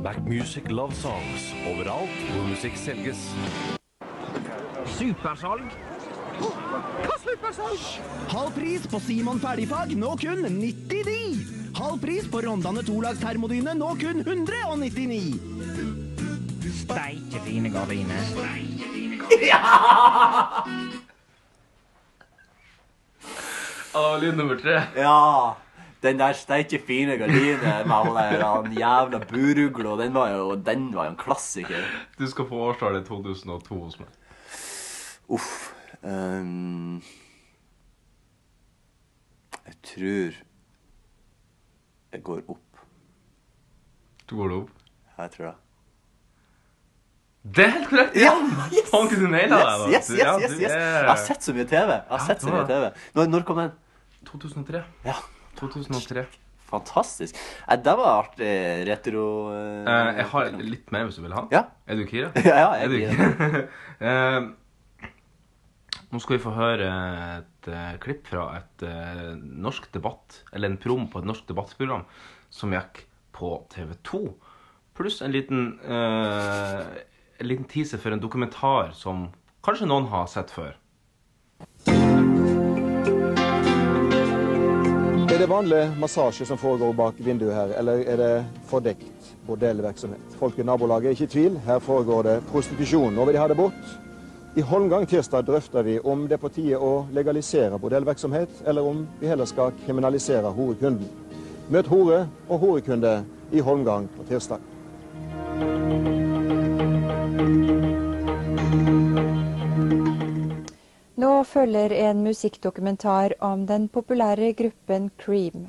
S11: Mac Music Love Songs overalt hvor musikk selges.
S5: Halv pris på Simon ferdigfag, nå kun 99! Halv pris på Rondane tolags termodyne, nå kun 199! Steike fine gardiner.
S3: Ja, det var lyd nummer tre.
S2: Ja. Den der steike fine gardinen med hun der han jævla burugla, den var jo den var jo en klassiker.
S3: Du skal få årstallet 2002 hos meg.
S2: Uff. ehm, jeg tror jeg går opp.
S3: Du går opp?
S2: Jeg tror det.
S3: Det er helt korrekt! Ja! Faen, kunne du naila det? da.
S2: Yes, yes,
S3: Ja,
S2: yes, yes,
S3: du
S2: yes.
S3: er-
S2: Jeg har sett så mye TV. Jeg har
S3: Ja,
S2: sett så
S3: du
S2: mye
S3: har
S2: TV.
S3: det.
S2: Når, når kom den?
S3: 2003.
S2: Ja.
S3: 2003.
S2: Fantastisk. Eh, Det var artig retro... eh,
S3: Eh, jeg har litt mer hvis du vil ha.
S2: Ja.
S3: Er du gira?
S2: Ja, ja, jeg er
S3: du gira. Eh, nå skal vi få høre et eh, klipp fra et eh, norsk debatt, eller en prom på et norsk debattprogram som gikk på TV2. Pluss en liten, eh, en liten teaser for en dokumentar som kanskje noen har sett før.
S12: Er det vanlig massasje som foregår bak vinduet her, eller er det fordekt bordellvirksomhet? Folk i nabolaget er ikke i tvil, her foregår det prostitusjon. Nå vil de ha det bort. I Holmgang tirsdag drøfter vi om det er på tide å legalisere bordellvirksomhet, eller om vi heller skal kriminalisere horekunden. Møt hore og horekunde i Holmgang på tirsdag.
S8: Nå følger en musikkdokumentar om den populære gruppen Cream.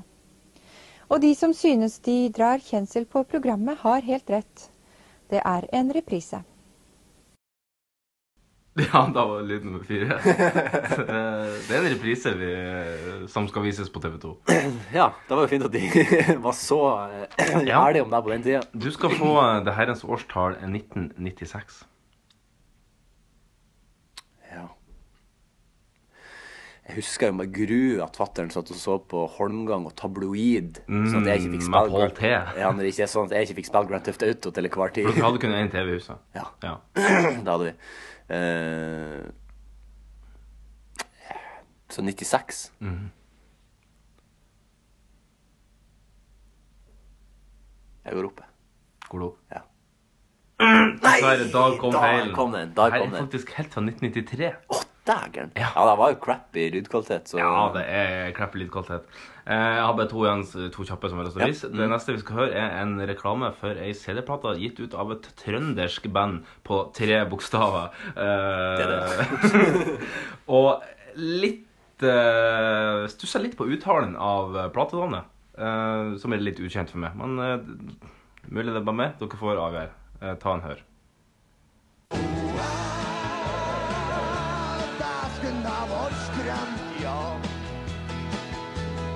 S8: Og de som synes de drar kjensel på programmet, har helt rett. Det er en reprise.
S3: Ja, da var lyd nummer fire. Eh, det er en reprise vi, eh, som skal vises på TV2.
S2: Ja, det var jo fint at de var så eh, ærlige om deg på den tida.
S3: Du skal få eh, det herrens årstall eh, 1996.
S2: Jeg husker jo med gru at fatteren satt og så på Holmgang og Tabloid. sånn at jeg ikke fikk
S3: Mm,
S2: spille
S3: med Paul T.
S2: Ja, når det ikke er sånn at jeg ikke fikk spille Grand Theft Auto til enhver tid.
S3: For dere hadde kun én TV i huset.
S2: Ja.
S3: ja.
S2: det hadde vi. Eh, så 96.
S3: Mhm.
S2: Jeg går opp, jeg.
S3: Går du opp?
S2: Ja.
S3: Dessverre, da kom
S2: da
S3: feilen.
S2: kom den, da
S3: Her
S2: kom
S3: er
S2: den.
S3: faktisk helt fra 1993.
S2: Dægeren. Ja. det var jo crappy lydkvalitet, så
S3: Ja, det er crappy lydkvalitet. Eh, Jeg har bare to, igjen, to kjappe som jeg har lyst til å
S2: Ja.
S3: vise. Det neste vi skal høre, er en reklame for ei CD-plate gitt ut av et trøndersk band på tre bokstaver. det er det. og litt eh, Stussa litt på uttalen av platedavnet, eh, som er litt ukjent for meg. Men eh, mulig det er bare meg. Dere får avgjøre. Eh, ta en hør.
S13: Dasken av oss skremt, ja.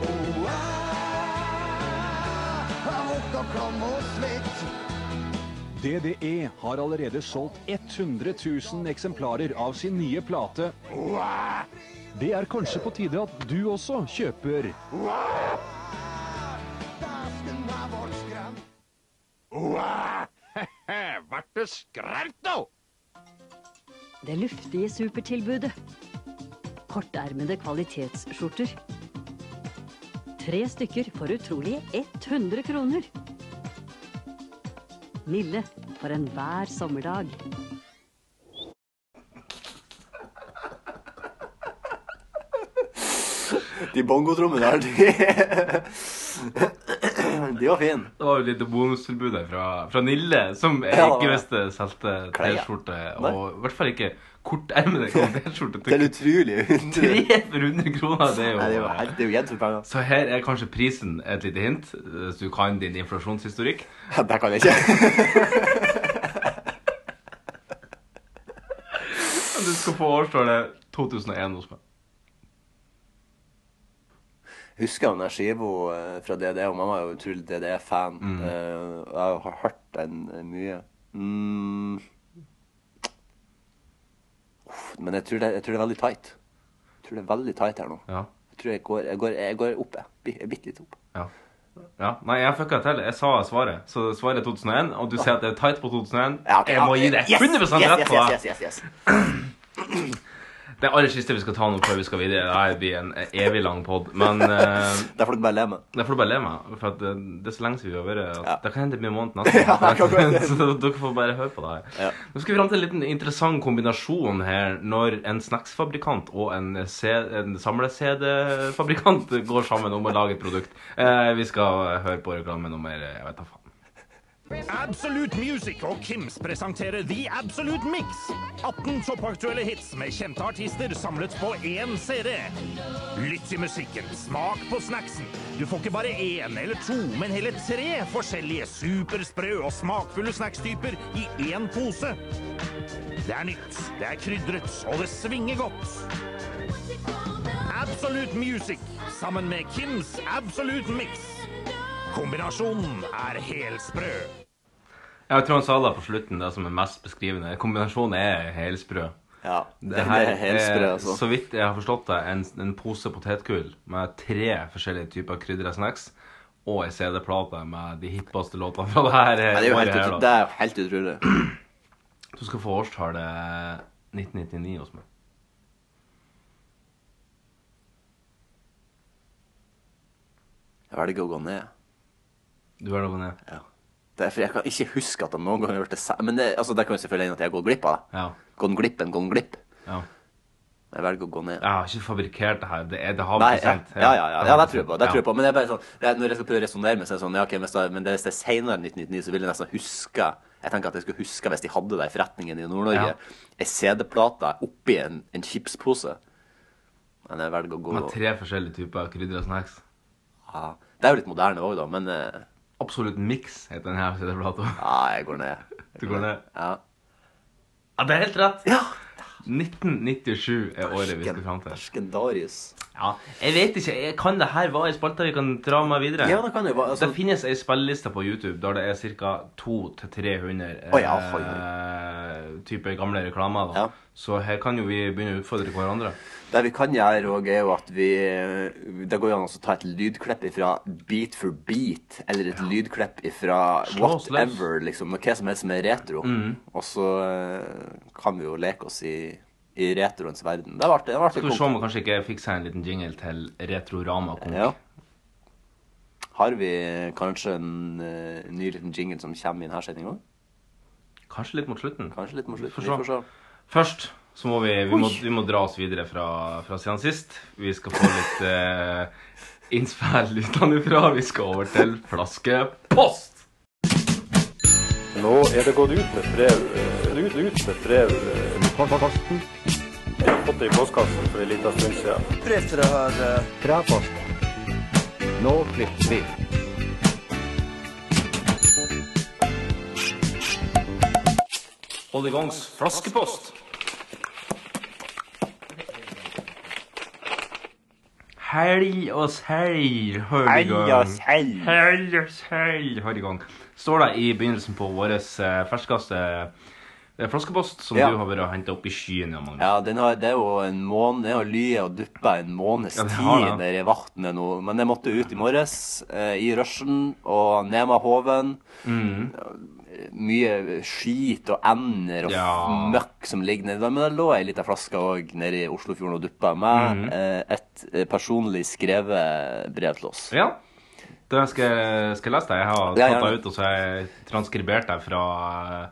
S13: Oh, ah, hopp og klam og svett.
S14: DDE har allerede solgt 100 000 eksemplarer av sin nye plate. Det er kanskje på tide at du også kjøper.
S13: Dasken av oss skremt.
S15: Vart du skremt nå? Det luftige supertilbudet. Kortermede kvalitetsskjorter. Tre stykker for utrolige 100 kroner. Nille for enhver sommerdag.
S2: De bongotrommene her, de De var fine.
S3: Det var jo litt bonustilbud her fra, fra Nille, som jeg
S2: Ja, det var
S3: ikke
S2: det.
S3: visste solgte
S2: Klær.
S3: T-skjorte.
S2: Nei.
S3: Og i hvert fall ikke kortermede T-skjorte.
S2: Det er utrolig.
S3: 300 kroner, det er
S2: Nei, det er jo
S3: jo
S2: helt- det er jo altså. gjett for penger.
S3: Så her er kanskje prisen et lite hint, hvis du kan din inflasjonshistorikk.
S2: Det kan jeg ikke.
S3: Du skal få årstallet 2001 hos meg.
S2: Husker jo den der skiva eh, fra DDE, og mamma er jo utrolig DDE-fan.
S3: Mm.
S2: Eh, og Jeg har hørt den eh, mye. Mm. Uff, Men jeg tror, det, jeg tror det er veldig tight. Jeg tror det er veldig tight her nå.
S3: Ja.
S2: Jeg tror jeg går, jeg går, jeg går opp, jeg. Bi- jeg. Bitte litt opp.
S3: Ja. ja. Nei, jeg fucka til. Jeg sa svaret. Så svaret er 2001, og du sier at det er tight på 2001. Jeg må gi deg
S2: Yes!
S3: 100 rett på det.
S2: yes, yes, yes, yes, yes.
S3: Det aller siste vi skal ta nå før vi skal videre. Det her blir en evig lang pod, men
S2: Der får du bare le med.
S3: Der får du bare le med. For at eh, det er så lenge siden vi har vært at Det kan hende det blir en måned neste gang. så dere får bare høre på det her. Nå skal vi fram til en liten interessant kombinasjon her når en snacksfabrikant og en, C- en samle-CD-fabrikant går sammen om å lage et produkt. Eh, vi skal høre på reklame nummer eh, Jeg vet da faen.
S16: Absolute Music og Kims presenterer The Absolute Mix. 18 toppaktuelle hits med kjente artister samlet på én CD. Lytt til musikken, smak på snacksen. Du får ikke bare én eller to, men hele tre forskjellige supersprø og smakfulle snackstyper i én pose. Det er nytt, det er krydret, og det svinger godt. Absolute Music sammen med Kims Absolute Mix. Kombinasjonen er helsprø.
S3: Jeg tror han sa det på slutten, det som er mest beskrivende. Kombinasjonen er helsprø.
S2: Ja,
S3: det
S2: den
S3: her
S2: er helsprø,
S3: er,
S2: altså.
S3: Så vidt jeg har forstått det, en, en pose potetgull med tre forskjellige typer krydra snacks og ei CD-plate med de hippeste låtene fra det her.
S2: Ja, det er jo
S3: året
S2: helt
S3: her,
S2: utro-
S3: da.
S2: det er jo helt utrolig.
S3: Du skal få årstallet 1999 hos meg.
S2: Jeg velger å gå ned.
S3: Du velger å gå ned?
S2: Ja. Det er, for jeg kan ikke huske at jeg noen gang har gjort det sa- Men det, altså, det kan jo selvfølgelig hende at jeg har gått glipp av det.
S3: Ja.
S2: Gått glipp en gått glipp.
S3: Ja.
S2: Jeg velger å gå ned.
S3: Jeg har ikke fabrikkert det her. Det, er, det har
S2: Nei,
S3: vi
S2: ja,
S3: sendt.
S2: ja, ja, ja, ja, det tror jeg på. Det tror jeg på. Men det er bare sånn, det er, når jeg skal prøve å resonnere med seg sånn, ja, ok, hvis det, men det- hvis det er senere enn 1999, så vil jeg nesten huske Jeg tenker at jeg skulle huske hvis de hadde det i forretningen i Nord-Norge.
S3: Ja.
S2: Ei CD-plate oppi en, en chipspose. Men jeg velger å gå
S3: Med tre forskjellige typer krydra snacks.
S2: Ja. Det er jo litt moderne òg, da, men eh,
S3: Absolutt mix heter den her CD-plata.
S2: Ja, jeg går ned.
S3: Du går ned?
S2: Ja.
S3: Ja, det er helt rett. 1997 er året vi skal fram til. Ja, jeg vet ikke. Jeg kan det her være en spalte vi kan dra med videre?
S2: Ja, det kan jo være, altså-
S3: Det finnes ei spilleliste på YouTube der det er ca. 200-300
S2: Å ja, oi, oi.
S3: typer eh, gamle reklamer. Da. Så her kan jo vi begynne å utfordre hverandre.
S2: Det vi kan gjøre òg, er jo at vi eh, Det går jo an å ta et lydklipp fra beat for beat, eller et lydklipp fra
S3: Slå oss løs.
S2: whatever, liksom. Hva som helst som er retro.
S3: Mm.
S2: Og så eh, kan vi jo leke oss i, i retroens verden. Det var artig. Det var artig
S3: Skal vi se
S2: konk.
S3: om vi kanskje ikke fikser en liten jingle til Retrorama Konk.
S2: Ja. Har vi kanskje en eh, ny liten jingle som kommer i denne sendinga?
S3: Kanskje litt mot slutten.
S2: Kanskje litt mot slutten.
S3: får
S2: Vi får se.
S3: Først så må vi, vi, må,
S2: Oi.
S3: vi må dra oss videre fra, fra siden sist. Vi skal få litt eh, innspill utenfra. Vi skal over til flaskepost.
S17: Nå er det gått ut med brev. eh, Ut, ut med brev. Posten. Jeg har fått det i postkassen for en liten stund siden.
S13: Brev til det her
S17: Nå klipper vi.
S3: Hold i gangs flaskepost. Helg og seil, hør i
S13: Helg og
S3: gang.
S13: seil.
S3: Helg og seil, hør i gang. Står det i begynnelsen på vår ferskeste eh, flaskepost, som
S2: Ja.
S3: du har vært og hentet opp i skyen. Ja, Magnus.
S2: Ja, den har, det er jo en måned, det har lyet og duppa en måneds
S3: Ja, det har
S2: tid
S3: det.
S2: der i vaktene nå. Men jeg måtte ut i morges, eh, i rushen og ned med håven.
S3: Mm.
S2: Mye skit og ender og
S3: Ja.
S2: møkk som ligger nedi der. Men det lå ei lita flaske òg nede i Oslofjorden og duppa med
S3: Mhm.
S2: eh, et eh, personlig skrevet brev til oss.
S3: Ja. Det skal, jeg- skal jeg lese deg. Jeg har
S2: Ja,
S3: tatt
S2: gjerne.
S3: deg ut, og så har jeg transkribert deg fra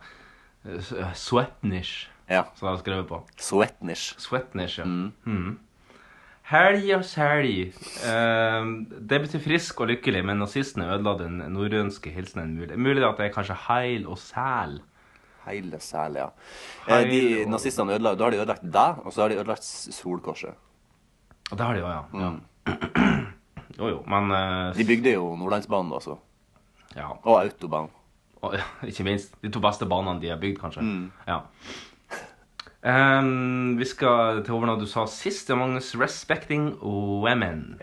S3: eh, s- eh, Swetnish, som jeg har skrevet på.
S2: Swetnish.
S3: Swetnish, ja. Mhm. Helg og helg. det betyr frisk og lykkelig, men nazistene ødela den norrønske hilsenen mulig. Mulig at det er kanskje heil og sæl.
S2: Heil og sæl, ja. Eh, de nazistene ødela Da har de ødelagt deg, og så har de ødelagt s- Solkorset.
S3: Og det har de òg, ja. Jo, jo, men
S2: Mm.
S3: eh,
S2: De bygde jo Nordlandsbanen, altså.
S3: Ja.
S2: Og autobanen.
S3: Og, ja, ikke minst. De to beste banene de har bygd, kanskje. Ja. Ehm, vi skal til over noe du sa sist, ja, Magnus. 'Respecting women'.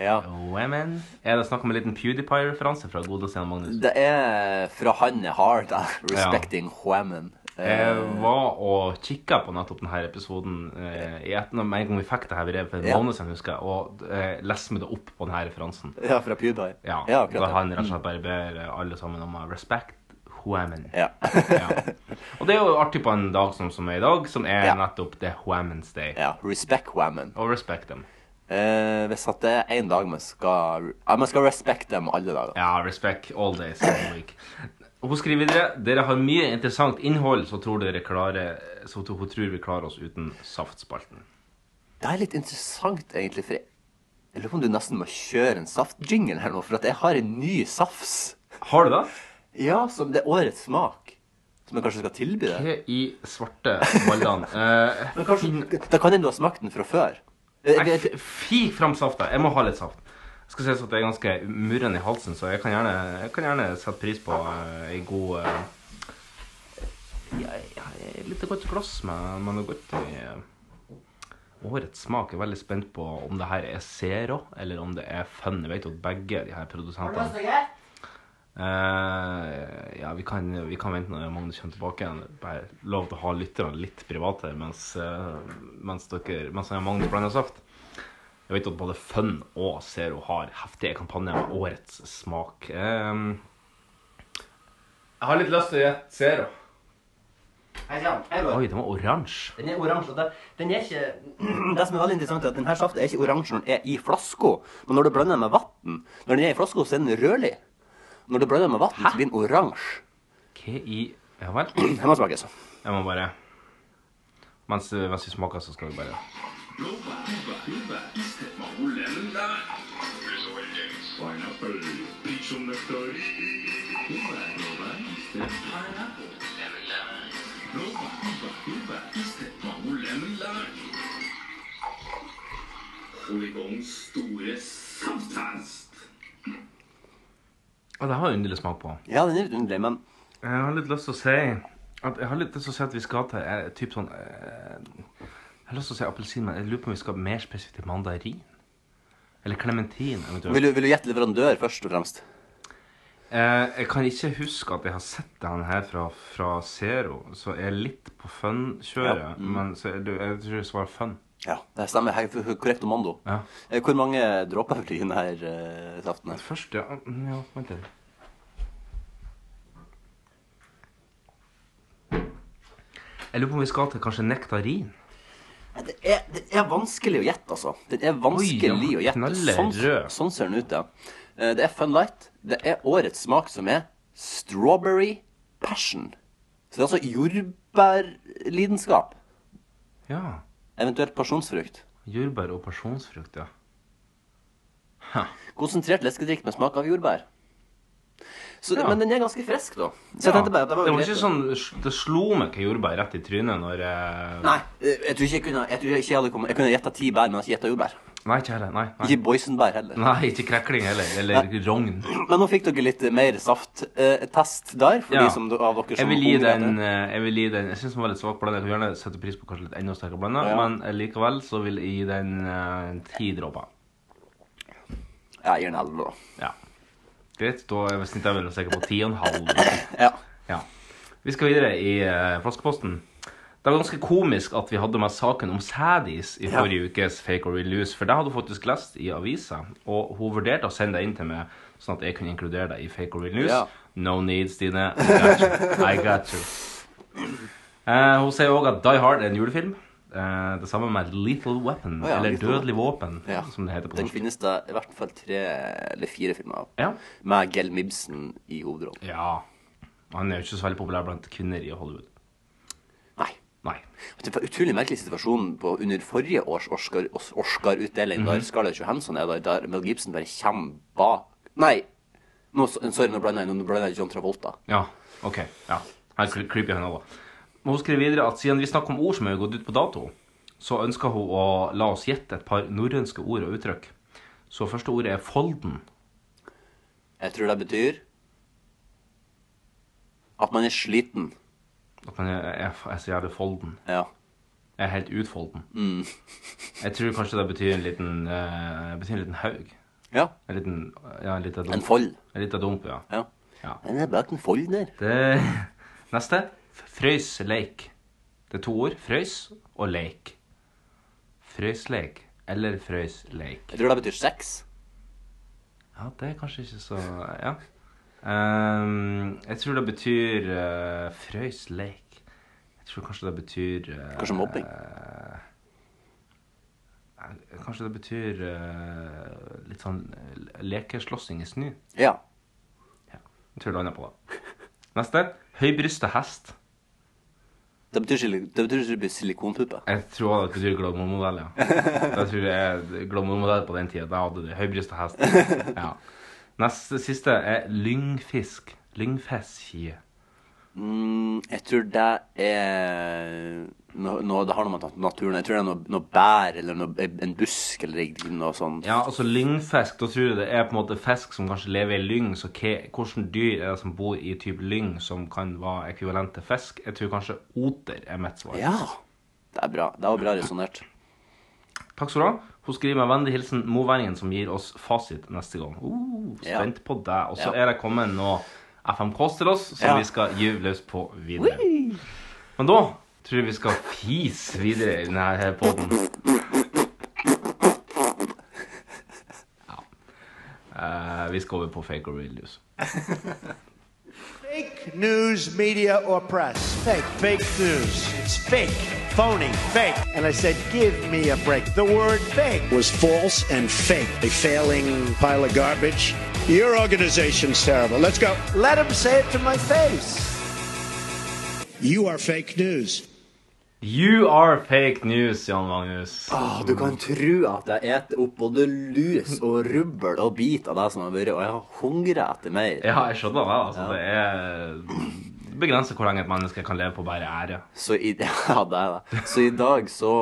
S3: Women. Er det snakk om en liten PewDiePie-referanse fra godeste Jan Magnus?
S2: Det er fra han jeg har, da. 'Respecting women'.
S3: Jeg
S2: Eh,
S3: var og kikka på nettopp denne episoden eh, i etter, med en gang vi fikk det her brevet for en
S2: Ja.
S3: måned siden, husker jeg, og eh, leste meg det opp på denne referansen.
S2: Ja, fra PewDiePie.
S3: Ja,
S2: Ja, akkurat, Mm.
S3: Da
S2: ja.
S3: han rett og slett bare ber alle sammen om å respect women. Ja. Og det er jo artig på en dag som, som er i dag, som er nettopp det women's day.
S2: Ja, respect women.
S3: Og respect them.
S2: eh, hvis at det er en dag man skal ja, Man skal respect dem alle dager.
S3: Ja, respect all days all week. Hun skriver videre dere har mye interessant innhold, så tror dere klarer, så hun tror vi klarer oss uten saftspalten.
S2: Det er litt interessant, egentlig, for jeg, jeg lurer på om du nesten må kjøre en saftjingle her nå, for at jeg har en ny safs.
S3: Har du det?
S2: Ja, som det er årets smak. Som jeg kanskje skal tilby deg.
S3: Hva i svarte ballene? Eh,
S2: Men kanskje, da kan hende du har smakt den fra før. Eh,
S3: Jeg f- fik fram safta. Jeg må ha litt saft. Jeg skal sies at jeg er ganske murren i halsen, så jeg kan gjerne, jeg kan gjerne sette pris på eh, en god eh, ja, ja, et lite godt glass med, med noe godt i. eh, Årets smak Jeg er veldig spent på om det her er Zero eller om det er Fun. Jeg vet at begge de her produsentene Eh, ja, vi kan, vi kan vente når Magnus kommer tilbake igjen. Bare lov til å ha lytterne litt private mens, eh, mens, dere, mens han og Magnus blander saft. Jeg vet at både Fun og Zero har heftige kampanjer med årets smak. Eh, jeg har litt lyst til å gjette Zero.
S2: Hei sann. Hei, Bård.
S3: Oi, den var oransje.
S2: Den er oransje. og det- Den er ikke Det som er veldig interessant, er at denne saften er ikke oransje når den er i flaska, men når du blander den med vann Når den er i flaska, så er den rødlig. Når du blander den med vann, så blir den oransje. altså.
S3: Hva i Ja vel.
S2: Jeg må smake, så.
S3: Jeg må bare Mens, mens vi smaker, så skal vi bare Ja, det har jeg underlig smak på.
S2: Ja, den er litt underlig, men
S3: Jeg har litt lyst til å si at Jeg har litt lyst til å si at vi skal til eh, typ sånn eh, Jeg har lyst til å si appelsin, men jeg lurer på om vi skal mer spesifikt til mandarin. Eller klementin, eventuelt.
S2: Vil du, vil du gjette leverandør først og fremst?
S3: Eh, jeg kan ikke huske at jeg har sett den her fra, fra Zero, så jeg er litt på fun-kjøret.
S2: Ja, mm.
S3: Men så er du, jeg tror jeg svarer fun.
S2: Ja, det stemmer. Hei, for- Korrekt kommando.
S3: Ja.
S2: Eh, Hvor mange dråper blir den her eh, saften? her?
S3: Først, ja. mm, ja vent litt. Jeg lurer på om vi skal til kanskje nektarin.
S2: Det er, det er vanskelig å gjette, altså. Det er vanskelig
S3: Oi,
S2: å
S3: ja,
S2: gjette.
S3: knaller
S2: Sånn,
S3: rød.
S2: sånn ser den ut, ja. Eh, Det er Fun Light. Det er årets smak som er strawberry passion. Så det er altså jordbærlidenskap.
S3: Ja.
S2: Eventuelt pasjonsfrukt.
S3: Jordbær og pasjonsfrukt, ja.
S2: Konsentrert leskedrikk med smak av jordbær. Så,
S3: Ja.
S2: Men den er ganske frisk, da. Så jeg tenkte bare at det var jo greit,
S3: ikke
S2: da.
S3: sånn Det slo meg ikke jordbær rett i trynet når jeg
S2: Nei, eh, jeg tror ikke jeg kunne Jeg, tror ikke jeg, hadde kommet, jeg kunne gjetta ti bær, men jeg har ikke gjetta jordbær.
S3: Nei, ikke heller. Nei, nei.
S2: Ikke boysenbær heller.
S3: nei, ikke krekling heller. Eller rogn.
S2: Men nå fikk dere litt mer safttest der, for
S3: Ja.
S2: de som, av dere
S3: Jeg
S2: som
S3: vil gi
S2: hungrer
S3: den eh, Jeg, vil gi den- jeg syns den var litt svak blanda. Jeg kan gjerne sette pris på kanskje litt enda sterkere blanda,
S2: Ja.
S3: men eh, likevel så vil jeg gi den eh, ti dråper.
S2: Jeg gir den elleve,
S3: da. Ja. Greit. Da er vi snitt over og sikker på ti og en halv.
S2: Ja.
S3: Vi skal videre i eh, flaskeposten. Det var ganske komisk at vi hadde med saken om Sadis i
S2: Ja.
S3: forrige ukes Fake or Real News, for det hadde hun faktisk lest i avisa, og hun vurderte å sende det inn til meg, sånn at jeg kunne inkludere deg i Fake or Real News.
S2: Ja.
S3: No need, Stine. I got you. I got you. Eh, hun sier òg at Die Hard er en julefilm. Eh, det samme med Lethal Weapon,
S2: Å ja,
S3: eller
S2: Lethal
S3: Dødelig våpen,
S2: Ja.
S3: som det heter på
S2: Den
S3: norsk.
S2: finnes det i hvert fall tre eller fire filmer av.
S3: Ja.
S2: Med Gel Mibsen i hovedrollen.
S3: Ja. Han er jo ikke så veldig populær blant kvinner i Hollywood.
S2: Nei.
S3: Nei.
S2: Det var en utrolig merkelig situasjon på, under forrige års Oscar- Os- Oscar-utdeling,
S3: Mhm.
S2: der Scarlett Johansson er der, der Mel Gibson bare kommer bak Nei, nå, sorry, nå blander jeg nå blander jeg John Travolta.
S3: Ja, ok. Ja. Her er creepy han også. Men hun skriver videre at siden vi snakker om ord som er gått ut på dato, så ønsker hun å la oss gjette et par norrønske ord og uttrykk. Så første ordet er folden.
S2: Jeg tror det betyr at man er sliten.
S3: At man er, er, er så jævlig folden.
S2: Ja.
S3: Er helt utfolden.
S2: Mm.
S3: Jeg tror kanskje det betyr en liten, eh, betyr en liten haug.
S2: Ja.
S3: En liten, ja, en liten dump.
S2: En fold.
S3: En liten dump, ja.
S2: Ja.
S3: ja.
S2: Den er bak en fold der.
S3: Det, neste. Frøysleik. Det er to ord. Frøys og leik. Frøysleik eller frøysleik.
S2: Jeg tror det betyr sex.
S3: Ja, det er kanskje ikke så Ja. Ehm, jeg tror det betyr uh, frøys lek. Jeg tror kanskje det betyr eh,
S2: Kanskje mobbing?
S3: eh, kanskje det betyr eh, litt sånn eh, lekeslåssing i snø.
S2: Ja.
S3: Jeg tror det lander på det. Neste. Høybrysta hest.
S2: Det betyr, sili- det betyr sil- silikonpuppe.
S3: Jeg tror det betyr glamourmodell, ja. Jeg tror det er glamourmodell på den tida. Da hadde du høybrysta hest. Ja. Neste siste er lyngfisk. Lyngfeskje.
S2: Mm, jeg tror det er noe, noe, Det har noe med naturen Jeg tror det er noe, noe bær eller noe, en busk eller noe sånt.
S3: Ja, altså lyngfisk, da tror jeg det er på en måte fisk som kanskje lever i lyng, så hva- hvordan dyr er det som bor i type lyng som kan være ekvivalent til fisk? Jeg tror kanskje oter er mitt svar.
S2: Ja, det er bra. Det var bra resonnert.
S3: Takk skal du ha. Hun skriver med vennlig hilsen moværingen som gir oss fasit neste gang. Uh, spent på det. Og så
S2: Ja.
S3: er det kommet noe FMKs til oss som
S2: Ja.
S3: vi skal gyve løs på videre. Men da tror jeg vi skal fise videre i denne poden. Ja. Eh, vi skal over på fake or real news.
S18: Fake news, media, or press. Fake. Fake news. It's fake. Phony. Fake. And I said, give me a break. The word fake was false and fake. A failing pile of garbage. Your organization's terrible. Let's go. Let them say it to my face. You are fake news.
S3: You are fake news, Jan Magnus.
S2: Ah, du kan tro at jeg eter opp både lus og rubbel og bit av det som har vært, og jeg hungrer etter mer.
S3: Ja, jeg skjønner det. Altså, det er begrenset hvor lenge et menneske kan leve på bare ære.
S2: Så i, ja, det er det. Så i dag så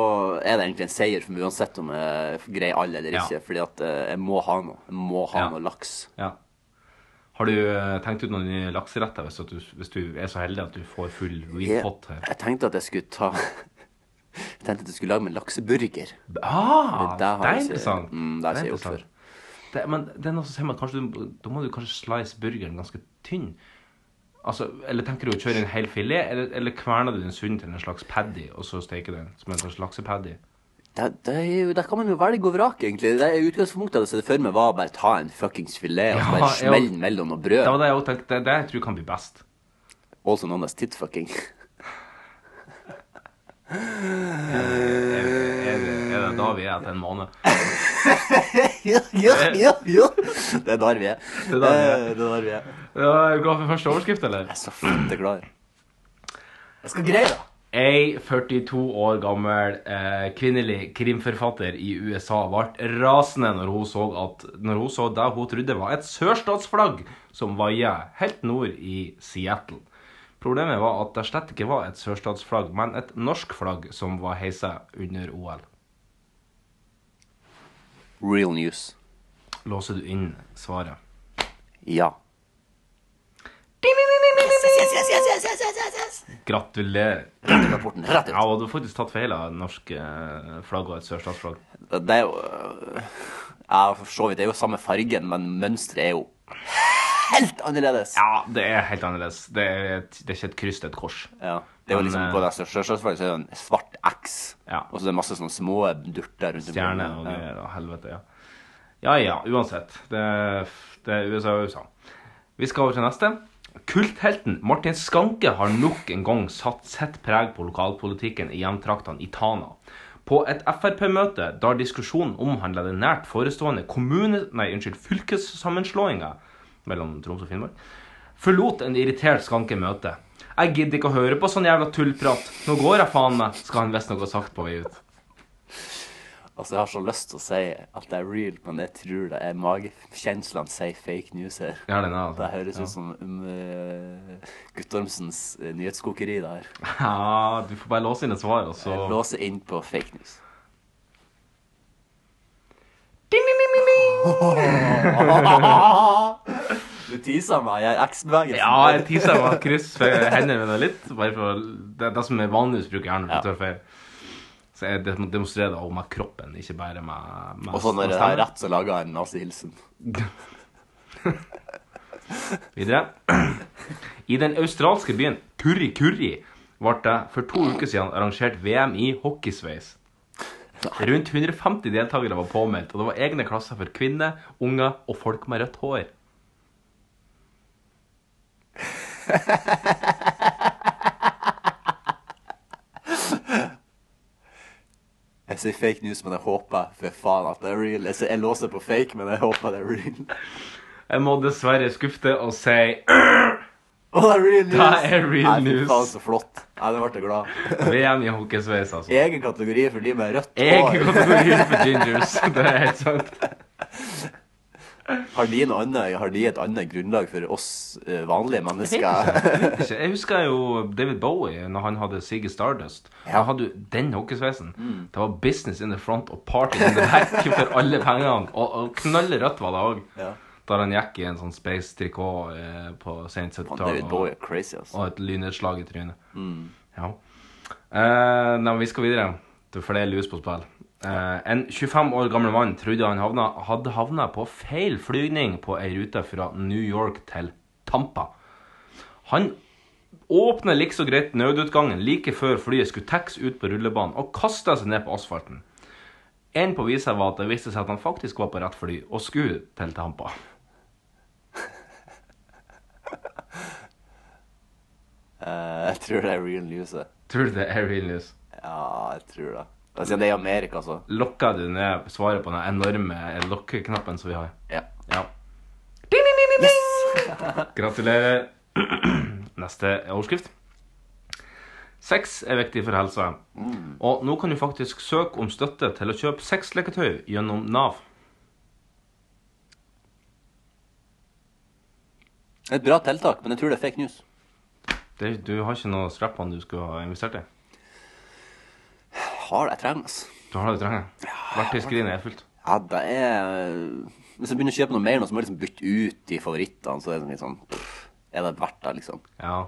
S2: er det egentlig en seier for meg, uansett om jeg greier alle eller
S3: Ja.
S2: ikke, fordi at eh, jeg må ha noe. Jeg må ha
S3: Ja.
S2: noe laks.
S3: Ja. Har du eh, tenkt ut noen nye lakseretter hvis, at du, hvis du er så heldig at du får full
S2: Jeg,
S3: real-pot her?
S2: jeg tenkte at jeg skulle ta Jeg tenkte at jeg skulle lage meg en lakseburger.
S3: Ah,
S2: Men
S3: det
S2: har
S3: er
S2: jeg ikke-
S3: interessant.
S2: Mm, det har jeg ikke gjort
S3: interessant.
S2: før.
S3: Det, men det er noe som sier meg at kanskje du, da må du kanskje slice burgeren ganske tynn. Altså, eller tenker du å kjøre en hel filet, eller, eller kverner du den sunn til en slags paddy, og så steker den som en slags laksepaddy?
S2: Det, det, er jo- der kan man jo velge og vrake, egentlig. Det er jo utgangspunktet jeg hadde sett for meg, var bare ta en fuckings filet og så bare
S3: Ja,
S2: smelle
S3: jeg-
S2: den mellom noe
S3: Det
S2: brød.
S3: var det jeg også tenkte. Det, det jeg tror kan bli best.
S2: Also known as titfucking.
S3: Er, er, det- er det da vi er etter en måned?
S2: ja, ja, ja, ja. Det er der vi er.
S3: Det er der vi er.
S2: Eh, Det er der vi er.
S3: Ja, er du klar for første overskrift, eller? Jeg er
S2: så flette klar. Jeg skal greie det.
S3: Ei 42 år gammel eh, kvinnelig krimforfatter i USA ble rasende når hun så, at, når hun så det hun trodde var et sørstatsflagg som vaia helt nord i Seattle. Problemet var at det slett ikke var et sørstatsflagg, men et norsk flagg som var heisa under OL.
S2: Real news.
S3: Låser du inn svaret?
S2: Ja.
S3: Gratulerer.
S2: Rett ut rapporten. Rett ut.
S3: Ja, og du har faktisk tatt feil av norsk eh, flagg og et sørstatsflagg.
S2: Det er jo øh, Ja, for så vidt. Det er jo samme fargen, men mønsteret er jo helt annerledes.
S3: Ja, det er helt annerledes. Det er, et, det er ikke et kryss, det er et kors.
S2: Ja. Det er jo
S3: Men,
S2: liksom
S3: eh,
S2: På det sjøslagsflagget så er det en svart X, og så er det masse sånne små durter rundt
S3: Stjerne og greier og helvete, ja. Ja ja, uansett. Det, er- det er USA og USA. Vi skal over til neste. Kulthelten Martin Skanke har nok en gang satt sitt preg på lokalpolitikken i hjemtraktene i Tana. På et Frp-møte der diskusjonen omhandla den nært forestående kommune... Nei, unnskyld, fylkessammenslåinga mellom Troms og Finnmark, forlot en irritert Skanke møtet. Jeg gidder ikke å høre på sånn jævla tullprat. Nå går jeg faen meg, skal han visstnok ha sagt på vei ut.
S2: Altså, jeg har så lyst til å si at det er real, men jeg tror det er magekjenslene sier fake news her.
S3: Ja, den er altså-
S2: Det høres
S3: ja.
S2: ut som um, eh, Guttormsens eh, nyhetskokeri, det her.
S3: Ja, du får bare låse inn et svar, og så
S2: Låse inn på fake news. Du teaser meg, jeg er X-bevegelsen.
S3: Ja, jeg teaser med å krysse hendene mine litt. Bare for å, det, det som er vanligvis bruker hjernen. Ja. Feil. Så jeg dem- demonstrerer det også med kroppen, ikke bare med, med
S2: Og så når
S3: med
S2: det er
S3: stemmen.
S2: rett, så lager jeg en nazihilsen.
S3: Videre. I den australske byen Kurri Kurri ble det for to uker siden arrangert VM i hockeysveis. Rundt 150 deltakere var påmeldt, og det var egne klasser for kvinner, unger og folk med rødt hår.
S2: Jeg sier fake news, men jeg håper for faen at det er real. Jeg, sier, jeg låser på fake, men jeg håper det er real.
S3: Jeg må dessverre skuffe deg og si
S2: Å, det er real news!
S3: Det er
S2: Nei, fy
S3: real
S2: faen,
S3: news.
S2: så flott. Nei, det ble jeg glad.
S3: VM i hockeysveis, altså.
S2: Egen kategori for de med rødt
S3: Egen kategori for gingers, det er helt sant.
S2: Har de, en annen, har de et annet grunnlag for oss eh, vanlige mennesker?
S3: Jeg vet ikke. Jeg husker jo David Bowie når han hadde Siggy Stardust. Han hadde jo den hockeysveisen.
S2: Mm.
S3: Det var 'business in the front' og 'party in the back' for alle pengene. Og, og knalle rødt var det òg. Da han gikk i en sånn space-trikot eh, på sent 70-tallet.
S2: David
S3: og-
S2: Bowie er crazy, altså.
S3: Og et lynnedslag i trynet.
S2: Mm.
S3: Ja. Eh, nei, men vi skal videre, for det er lus på spill. Eh, en 25 år gammel mann trodde han havna, hadde havna på feil flygning på ei rute fra New York til Tampa. Han åpner liksom greit nødutgangen like før flyet skulle taxe ut på rullebanen, og kasta seg ned på asfalten. En på viset var at det viste seg at han faktisk var på rett fly, og skulle til Tampa.
S2: Eh, jeg tror det er real news. det.
S3: Tror du det er real news?
S2: Ja, jeg tror det. Altså, det er i Amerika, altså.
S3: Lokker du ned svaret på den enorme lokkeknappen som vi har?
S2: Ja.
S3: Gratulerer. Neste overskrift. Sex er viktig for helsa.
S2: Mm.
S3: Og nå kan du faktisk søke om støtte til å kjøpe sexleketøy gjennom Nav.
S2: Et bra tiltak, men jeg tror det er fake news.
S3: Det, du har ikke noe strap-on du skulle ha investert i?
S2: Har det jeg trenger, altså.
S3: Du har det du trenger? Verktøyskrinet er fullt.
S2: Ja, det er eh, Hvis jeg begynner å kjøpe noe mer nå, så må jeg liksom bytte ut de favorittene. Så er det liksom pff, Er det verdt det, liksom?
S3: Ja.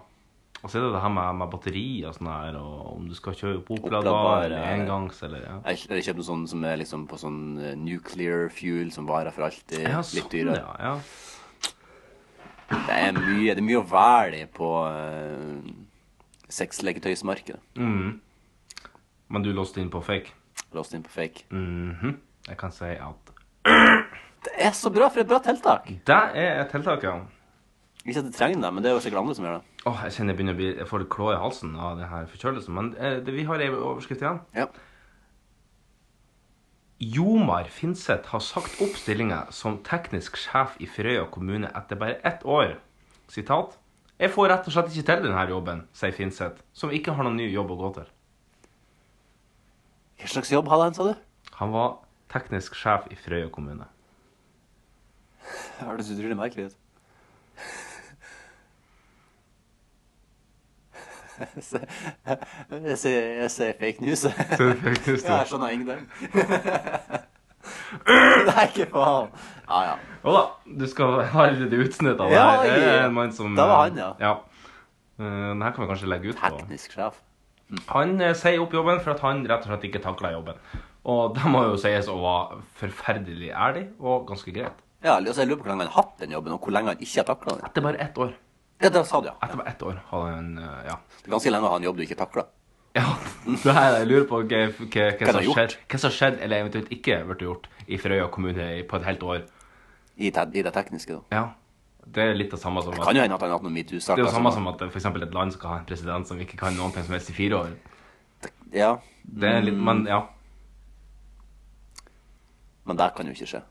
S3: Og så er det det her med, med batteri og sånn her, og om du skal kjøpe
S2: Oppladbar,
S3: oppladbar eller
S2: ja.
S3: engangs eller ja.
S2: Jeg kj- jeg kjøper noe sånn som er liksom på sånn eh, nuclear fuel som varer for alltid.
S3: Ja, sånn,
S2: litt dyrere.
S3: ja,
S2: Det er mye, det er mye å velge i på uh, sexleketøysmarkedet.
S3: Mhm. Men du låste inn på fake?
S2: Låst inn på fake.
S3: Mhm. Jeg kan si at
S2: Det er så bra for et bra tiltak!
S3: Det er et tiltak, ja.
S2: Ikke at jeg trenger det, men det er jo sikkert andre som gjør det.
S3: Åh, jeg kjenner jeg begynner å bli Jeg får litt klå i halsen av det her forkjølelsen. Men eh, det, vi har ei overskrift igjen.
S2: Ja.
S3: Jomar Finseth har sagt opp stillinga som teknisk sjef i Frøya kommune etter bare ett år. Sitat. Jeg får rett og slett ikke til denne jobben, sier Finseth, som ikke har noen ny jobb å gå til.
S2: Hva slags jobb hadde han, sa du?
S3: Han var teknisk sjef i Frøya kommune.
S2: Høres utrolig merkelig ut. Jeg ser- Jeg ser, jeg ser fake news.
S3: Ser du fake news, du?
S2: Ja, jeg skjønner ingenting. Det er ikke faen. Ja, ja.
S3: Jo da, du skal ha litt utsnitt av det
S2: Ja,
S3: her. Det
S2: ja.
S3: er en mann som
S2: Det var han, ja.
S3: ja. Eh, Den her kan vi kanskje legge ut på. Teknisk sjef. Han eh, sier opp jobben for at han rett og slett ikke takla jobben. Og det må jo sies å være forferdelig ærlig og ganske greit.
S2: Ja, altså, jeg lurer på hvor lenge han har hatt den jobben, og hvor lenge han ikke har takla den.
S3: Etter bare ett år.
S2: Ja, det sa du, ja.
S3: Etter bare ett år hadde han eh, Ja.
S2: Det er ganske lenge å ha en jobb du ikke takler.
S3: Det her jeg lurer på hva, hva,
S2: Hva
S3: hva,
S2: han har
S3: som
S2: gjort?
S3: skjedde, hva som skjedde, eller eventuelt ikke ble gjort, i Frøya kommune i- på et helt år.
S2: I, te i det tekniske, da.
S3: Ja. Det er litt det samme som
S2: Det
S3: at-
S2: kan jo hende at han har hatt noen altså, metoo-saker.
S3: Det er jo samme
S2: som-
S3: som at eh, for eksempel et land skal ha en president som ikke kan noen ting som helst i fire år.
S2: Ja.
S3: Det er litt, men ja.
S2: Men det kan jo ikke skje.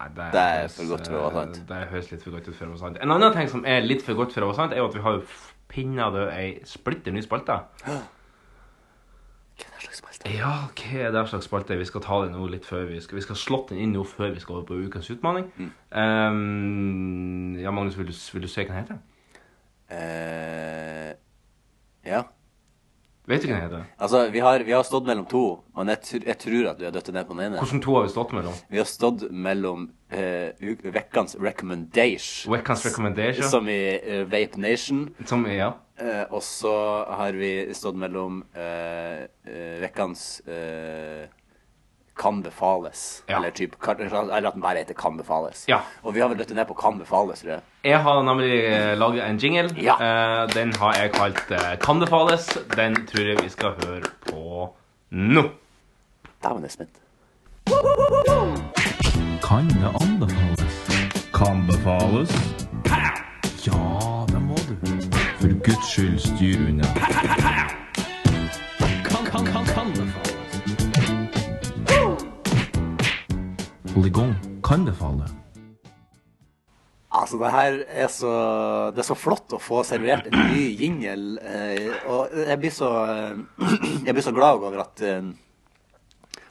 S3: Nei, det,
S2: Det er
S3: høres,
S2: for godt for å være
S3: eh, Det høres litt for godt ut for å være sant. En annen ting som er litt for godt for å være sant, er jo at vi har jo pinnet død ei splitter ny spalte. Hva
S2: er det slags spalte?
S3: Ja, hva er det slags spalte? Vi skal ta det nå litt før vi skal Vi skal slått den inn nå før vi skal over på ukens utfordring.
S2: Mm.
S3: Ehm, ja, Magnus, vil du, vil du se hva den heter?
S2: Eh, ja.
S3: Vet du hva den heter?
S2: Altså, vi har, vi har stått mellom to, men jeg, tr jeg tror at du er dødt ned på den ene.
S3: Hvordan to har vi stått mellom?
S2: Vi har stått mellom uh, Vekkans Recommendation.
S3: Vekkans recommendation.
S2: Som i eh, Vape Nation.
S3: Som i, ja.
S2: Eh, og så har vi stått mellom eh, eh, Vekkans eh, Kan befales. Eller, typ, kan, eller at den bare heter Kan befales.
S3: Ja.
S2: Og vi har vel dødt ned på Kan befales, tror jeg.
S3: Jeg har nemlig eh, laget en jingle. Eh, den har jeg kalt eh, Kan det fales? Den tror jeg vi skal høre på nå.
S2: Dæven, jeg er spent.
S3: Kan det anbefales? Kan befales? Ja, det må du. For guds skyld, styr unna.
S5: Kan, kan, kan, kan det
S3: Hold i gang. Kan det falle?
S2: Altså, det her er så Det er så flott å få servert en ny jingle. Eh, og jeg blir så eh, Jeg blir så glad over at eh,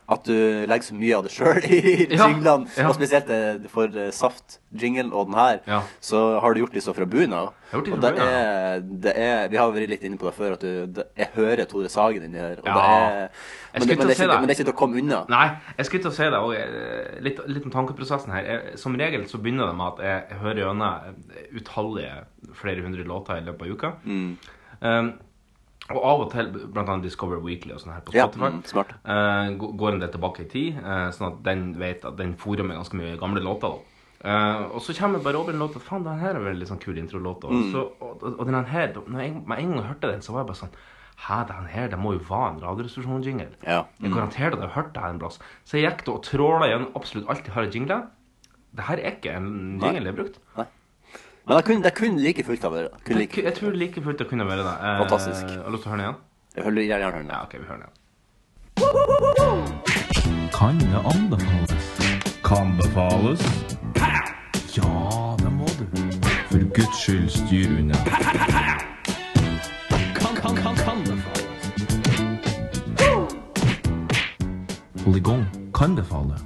S2: At du legger så mye av det sjøl i
S3: Ja,
S2: jinglene,
S3: ja.
S2: og spesielt eh, for eh, Saft-jinglen og den her, så har du gjort det så fra bunnen av.
S3: Jeg har gjort det
S2: Og det
S3: fra bunnen
S2: er, det er, vi har vært litt inne på det før, at du, det, jeg hører Tore Sagen inni her. Og
S3: Ja.
S2: det er,
S3: Jeg
S2: men, det,
S3: skulle
S2: men, det
S3: til å si
S2: er ikke,
S3: det.
S2: men det er ikke til å komme unna.
S3: Nei, jeg skulle til å si det og, eh, Litt, litt om tankeprosessen her. Jeg, som regel så begynner det med at jeg, jeg hører gjennom eh, utallige flere hundre låter i løpet av uka. Um, og av og til, blant annet Discover Weekly og sånn her på
S2: Ja,
S3: Spotify,
S2: mm, smart.
S3: eh, gå- går en del tilbake i tid, eh, sånn at den vet at den fôrer med ganske mye gamle låter. da. Eh, og så kommer bare over en låt at faen, den her er vel en litt sånn kul introlåt. Og,
S9: Mm.
S3: så, og, og og den her, når jeg, med en gang jeg hørte den, så var jeg bare sånn Hæ, den her, det må jo være en radioresepsjon-jingle. Jeg garanterer at jeg har hørt det her en plass. Så jeg gikk da og tråla gjennom absolutt alt jeg har av jingler. Det her er ikke en
S2: Nei.
S3: jingle jeg har brukt.
S2: Men det kunne, det kunne like fullt ha vært det. Kunne
S3: Jeg,
S2: like.
S3: jeg tror like fullt det kunne være det. Eh,
S2: Fantastisk.
S3: Har du lyst til å høre den igjen?
S2: Jeg vil gjerne høre den.
S3: Ja, ok, vi hører den igjen.
S9: Kan det anbefales? Kan befales? Ja, det må du. For guds skyld, styr unna.
S5: Kan, kan, kan, kan befales.
S9: Polygon kan befale.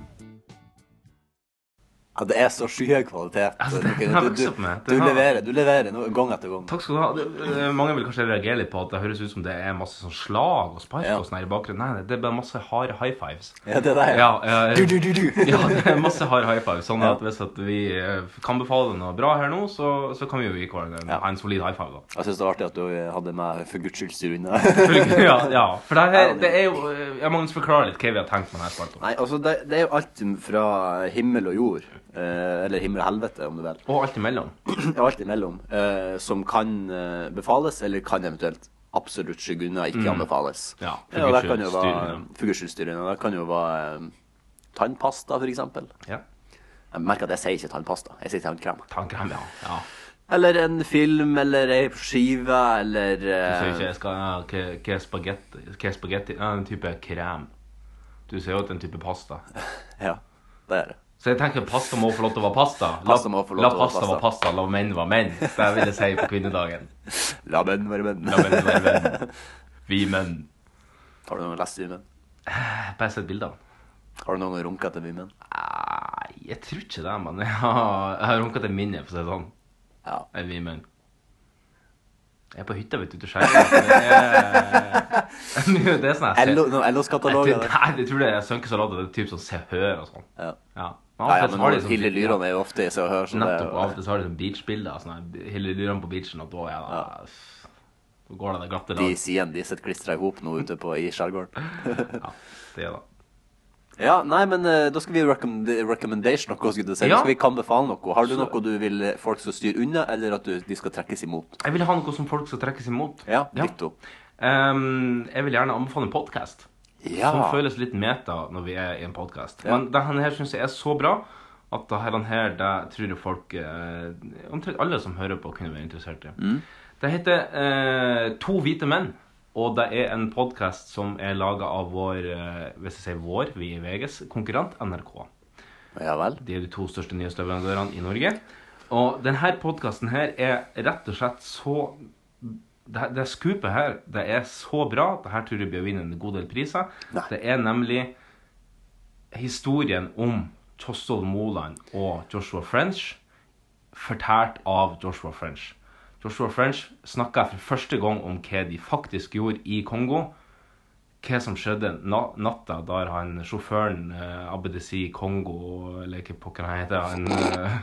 S2: Ja, det er så skyhøy kvalitet.
S3: Altså,
S2: det,
S3: den
S2: du,
S3: har vokst opp med.
S2: du,
S3: Den
S2: du
S3: har-
S2: leverer, du leverer nå, gang etter gang.
S3: Takk skal du ha. Det- eh, Mange vil kanskje reagere litt på at det høres ut som det er masse sånn slag og spark og sånn her i bakgrunnen. Nei, nei, det er bare masse harde high fives.
S2: Ja, det der.
S3: Ja, eh,
S2: Du, du, du, du.
S3: ja, det er masse hard high fives. Sånn at hvis at vi eh, kan befale noe bra her nå, så, så kan vi jo gi hverandre en, en solid high five, da.
S2: Jeg syns det var artig at du hadde meg for guds skyld styr unna.
S3: ja, ja, for det, her, det er jo eh, Jeg må forklare litt hva vi har tenkt med denne spalten.
S2: Nei, altså, det, det er jo alt fra himmel og jord, eh, eller himmel og helvete, om du vil.
S3: Og alt imellom.
S2: Ja, alt imellom. Eh, som kan eh, befales, eller kan eventuelt absolutt skygge unna, ikke
S3: Mm.
S2: anbefales.
S3: Ja, for
S2: for guds skyld
S3: Guds skyld, styr
S2: styr unna. For guds skyld styr unna. Det kan jo være eh, tannpasta, for eksempel.
S3: Ja.
S2: Jeg merker at jeg sier ikke tannpasta, jeg sier tannkrem.
S3: Tannkrem, ja. ja.
S2: Eller en film, eller ei skive, eller
S3: Du
S2: eh,
S3: sier ikke jeg skal, ja, hva- hva er spagetti? Hva er spagetti? Ja, en type krem. Du sier jo at det er en type pasta.
S2: eh, Ja, det er det.
S3: Så jeg tenker pasta må få lov til å være pasta. La,
S2: Pasta må få lov
S3: la
S2: til å være
S3: pasta være pasta, la menn være menn. Det vil jeg si på kvinnedagen.
S2: La menn være menn.
S3: La menn være menn. Vi menn.
S2: Har du noen lest i menn?
S3: Bare sett bildene.
S2: Har du noen gang runka til vimen?
S3: Nei, jeg tror ikke det, men jeg har, jeg har runka til minne, for å si det sånn.
S2: Ja.
S3: Enn vi menn. Jeg er på hytta, vet du, til skjæret. Det er sånn her-
S2: LO noen LO-kataloger,
S3: Jeg tror- Nei, jeg tror det er Sønke Salat, det er typ sånn Se og Hør og sånn.
S2: Ja.
S3: Men
S2: Nei, ja,
S3: ofte
S2: men
S3: så har de
S2: noen
S3: sånn-
S2: Hilde Lyrene er jo ofte i Se og Hør, så det er
S3: Nettopp,
S2: jo-
S3: og av og til så har de sånn beachbilder. Sånn her, Hilde Lyran på beachen, og da er det Da går det det glatte
S2: De
S3: lag.
S2: sidene de sitter klistra i hop nå ute på i skjærgården.
S3: ja, det gjør det.
S2: Ja, nei, men eh, da skal vi recommend recommendation noe, skulle du si.
S3: Ja.
S2: Da skal vi kan befale noe. Har du
S3: Så-
S2: noe du vil eh, folk skal styre unna, eller at du, de skal trekkes imot?
S3: Jeg vil ha noe som folk skal trekkes imot.
S2: Ja, ditto.
S3: Ehm, jeg vil gjerne anbefale en podkast.
S2: Ja.
S3: Som føles litt meta når vi er i en podkast.
S2: Ja.
S3: Men denne her syns jeg er så bra at denne her, det tror jeg folk eh, Omtrent alle som hører på, kunne være interessert i.
S2: Mm.
S3: Det heter eh, To hvite menn. Og det er en podkast som er laga av vår eh, Hvis jeg sier vår, vi i VGs konkurrent NRK.
S2: Ja vel.
S3: De er de to største nyhetsleverandørene i Norge. Og denne podkasten her er rett og slett så det, her- det skupet her, det er så bra. Det her tror jeg blir å vinne en god del priser. Det er nemlig historien om Tostol Moland og Joshua French fortært av Joshua French. Joshua French snakka for første gang om hva de faktisk gjorde i Kongo. Hva som skjedde na natta der han sjåføren eh, Abedesi Kongo, eller hva pokker han heter han, eh,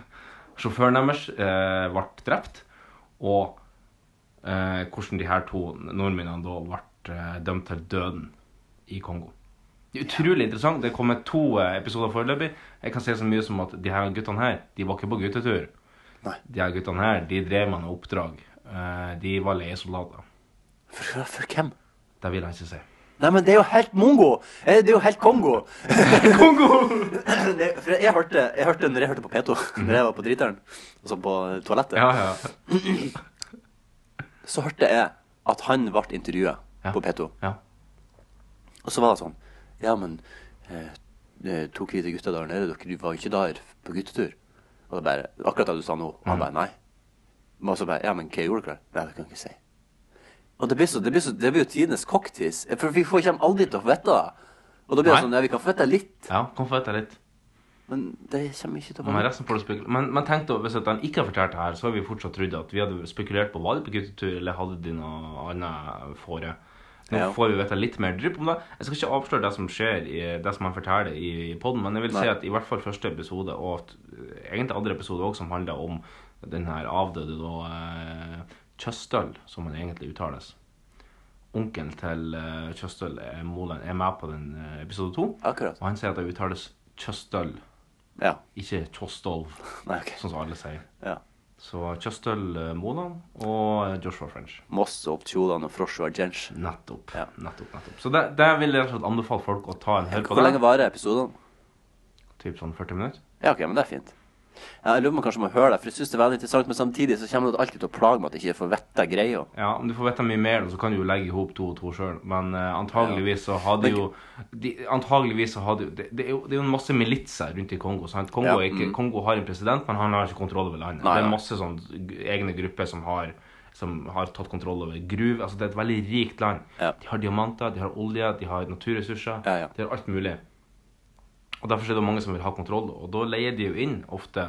S3: Sjåføren deres eh, ble drept. Og eh, hvordan de her to nordmennene da ble eh, dømt til døden i Kongo. Det er utrolig interessant. Det kommer to eh, episoder foreløpig. Jeg kan si så mye som at de her guttene her, de var ikke på guttetur. De her guttene her, de drev med noe oppdrag. Eh, De var leiesoldater.
S2: For, for hvem?
S3: Det vil jeg ikke si.
S2: Nei, men det er jo helt mongo! Eh, Det er jo helt Kongo!
S3: Kongo! Mm.
S2: for jeg hørte, jeg hørte når jeg hørte på P2, når jeg var på driteren, altså på toalettet, så hørte jeg at han ble intervjua på P2. Og så var det sånn Ja, men eh, eh, to hvite gutter der nede, dere var jo ikke der på guttetur. Og det bare Akkurat det du sa nå. Og
S3: Mm.
S2: han bare nei. Og så bare Ja, men hva gjorde dere? Nei, det kan jeg ikke si. Og det blir, så, det blir, så, det blir jo tidenes cocktease. For vi får kommer aldri til å få vite det. Og da blir det
S3: Nei.
S2: sånn, ja, vi kan flytte litt,
S3: Ja, kom for etter litt.
S2: men det kommer ikke til å
S3: Men
S2: komme.
S3: resten får du spekul- Men, men tenk da, hvis at de ikke har fortalt det her, så har vi fortsatt trodd at vi hadde spekulert på var de på guttetur, eller hadde de noe annet fore. Nå
S2: Ja.
S3: får vi vite litt mer drypp om det. Jeg skal ikke avsløre det som skjer, i, det som han forteller i, i podden, men jeg vil si
S2: Nei.
S3: at i hvert fall første episode, og at, eh, egentlig andre episode også, som handler om den her avdøde da, eh, Kjøstøl, som han egentlig uttales. Onkelen til eh, Kjøstøl, eh, Moland, er med på den eh, episode to.
S2: Akkurat.
S3: Og han sier at det uttales Kjøstøl.
S2: Ja.
S3: Ikke Kjostolv, sånn som alle sier. Så Kjøstøl eh, Moland og eh, Joshua French.
S2: Moss og Optjolan og Froshua Jench.
S3: Nettopp. nettopp, nettopp. Så det, det vil jeg rett og slett anbefale folk å ta en hør på.
S2: Hvor
S3: det.
S2: lenge varer episoden?
S3: Typ sånn 40 minutter?
S2: Ja, ok, men det er fint. Ja, Jeg lurer på om jeg kanskje må høre det, for jeg synes det er veldig interessant, men samtidig så kommer det alltid til å plage meg at jeg ikke får vette greia.
S3: Ja, om du får vite mye mer, så kan du jo legge i hop to og to sjøl. Men eh, antageligvis så hadde jo de, Antageligvis så hadde jo det, det, er jo det er jo en masse militser rundt i Kongo. Sant? Kongo,
S2: Ja,
S3: er ikke,
S2: mm.
S3: Kongo har en president, men han har ikke kontroll over landet.
S2: Nei,
S3: det
S2: nei.
S3: er masse sånn g- egne grupper som har som har tatt kontroll over gruve. Altså, det er et veldig rikt land. De har diamanter, de har olje, de har naturressurser. De har alt mulig. Og Derfor er det mange som vil ha kontroll, og da leier de jo inn ofte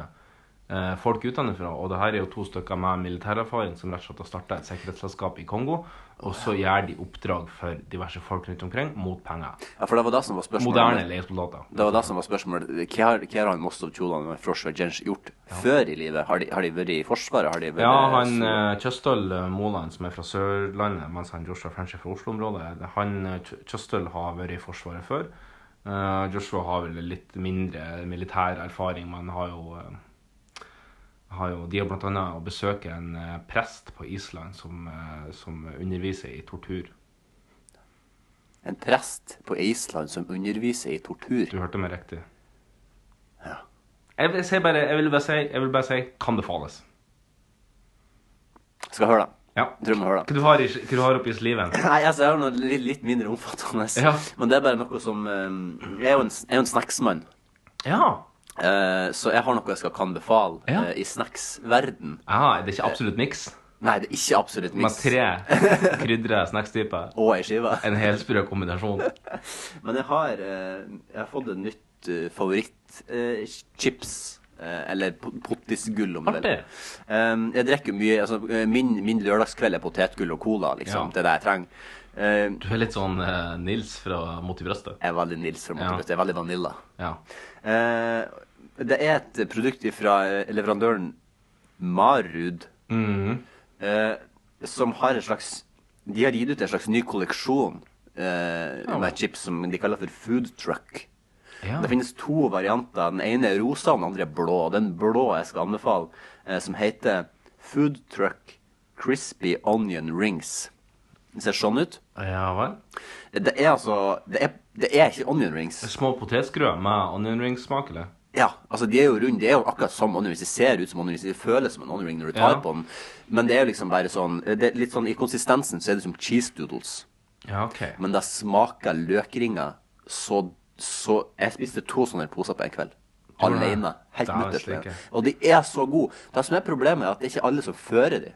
S3: eh, folk utenfra. Og det her er jo to stykker med militærerfaring som rett og slett har starta et sikkerhetsselskap i Kongo. Og så gjør de oppdrag for diverse folk rundt omkring mot penger.
S2: Ja, for det var det som var spørsmålet.
S3: Moderne leiesoldater.
S2: Det var det som var spørsmålet. Hva har, hva har han Moss og Optjolan og Froshua Jench gjort før i livet? Har de, har de vært i Forsvaret? Har de vært
S3: Ja, han eh, Kjøstøl eh, Moland, som er fra Sørlandet, mens han Joshua French er fra Oslo-området, han eh, Kjø- Kjøstøl har vært i Forsvaret før. Eh, Joshua har vel litt mindre militær erfaring, men har jo, eh, har jo De har blant annet å besøke en eh, prest på Island som, eh, som underviser i tortur.
S2: En prest på Island som underviser i tortur.
S3: Du hørte meg riktig. Jeg vil, si bare, jeg, vil bare si, jeg vil bare si kan befales.
S2: Skal jeg høre det?
S3: Ja.
S2: Tror jeg må høre det.
S3: Hva du har, i- hva du har oppi sliven?
S2: Nei, altså, jeg har noe litt, litt mindre omfattende.
S3: Ja.
S2: Men det er bare noe som eh, Jeg er jo en, jeg er jo en snacksmann.
S3: Ja.
S2: Eh, så jeg har noe jeg skal kan befale
S3: Ja.
S2: eh, i snacksverden.
S3: Aha, det er ikke absolutt miks?
S2: Nei, det er ikke absolutt
S3: Med
S2: miks.
S3: tre krydre snackstyper.
S2: Og ei skive.
S3: En helsprø kombinasjon.
S2: Men jeg har, eh, jeg har fått et nytt eh, favoritt eh, chips. Eh, eller po- potisgull, om du vil.
S3: Artig.
S2: Um, jeg drikker jo mye altså, eh, min, min lørdagskveld er potetgull og cola, liksom.
S3: Ja.
S2: Det er det jeg trenger. Eh,
S3: Du er litt sånn eh, Nils fra Mot i brøstet.
S2: Jeg er veldig Nils fra Mot i
S3: Ja.
S2: brøstet. Jeg er veldig vanilla.
S3: Ja.
S2: Eh, det er et produkt fra eh, leverandøren Marud,
S3: Mhm.
S2: eh, som har en slags De har gitt ut en slags ny kolleksjon eh,
S3: Ja.
S2: med chips som de kaller for food truck.
S3: Ja.
S2: Det finnes to varianter. Den ene er rosa, og den andre er blå. Den blå jeg skal anbefale, eh, som heter Food Truck Crispy Onion Rings. Den ser sånn ut.
S3: Ja vel.
S2: Det er altså Det er, det er ikke onion rings.
S3: Små potetskrøer med onion ring-smak, eller?
S2: Ja, altså de er jo runde. De er jo akkurat som onion rings. De ser ut som onion rings. De føles som en onion ring når du tar
S3: Ja.
S2: på den. Men det er jo liksom bare sånn det er Litt sånn i konsistensen så er det som cheese doodles.
S3: Ja, OK.
S2: Men det smaker løkringer så, så Jeg spiste to sånne poser på en kveld.
S3: Tror du det?
S2: Alene. Helt
S3: Det er
S2: mutters.
S3: stikke.
S2: alene. Og de er så gode. Det som er problemet, er at det er ikke alle som fører de.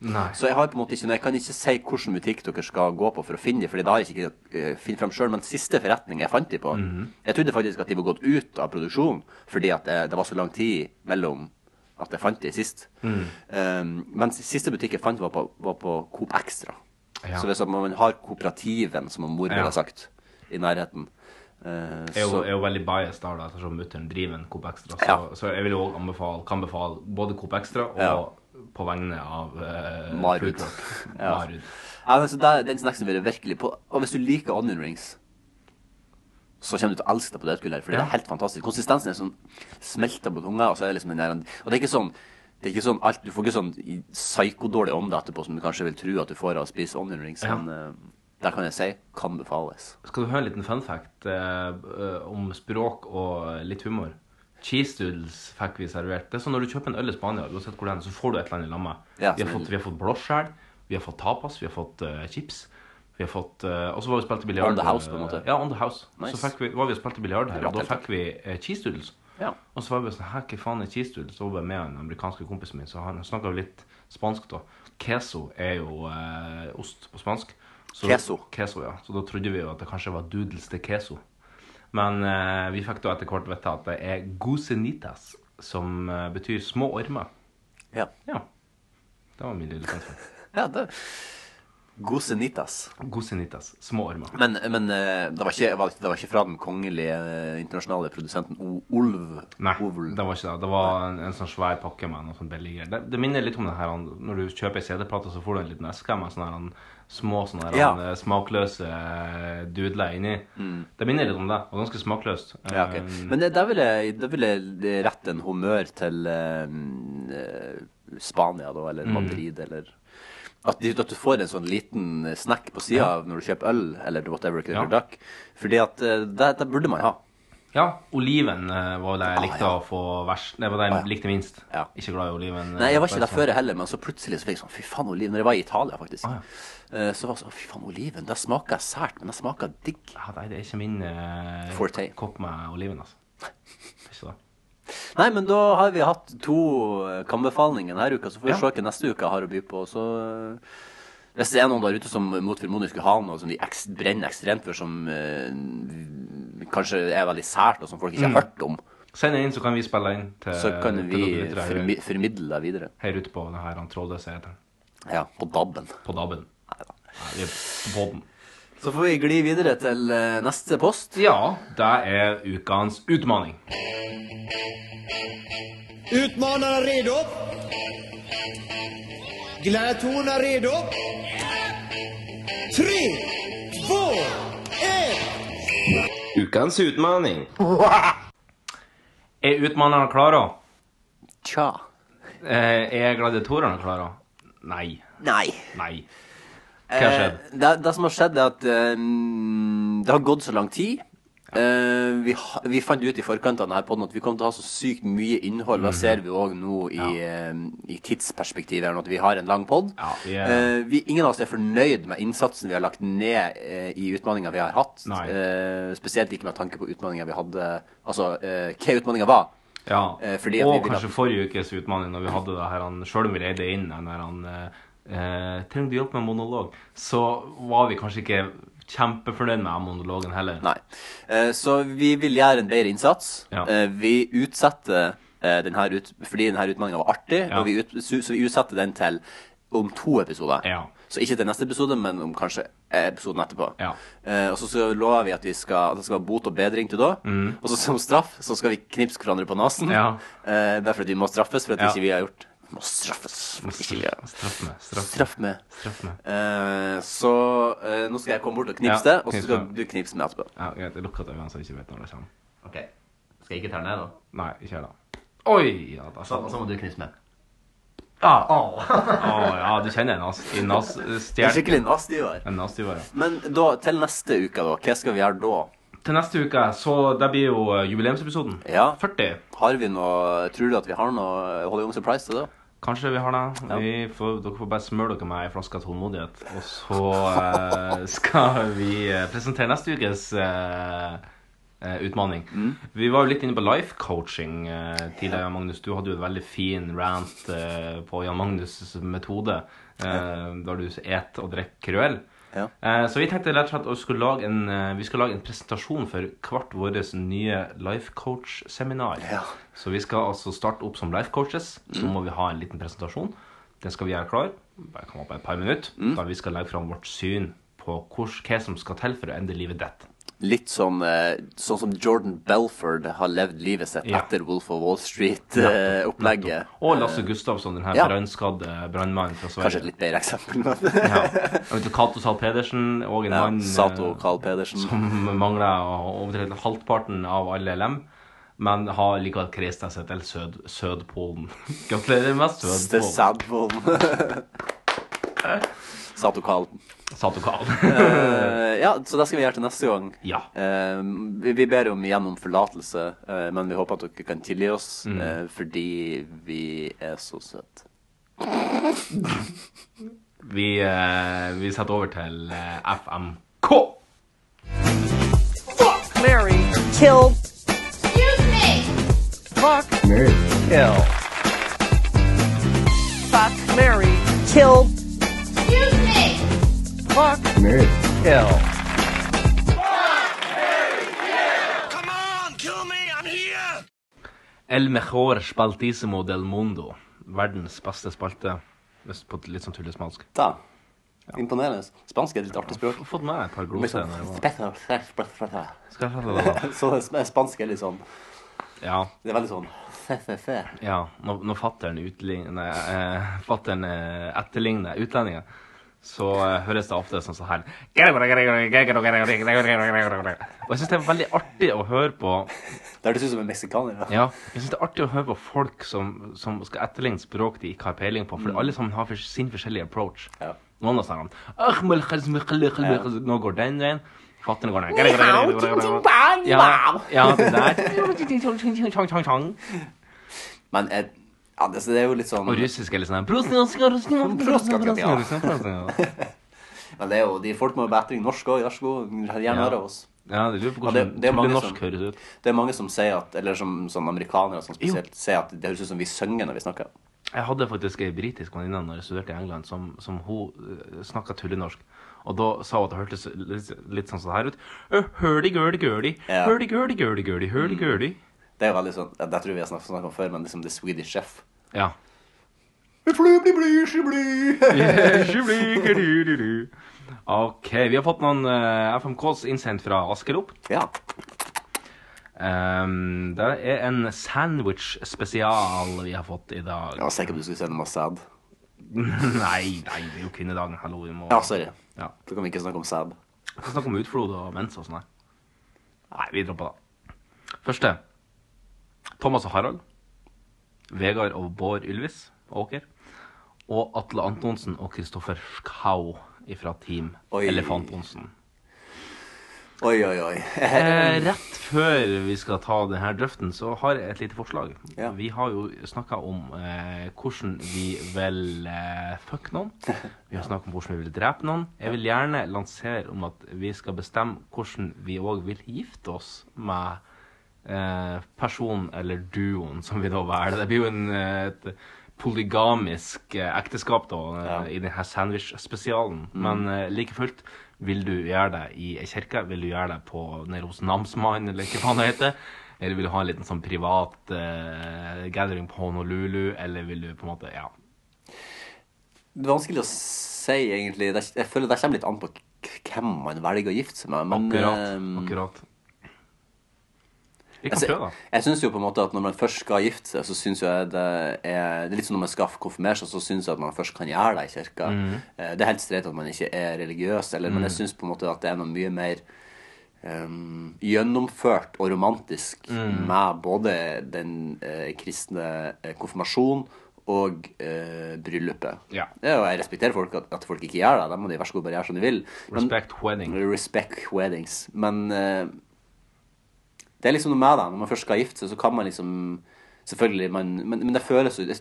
S3: Nei.
S2: Så jeg har på en måte ikke Jeg kan ikke si hvilken butikk dere skal gå på for å finne de, fordi det har jeg ikke eh, funnet fram sjøl. Men siste forretning jeg fant de på
S3: Mhm.
S2: Jeg trodde faktisk at de var gått ut av produksjon fordi at eh, det, det var så lang tid mellom at jeg fant de sist.
S3: Mm.
S2: Um, men s- siste butikk jeg fant, var på, var på Coop Extra.
S3: Ja.
S2: Så hvis at man har Kooperativen, som mor ville
S3: Ja.
S2: ha sagt, i nærheten eh,
S3: Jeg er jo,
S2: så-
S3: jeg er jo veldig biased der, da, ettersom mutter'n driver en Coop Extra. Så,
S2: Ja.
S3: så jeg vil jo også anbefale, kan befale både Coop Extra og
S2: Ja.
S3: på vegne av eh,
S2: Marud.
S3: Food Truck.
S2: ja.
S3: Marud.
S2: Ja, men så der, den snacksen vil jeg virkelig på. Og hvis du liker onion rings, så kommer du til å elske det på dødgullet. For det
S3: Ja.
S2: er helt fantastisk. Konsistensen er sånn smelta på tunga, og så er det liksom den der Og det er ikke sånn det er ikke sånn alt, Du får ikke sånn i- psykodårlig ånde etterpå som du kanskje vil tro at du får av å spise onion rings.
S3: Ja.
S2: Men eh, der kan jeg si kan befales.
S3: Skal du høre en liten fun fact eh, eh, om språk og litt humor? Cheese doodles fikk vi servert. Det er sånn Når du kjøper en øl i Spania, uansett hvor det er, så får du et eller annet i lammet.
S2: Ja,
S3: vi, har
S2: som-
S3: fått, vi har fått blåskjell, vi har fått tapas, vi har fått eh, chips. Vi har fått, eh, og så var vi spilt i biljard.
S2: On the house, på en måte.
S3: Ja, on the house.
S2: Nice.
S3: Så fikk vi, var vi og spilte biljard her,
S2: Bra
S3: og da
S2: tiltak.
S3: fikk vi eh, cheese doodles.
S2: Ja.
S3: Og så var vi sånn Hæ, hva faen er cheese doodles? Så var jeg med en amerikanske kompisen min, så han snakka litt spansk da. Queso er jo eh, ost på spansk. Så,
S2: Queso.
S3: Queso, ja. Så da trodde vi jo at det kanskje var doodles til queso. Men eh, vi fikk da etter hvert vite at det er gusenitas, som eh, betyr små ormer.
S2: Ja.
S3: Det var min lille pensjon.
S2: Ja, det... Gosenitas.
S3: Gosenitas. Små ormer.
S2: Men, men eh, det, var ikke, var- det var ikke fra den kongelige eh, internasjonale produsenten O- Olv?
S3: Nei, det var ikke det. Det var en, en sånn svær pakke med noe sånn billig greier. Det, det minner litt om det her han- når du kjøper ei CD-plate, så får du en liten eske med sånne her, han, små sånne her,
S2: Ja.
S3: han, eh, smakløse eh, dudler inni.
S2: Mm.
S3: Det minner litt om det, og ganske smakløst.
S2: Ja, ok.
S3: Um,
S2: Men det, der, vil jeg, der vil jeg rette en honnør til eh, eh, Spania, da, eller
S3: Mm.
S2: Madrid, eller at, de, at du får en sånn liten snack på sida
S3: Ja.
S2: når du kjøper øl, eller whatever. ikke det
S3: Ja.
S2: er drakk. Fordi at eh, det, det burde man ha.
S3: Ja, oliven eh,
S2: Ah,
S3: var det jeg likte å få verst. Det var det jeg likte minst. Ikke glad i oliven. eh,
S2: Nei, jeg var ikke der
S3: personlig.
S2: før jeg heller, men så plutselig så fikk jeg sånn Fy faen, oliven. Når jeg var i Italia, faktisk.
S3: Ah,
S2: eh, Så var det sånn Fy faen, oliven. Det smaker sært, men det smaker digg.
S3: Ja, Ah, nei, det er ikke min eh, kopp med oliven, altså. Det er Ikke det.
S2: Nei, men da har vi hatt to eh, anbefalinger denne uka, så får vi
S3: Ja.
S2: se hva neste uke har å by på. Så eh, hvis det er noen der ute som mot formodning skulle ha noe som de eks brenner ekstremt for, som eh, vi- kanskje er veldig sært, og som folk ikke
S3: Mm.
S2: har hørt om,
S3: Send det inn, så kan vi spille inn til
S2: så kan
S3: til
S2: vi
S3: dere lyttere her-
S2: formi formidle det videre.
S3: Her ute på denne trådløse eteren.
S2: Ja, på DAB-en.
S3: På DAB-en. Nei, vi er på podden.
S2: Så får vi gli videre til eh, neste post.
S3: Ja, det er ukens utfordring.
S13: Utmanarna redo? Gladiatorerna redo? Tre, två, ett!
S3: Ukens utfordring. Er utfordrerne klare? Eh,
S2: Tja.
S3: Er gladiatorene klare? Nei.
S2: Nei.
S3: Nei. Hva har skjedd?
S2: Eh, det, det som har skjedd, er at eh, mm, det har gått så lang tid. Eh, vi, ha- vi fant ut i forkant av denne podden at vi kommer til å ha så sykt mye innhold. Det
S3: Mhm.
S2: ser vi òg nå i, eh, i tidsperspektivet, her nå, at vi har en lang pod.
S3: vi er-
S2: Eh, vi, ingen av oss er fornøyd med innsatsen vi har lagt ned eh, i utfordringa vi har hatt. Eh, spesielt ikke med tanke på utfordringa vi hadde Altså eh, hva utfordringa var.
S3: Ja.
S2: Eh, fordi at vi
S3: og
S2: vil
S3: kanskje
S2: at-
S3: forrige ukes utfordring, når vi hadde det her han Sjøl om vi leide inn den her han eh, Trenger du hjelp med monolog? Så var vi kanskje ikke kjempefornøyd med monologen heller.
S2: Nei. Eh, Så vi vil gjøre en bedre innsats. Eh, Vi utsetter eh, den her ut, fordi denne utfordringa var artig,
S3: Ja.
S2: og vi ut, så så vi utsetter den til om to episoder. Så ikke til neste episode, men om kanskje episoden etterpå. Eh, og så, så lover vi at, vi skal, at det skal være bot og bedring til da.
S3: Mm.
S2: Og så som straff så skal vi knipse hverandre på nesen.
S3: Ja.
S2: Eh, bare for at vi må straffes for at
S3: Ja.
S2: ikke vi har gjort Må straffes. for at Ikke vi har.
S3: Straff med. Straff,
S2: Straff med.
S3: Straff med.
S2: Eh, så eh, nå skal jeg komme bort og knipse
S3: Ja,
S2: det, og så
S3: knips
S2: skal
S3: meg.
S2: du knipse meg etterpå.
S3: Ja, greit. Jeg lukker øynene så jeg ikke vet når det kommer.
S2: Ok. Skal jeg ikke telle ned, da?
S3: Nei, ikke gjør det. Oi! Ja, da
S2: Så- så må du knipse meg.
S3: Ah, ja, du kjenner en nas... En nas
S2: Det
S3: stjern.
S2: er skikkelig nasdivar.
S3: En nasdivar, ja.
S2: Men da, til neste uke, da. Hva skal vi gjøre da?
S3: Til neste uke, så det blir jo eh, jubileumsepisoden.
S2: Ja.
S3: 40.
S2: Har vi noe Tror du at vi har noe Holly Young Surprise til det?
S3: Kanskje vi har det.
S2: Ja.
S3: Vi får, dere får bare smøre dere med ei flaske tålmodighet. Og så eh, skal vi eh, presentere neste ukes eh, eh, utfordring. Vi var jo litt inne på life coaching eh, tidligere, Magnus. Du hadde jo en veldig fin rant eh, på Jan Magnus' metode, eh, der du et og drikker krøll. Eh, så vi tenkte rett og slett å skulle lage en, eh, vi skal lage en presentasjon for hvert vårt nye life coach-seminar. Så vi skal altså starte opp som life coaches. Så må vi ha en liten presentasjon. Den skal vi gjøre klar. Bare kom opp på et par minutter. Da vi skal legge fram vårt syn på hvor, hva som skal til for å endre livet ditt.
S2: Litt som, eh, sånn som Jordan Belford har levd livet sitt
S3: Ja.
S2: etter Wolf of Wall eh,
S3: Nettopp,
S2: Street-opplegget.
S3: Og Lasse Gustavsson, den her
S2: Ja.
S3: brannskadde brannmannen fra Sverige.
S2: Kanskje et litt bedre eksempel. men-
S3: Jeg vet, Cato Zahl Pedersen og en
S2: Ja,
S3: mann eh,
S2: Sato Carl Pedersen.
S3: som mangler å- omtrent halvparten av alle lem, men har likevel krist seg til Sød Sødpolen. Gratulerer med
S2: Til
S3: Sødpolen.
S2: Sadpolen. Sato Carl.
S3: Sato Carl.
S2: Eh, ja, så det skal vi gjøre til neste gang.
S3: Ja.
S2: Eh, vi, vi ber om gjennom forlatelse, eh, men vi håper at dere kan tilgi oss,
S3: Mm.
S2: eh, fordi vi er så søte.
S3: Vi, eh, vi setter over til eh, FM.
S13: Fuck Larry. Killed. Excuse me. Fuck. Kill. Fuck Larry. Killed. Excuse me. Fuck. Kill.
S3: El mejor spaltissimo del mundo. Verdens beste spalte. Hvis På litt sånn tullespansk.
S2: Da. Imponerende. Spansk er et litt artig språk.
S3: Fått med et par gloser. når jeg var-
S2: Så det sp- spansk er litt sånn
S3: Ja.
S2: Det er veldig sånn
S3: Ja, når, når fatteren utligner eh, Fatteren eh, etterligner utlendinger, så eh, høres det ofte sånn som her. Og jeg syns det er veldig artig å høre på
S2: Det høres ut som en meksikaner.
S3: Ja. Jeg syns det er artig å høre på folk som, som skal etterligne språk de ikke har peiling på, for
S2: Mm.
S3: alle sammen har for- sin forskjellige approach.
S2: Ja.
S3: Noen av sånn «Ahmel khazmi khali khali khali». Nå går den veien. Fatteren går den
S13: Ni hao, ting, ting, ba, ni
S3: Ja,
S13: bao.
S3: ja, det der.
S2: Men jeg, ja, det, så det er jo litt sånn
S3: Og russisk er litt sånn
S2: Men det er jo, de folk må jo bedre i norsk òg, vær så god. Gjerne
S3: Ja.
S2: høre av oss.
S3: Ja, det lurer på
S2: Ja,
S3: hvordan
S2: det- det er mange
S3: tulle
S2: som-
S3: norsk høres ut.
S2: Det er mange som sier at, eller som, som amerikanere som spesielt, sier at det høres ut som vi synger når vi snakker.
S3: Jeg hadde faktisk ei britisk venninne når jeg studerte i England, som, som hun snakka tullenorsk. Og da sa hun at det hørtes litt, litt sånn som det her ut. Hurdy-gurdy-gurdy,
S2: Ja. Mm.
S3: hurdy-gurdy-gurdy, hurdy-gurdy.
S2: Det er jo veldig sånn, ja, det tror jeg vi har snakket, snakket om før, men liksom The Swedish Chef.
S3: Ja. OK, vi har fått noen eh, FMKs innsendt fra Askerop.
S2: Ja.
S3: Ehm, det er en sandwich-spesial vi har fått i dag.
S2: Jeg var sikker på at du skulle si noe om sæd.
S3: nei, nei, det er jo kvinnedagen. Hallo, vi må
S2: Ja, sorry.
S3: Ja.
S2: Da kan vi ikke snakke om sæd.
S3: Vi kan snakke om utflod og mens og sånn her. Nei, vi dropper det. Første. Thomas og Harald. Vegard og Bård Ylvis Åker. Og Atle Antonsen og Kristoffer Schau fra Team
S2: Oi.
S3: Elefant Onsen.
S2: Oi, oi, oi.
S3: Eh, rett før vi skal ta denne drøften, så har jeg et lite forslag. Vi har jo snakka om eh, hvordan vi vil eh, fuck noen. Vi har snakka om hvordan vi vil drepe noen. Jeg vil gjerne lansere om at vi skal bestemme hvordan vi òg vil gifte oss med eh, personen eller duoen som vi da velger. Det blir jo en, eh, et polygamisk eh, ekteskap da, eh, i denne sandwich-spesialen.
S2: Mm.
S3: Men eh, like fullt, vil du gjøre det i ei kirke? Vil du gjøre det på nede hos namsmannen, eller hva faen det heter? Eller vil du ha en liten sånn privat eh, gathering på Honolulu, eller vil du på en måte Ja.
S2: Det er vanskelig å si, egentlig. Det, er- jeg føler det kommer litt an på k- hvem man velger å gifte seg med. Men,
S3: Akkurat.
S2: ehm, altså,
S3: akkurat. Vi kan
S2: Jeg,
S3: prøve, da.
S2: sy- jeg syns jo på en måte at når man først skal gifte seg, så syns jo jeg det er Det er litt som når man skal konfirmere seg, så syns jeg at man først kan gjøre det i kirka.
S3: Mhm.
S2: Eh, Det er helt streit at man ikke er religiøs, eller,
S3: Mhm.
S2: men jeg syns på en måte at det er noe mye mer ehm, gjennomført og romantisk
S3: Mhm.
S2: med både den eh, kristne eh, konfirmasjonen og eh, bryllupet.
S3: Ja.
S2: Det er jo, jeg respekterer folk at, at folk ikke gjør det. Da må de vær så god bare gjøre som de vil.
S3: Respect wedding.
S2: Respect weddings. Men eh, det er liksom noe med det. Når man først skal gifte seg, så kan man liksom Selvfølgelig, man, men, men det føles jo- det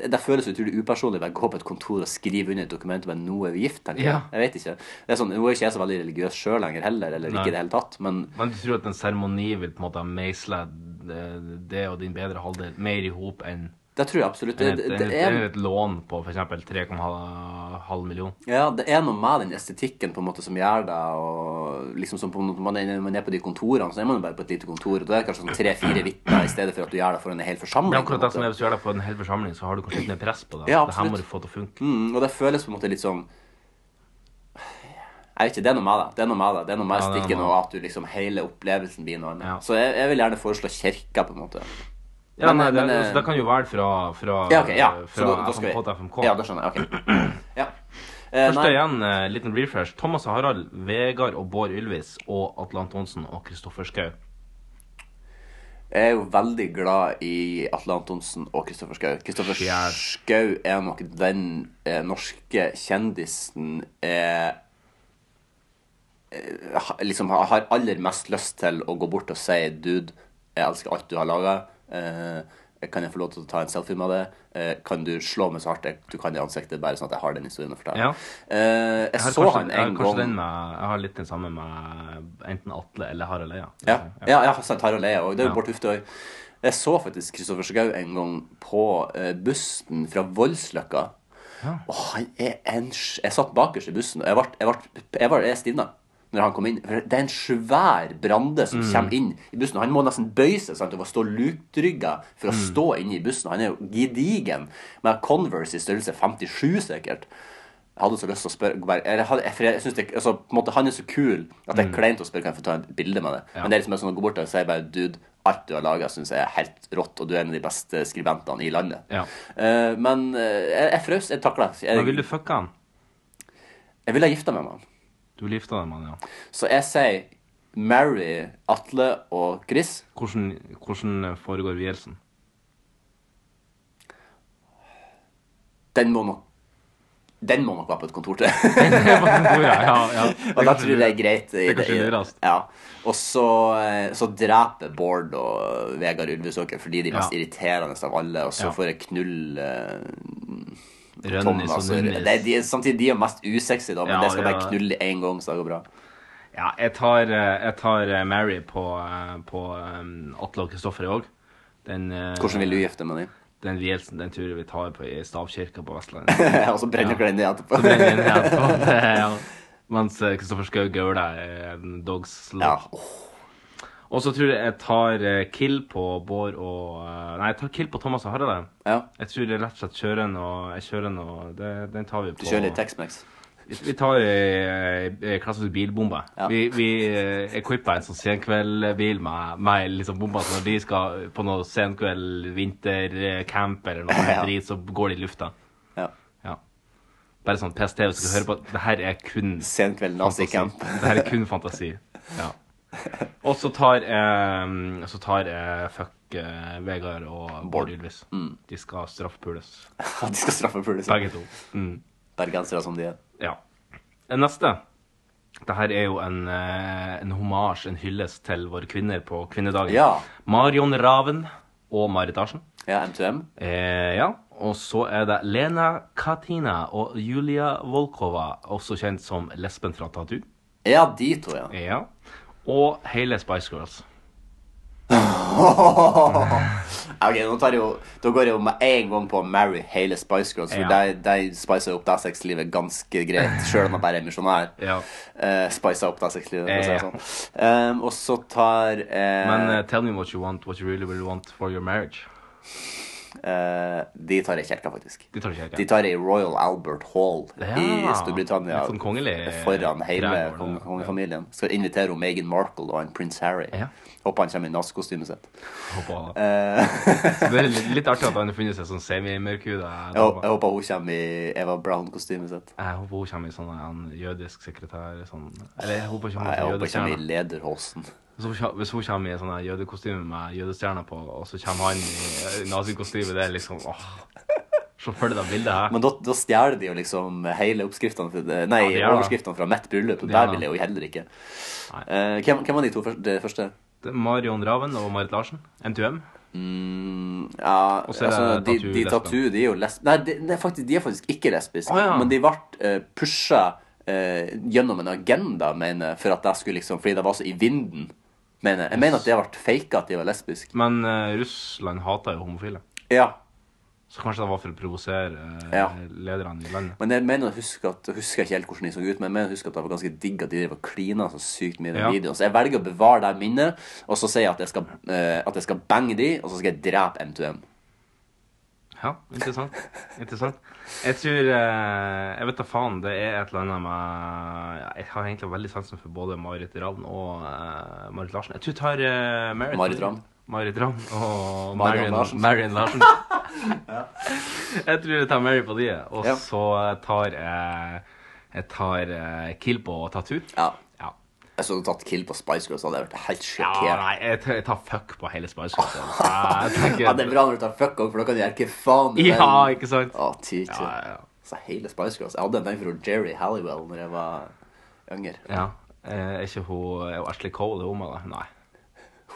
S2: det føles utrolig upersonlig å bare gå på et kontor og skrive under et dokument om at nå er vi gift. tenker jeg.
S3: Ja.
S2: Jeg vet ikke. Det er sånn, Nå er ikke jeg så veldig religiøs sjøl lenger heller, eller
S3: Nei.
S2: ikke i det hele tatt, men
S3: Men du tror at en seremoni vil på en måte meisle eh, det og din bedre halvdel mer i hop enn
S2: det tror jeg absolutt.
S3: enn
S2: Det, det,
S3: et, enn
S2: det
S3: et,
S2: er...
S3: enn et lån på f.eks. 3,5 million.
S2: Ja, det er noe med den estetikken på en måte som gjør det. og liksom som på, Når man er- når man er på de kontorene, så er man jo bare på et lite kontor. og Da er det kanskje sånn tre-fire vitner i stedet for at du gjør det for en hel forsamling.
S3: Det er
S2: på
S3: akkurat det
S2: en
S3: som
S2: måte.
S3: er Hvis du gjør det på en hel forsamling, så har du kanskje litt mer press på det.
S2: Ja,
S3: det her må
S2: absolutt.
S3: du få til å funke.
S2: Mm, og det føles på en måte litt sånn Jeg vet ikke, det er noe med det. Det er noe med det. Det er noe med
S3: Ja, det er
S2: estikken
S3: noe med
S2: og at du liksom hele opplevelsen blir noe annet. Så jeg, jeg vil gjerne foreslå kirka, på en måte.
S3: Ja,
S2: Men,
S3: nei, det,
S2: men, eh,
S3: altså, det kan jo være fra, fra,
S2: Ja, ok, ja. Så
S3: fra
S2: da- da skal vi-
S3: FMK til FMK.
S2: Ja, det skjønner jeg. ok. Ja. Eh,
S3: Først
S2: nei.
S3: igjen, eh, liten refresh. Thomas og Harald, Vegard og Bård Ylvis og Atle Antonsen og Kristoffer Schau.
S2: Jeg er jo veldig glad i Atle Antonsen og Kristoffer Schau. Kristoffer Schau er nok den eh, norske kjendisen eh, eh, ha- liksom har- har aller mest lyst til å gå bort og si Dude, jeg elsker alt du har laga. Eh, kan jeg få lov til å ta en selfie med deg? Eh, kan du slå meg så hardt jeg- du kan i ansiktet, bare sånn at jeg har den historien å fortelle?
S3: Ja.
S2: Eh, jeg,
S3: har
S2: så
S3: kanskje-
S2: han
S3: jeg har
S2: en
S3: kanskje
S2: gang
S3: Den med, jeg har litt den samme med enten Atle eller Harald Eia.
S2: Ja, ja, ja sånn, sant, Harald Eia òg. Det er jo
S3: Ja.
S2: Bård Tufte òg. Jeg så faktisk Kristoffer Schou en gang på eh, bussen fra Voldsløkka. Og han er en sj- Jeg satt bakerst i bussen, og jeg ble, jeg ble, jeg ble, jeg stivna. når han kom inn. For det er en svær Brande som
S3: Mm.
S2: kommer inn i bussen. og Han må nesten bøye seg sant, over å stå lukrygga for å
S3: Mm.
S2: stå inne i bussen. Han er jo gedigen med Converse i størrelse 57, sikkert. Jeg hadde så lyst til å spørre bare, jeg, hadde, for jeg synes det, altså, på en måte, Han er så kul at det er
S3: Mm.
S2: kleint å spørre kan jeg få ta et bilde med det. Men det er liksom bare sånn å gå bort og si bare Dude, alt du har laga, syns jeg er helt rått, og du er en av de beste skribentene i landet.
S3: Ja.
S2: Eh, men eh, jeg, jeg frøs. Jeg takla. Jeg,
S3: Men vil du fucke han?
S2: jeg ville ha gifta meg med han.
S3: Du vil gifte deg med han, ja.
S2: Så jeg sier Mary, Atle og Chris.
S3: Hvordan, hvordan eh, foregår vielsen?
S2: Den må nok Den må nok være på et kontor til.
S3: ja, ja, ja.
S2: Og da tror jeg det er greit. i-
S3: Det er kanskje
S2: i-
S3: lurest.
S2: Ja. Og så, eh, så dreper Bård og Vegard Ulvesåker fordi de er mest
S3: Ja.
S2: irriterende av alle, og så
S3: Ja.
S2: får jeg knull eh,
S3: Rønnis
S2: Thomas
S3: og Nunnis.
S2: altså. Det er de, samtidig de er mest usexy, da, men
S3: Ja,
S2: det skal
S3: det
S2: bare
S3: er-
S2: knulle én gang, så det går bra.
S3: Ja, jeg tar, eh, jeg tar eh, Mary på, eh, på eh, Atle og Kristoffer i òg.
S2: Hvordan vil du gifte med dem?
S3: eh, Den vielsen den tror jeg vi tar på, i stavkirka på Vestlandet.
S2: Og så brenner dere den ned etterpå.
S3: Så brenner vi den ned etterpå. Det er, ja. Mens eh, Kristoffer Schou gaula Dogs Love. Og så tror jeg jeg tar eh, kill på Bård og eh, Nei, jeg tar kill på Thomas og Harald. jeg. Jeg tror jeg rett og slett kjører en, og jeg kjører en, og det, den tar vi på
S2: Du kjører litt Tex-Mex.
S3: vi vi tar eh, eh, klassisk bilbombe. Vi, vi eh, equipper en sånn senkveldbil med, med liksom bomber. Så når de skal på noe senkveld, vintercamp eller noe drit, så går de i lufta.
S2: Ja.
S3: Bare sånn PST hvis du skal høre på. at Det her er kun
S2: Senkveld nazicamp.
S3: Det her er kun fantasi. Ja. Og så tar, eh, så tar eh, fuck eh, Vegard og Bård Ylvis.
S2: Mm.
S3: De skal straffepules.
S2: De skal straffepules.
S3: Begge to. Mm.
S2: Bergensere som de er.
S3: Ja. Eh, Neste. Dette er jo en, eh, en hommage, en hyllest til våre kvinner på kvinnedagen.
S2: Ja.
S3: Marion Raven og Marit Arsen.
S2: Ja, M2M.
S3: Eh, ja. Og så er det Lena Katina og Julia Volkova, også kjent som lesben fra Tattoo.
S2: Ja, de to, ja.
S3: ja. Og hele Spice Girls.
S2: Ok, nå tar jeg jo, Da går jeg jo med en gang på å marry hele Spice Girls, for
S3: Ja.
S2: de, de spicer opp det sexlivet ganske greit, sjøl om jeg bare er misjonær.
S3: Ja.
S2: Eh, spicer opp det sexlivet, for å si det
S3: Ja.
S2: sånn. Ehm, og så tar eh,
S3: Men eh, tell me what you want, what you really, really want for your marriage.
S2: eh, De tar jeg i kirka, faktisk.
S3: De tar jeg i kirka.
S2: De tar jeg i Royal Albert Hall i
S3: Ja.
S2: Storbritannia.
S3: Litt sånn kongelig, eh,
S2: Foran hele
S3: greier,
S2: kong- kongefamilien. Skal invitere hun Meghan Markle og han prins Harry. Håper han kommer i nazi-kostymet sitt.
S3: Håper han.
S2: Eh,
S3: Så det er litt, litt artig at han har funnet seg sånn semi-mørkhuda.
S2: Jeg, hå- jeg håper hun kommer i Eva Brown-kostymet sitt.
S3: Jeg håper hun kommer i sånn en jødisk sekretær sånn. Eller jeg håper ikke hun
S2: Nei, jeg
S3: kommer i
S2: håper ikke hun er i
S3: jødestjerna.
S2: lederhosen.
S3: Hvis hun kjem- Hvis hun kommer i sånn her jødekostyme med jødestjerna på, og så kommer han i eh, nazikostyme, det er liksom åh. Se for deg det bildet her.
S2: Men da, da stjeler de jo liksom hele oppskriftene fra- Nei,
S3: Ja, de gjør det.
S2: overskriftene fra mitt bryllup. og
S3: De
S2: Der
S3: gjør det.
S2: vil jeg jo heller ikke. Eh, hvem, hvem var de to første? Det første?
S3: Det er Marion Raven og Marit Larsen. M2M.
S2: Ja,
S3: Og så er det
S2: altså, de,
S3: Tattoo
S2: de
S3: lesben.
S2: tattoo, de er jo lesb... Nei, de, de, er faktisk, de er faktisk ikke lesbiske.
S3: Å, ja.
S2: Men de ble uh, pusha eh, gjennom en agenda, mener jeg, for at jeg skulle liksom Fordi de var så i vinden, mener jeg. Jeg mener at det ble faka at de var lesbiske.
S3: Men eh, Russland hater jo homofile.
S2: Ja.
S3: Så kanskje det var for å provosere eh,
S2: Ja.
S3: lederne i landet.
S2: Men jeg mener å huske at Jeg husker ikke helt hvordan de så ut, men jeg mener å huske at det var ganske digg at de drev og klina så sykt mye i den
S3: Ja.
S2: videoen. Så jeg velger å bevare det minnet, og så sier jeg at jeg skal, eh, at jeg skal bange de, og så skal jeg drepe M2M.
S3: Ja, interessant. interessant. Jeg tror eh, Jeg vet da faen. Det er et eller annet med ja, Jeg har egentlig veldig sansen for både Marit Ravn og eh, Marit Larsen. Jeg tror jeg tar eh, Marit.
S2: Marit Ravn.
S3: Marit Ravn
S2: Marion
S3: og Marion
S2: Larsen.
S3: Larsen. Marion Larsen. Jeg tror jeg tar Mary på de, og så tar jeg Jeg tar eh, Kill på Tattoo.
S2: Ja. Jeg så du tatt kill på Spice Girls, hadde jeg vært helt
S3: Ja,
S2: sjokkert.
S3: nei, jeg tar, jeg tar fuck på hele Spice Girls. Ja, jeg tenker-
S2: Ja, det er bra når du tar fuck off, for da kan du gjøre hva faen du vil.
S3: Ja, ikke sant?
S2: Å, ty, ty. Så hele Spice Girls. Jeg hadde en venn fra Jerry Halliwell når jeg var yngre.
S3: Ja. Eh, Er ikke hun er hun Ashley Cole er hun med det? Nei.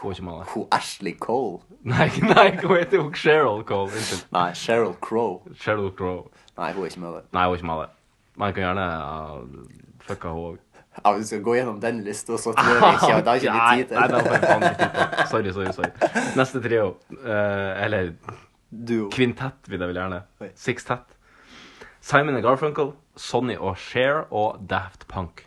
S3: Hun er ikke med det.
S2: Hun Ashley Cole?
S3: Nei, nei, hun heter jo Cheryl Cole. Unnskyld.
S2: Nei, Cheryl Crow.
S3: Cheryl Crow.
S2: Nei, hun er ikke med det.
S3: Nei, hun er ikke med det. Men jeg kan gjerne uh, fucka hun òg.
S2: Ja, hvis du skal gå gjennom den lista, så tror jeg ikke Da har ikke vi tid til
S3: Nei, nei, det har jeg faen ikke tid til. Sorry, sorry, sorry. Neste trio. eh, eller kvintett, vil jeg vel gjerne. Sixtett. Simon og Garfunkel, Sonny og Cher og Daft Punk.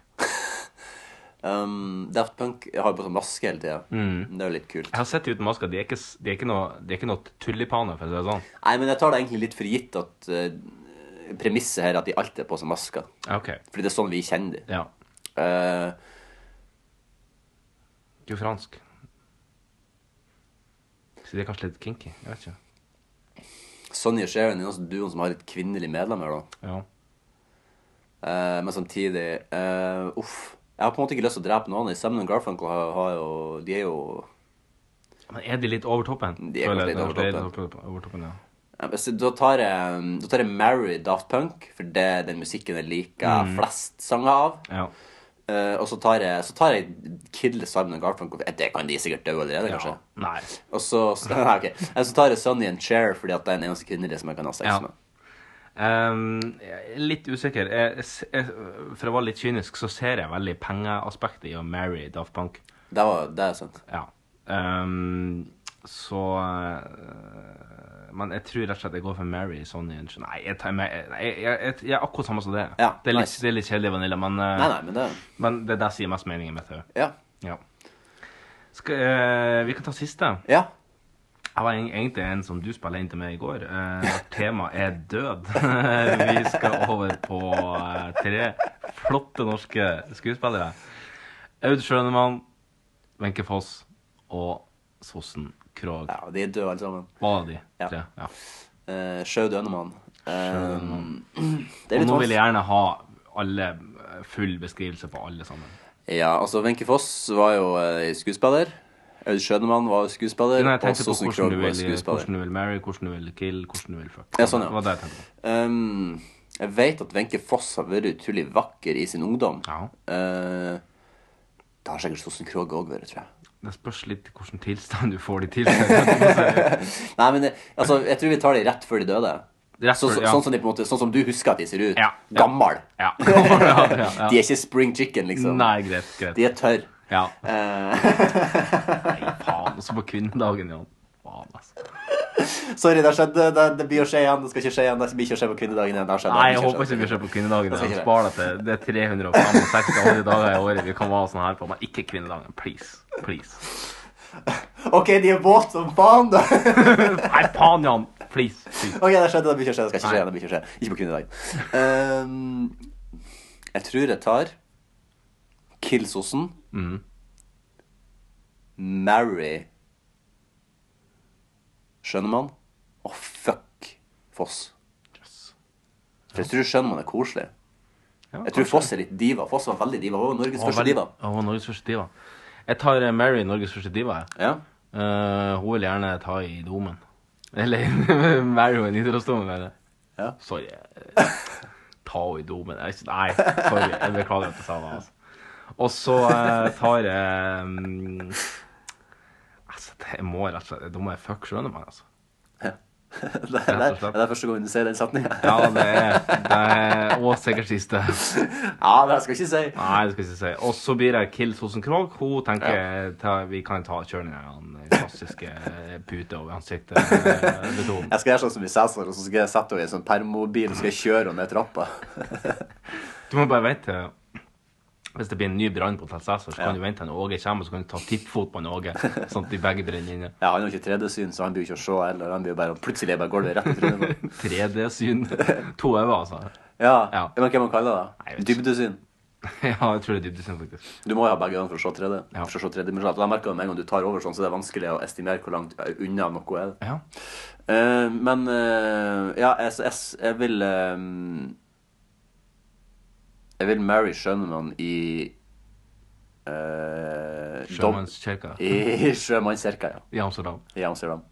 S2: Um, Daft Punk har jo på sånn maske hele tida.
S3: Mm.
S2: Det er jo litt kult.
S3: Jeg har sett de uten masker. De er ikke, s- de er ikke noe, de er ikke noe tullipaner, for å si det sånn.
S2: Nei, men jeg tar det egentlig litt for gitt at eh, premisset her er at de alltid er på seg masker.
S3: Ok.
S2: Fordi det er sånn vi kjenner dem.
S3: Ja.
S2: Eh,
S3: Du er fransk. Så de er kanskje litt kinky. Jeg vet ikke.
S2: Sonny og Sharon er også duoen som har litt kvinnelige medlemmer, da.
S3: Ja.
S2: Eh, men samtidig eh, Uff. Jeg har på en måte ikke lyst til å drepe noen. Sammen og Garfunkel har, har jo De er jo
S3: Men er de litt over toppen?
S2: De er
S3: Føler
S2: kanskje
S3: jeg-
S2: litt over
S3: de er
S2: toppen.
S3: litt over- over toppen, ja.
S2: Ja, men så Da tar jeg um, Da tar jeg Marry Daft Punk, for det er den musikken jeg liker
S3: Mhm.
S2: flest sanger av.
S3: Ja.
S2: Eh, og så tar jeg Så tar jeg Kidle Simon og Garfunkel. for Det kan de sikkert dø allerede, kanskje.
S3: Nei.
S2: Og så så- Nei, ok. Eh, Så tar jeg Sonny and Cher, fordi at det er den eneste kvinnelige som jeg kan ha sex
S3: Ja.
S2: med.
S3: Ehm, jeg er litt usikker. Jeg, jeg, jeg, for å være litt kynisk, så ser jeg veldig pengeaspektet i å marry Daft Punk.
S2: Det, var, det er sant.
S3: Ja. Ehm, så eh, Men jeg tror rett og slett jeg går for Mary Sonny and Cher. Nei, jeg, tar- jeg, jeg, jeg, jeg, jeg er akkurat samme som det. det, er litt, det er litt kjedelig vanilla, men, eh,
S2: Nei, nei, men det
S3: men det er det som gir mest mening i mitt hode.
S2: Ja.
S3: Ja. Skal, eh, vi kan ta siste.
S2: Ja.
S3: Jeg var eng- egentlig en som du spilte inn til meg i går. Eh, Temaet er død. vi skal over på eh, tre flotte norske skuespillere. Aud Schønemann, Wenche Foss og Sossen Krog.
S2: Ja, de er døde alle sammen.
S3: Var de tre? Ja.
S2: Uh, Sjau Dønemann. Um, det er
S3: Og
S2: litt
S3: nå vil jeg
S2: vanskelig.
S3: gjerne ha alle eh, full beskrivelse på alle sammen.
S2: Ja, altså Wenche Foss var jo eh, skuespiller. Aud Schønemann var jo skuespiller.
S3: Nei, jeg
S2: og
S3: tenkte på
S2: Susan
S3: hvordan
S2: Krog
S3: du,
S2: var
S3: vil,
S2: skuespiller.
S3: hvordan du vil marry, hvordan du vil kill, hvordan du vil fuck.
S2: Ja, sånn, ja.
S3: Det var det jeg tenkte på.
S2: Um, jeg vet at Wenche Foss har vært utrolig vakker i sin ungdom. Eh, det har sikkert Sossen Krogh òg vært, tror jeg.
S3: Det spørs litt hvilken tilstand du får de til. Rett
S2: Nei, men det- altså, jeg tror vi tar det rett før de døde. Så,
S3: før-
S2: så,
S3: ja.
S2: sånn, som de, på en måte, sånn som du husker at de ser ut. Gammel.
S3: Ja. Ja, ja, ja.
S2: De er ikke spring chicken, liksom.
S3: Nei, greit, greit.
S2: De er tørr.
S3: Ja.
S2: Eh,
S3: Faen, også på kvinnedagen, Jan. Faen, altså.
S2: Sorry, det skjedde. Det, det blir å skje igjen. Det skal ikke skje igjen. Det blir ikke å skje på kvinnedagen igjen. Det har skjedd.
S3: Nei,
S2: Det
S3: jeg
S2: har
S3: håper ikke vi
S2: skjedd.
S3: ser på kvinnedagen.
S2: Det skal
S3: Jeg
S2: ikke
S3: sparer det til det er 365 dager i året vi kan være sånn her på. Men ikke kvinnedagen. Please. Please.
S2: OK, de er våte som faen, da.
S3: Nei, faen, Jan. Please. please.
S2: OK, det skjedde. Det blir ikke å skje. Det skal ikke skje igjen. Det blir ikke å skje. Ikke på kvinnedagen. Ehm, jeg tror jeg tar Killsossen.
S3: Mhm.
S2: Marry Skjønnemann og fuck Foss. For jeg tror Skjønnemann er koselig. jeg tror Foss er litt diva. Foss var veldig diva. Hun var Norges
S3: Å,
S2: første
S3: veldig-
S2: diva.
S3: Å, hun var Norges første diva. Jeg tar eh, Mary, Norges første diva. jeg. Eh, hun vil gjerne ta i domen. Eller Mary og en idrettsdomen, mener jeg. Sorry. eh, Ta henne i domen. Jeg, er ikke- nei, sorry. Jeg beklager at jeg sa det. Altså. Og så eh, tar jeg mm, Altså, det må jeg rett og slett Da må jeg fuck Schønemann, altså.
S2: Det er, det er, det er første gangen du ser den setninga.
S3: Ja, det er, det er Og sikkert siste.
S2: Ja, det skal jeg ikke si.
S3: Nei, det skal jeg ikke si. Og så blir det Kill Sosen Krog. Hun tenker ta, vi kan ta kjøre ned han klassiske eh, pute over ansiktet. eh, betonen.
S2: Jeg skal gjøre sånn som i Cæsar, og så skal jeg sette henne i en sånn permobil og så skal jeg kjøre henne ned trappa.
S3: Du må bare vente til hvis det blir en ny brann på Hotell Cæsar, så kan du vente til Åge kommer, så kan du ta tippfot på en Åge, sånn at de begge brenner inne.
S2: Ja, Han har ikke 3D-syn, så han blir jo ikke å se heller. Han blir jo bare, Plutselig bare går det rett i trynet. på ham.
S3: 3D-syn. To øyne, altså.
S2: Ja. Men hva man kaller det? Dybdesyn?
S3: Ja, jeg tror det er dybdesyn, faktisk.
S2: Du må jo ha begge øynene for å se 3D. For å se 3D men jeg merker jo med en gang du tar over sånn, så det er vanskelig å estimere hvor langt unna noe er.
S3: Ja.
S2: Eh, men eh, ja, jeg, jeg, jeg vil eh, Jeg vil marry Schønemann i eh, dom-
S3: Sjømannskirka.
S2: I Sjømannskirka, ja.
S3: I Amsterdam.
S2: I Amsterdam.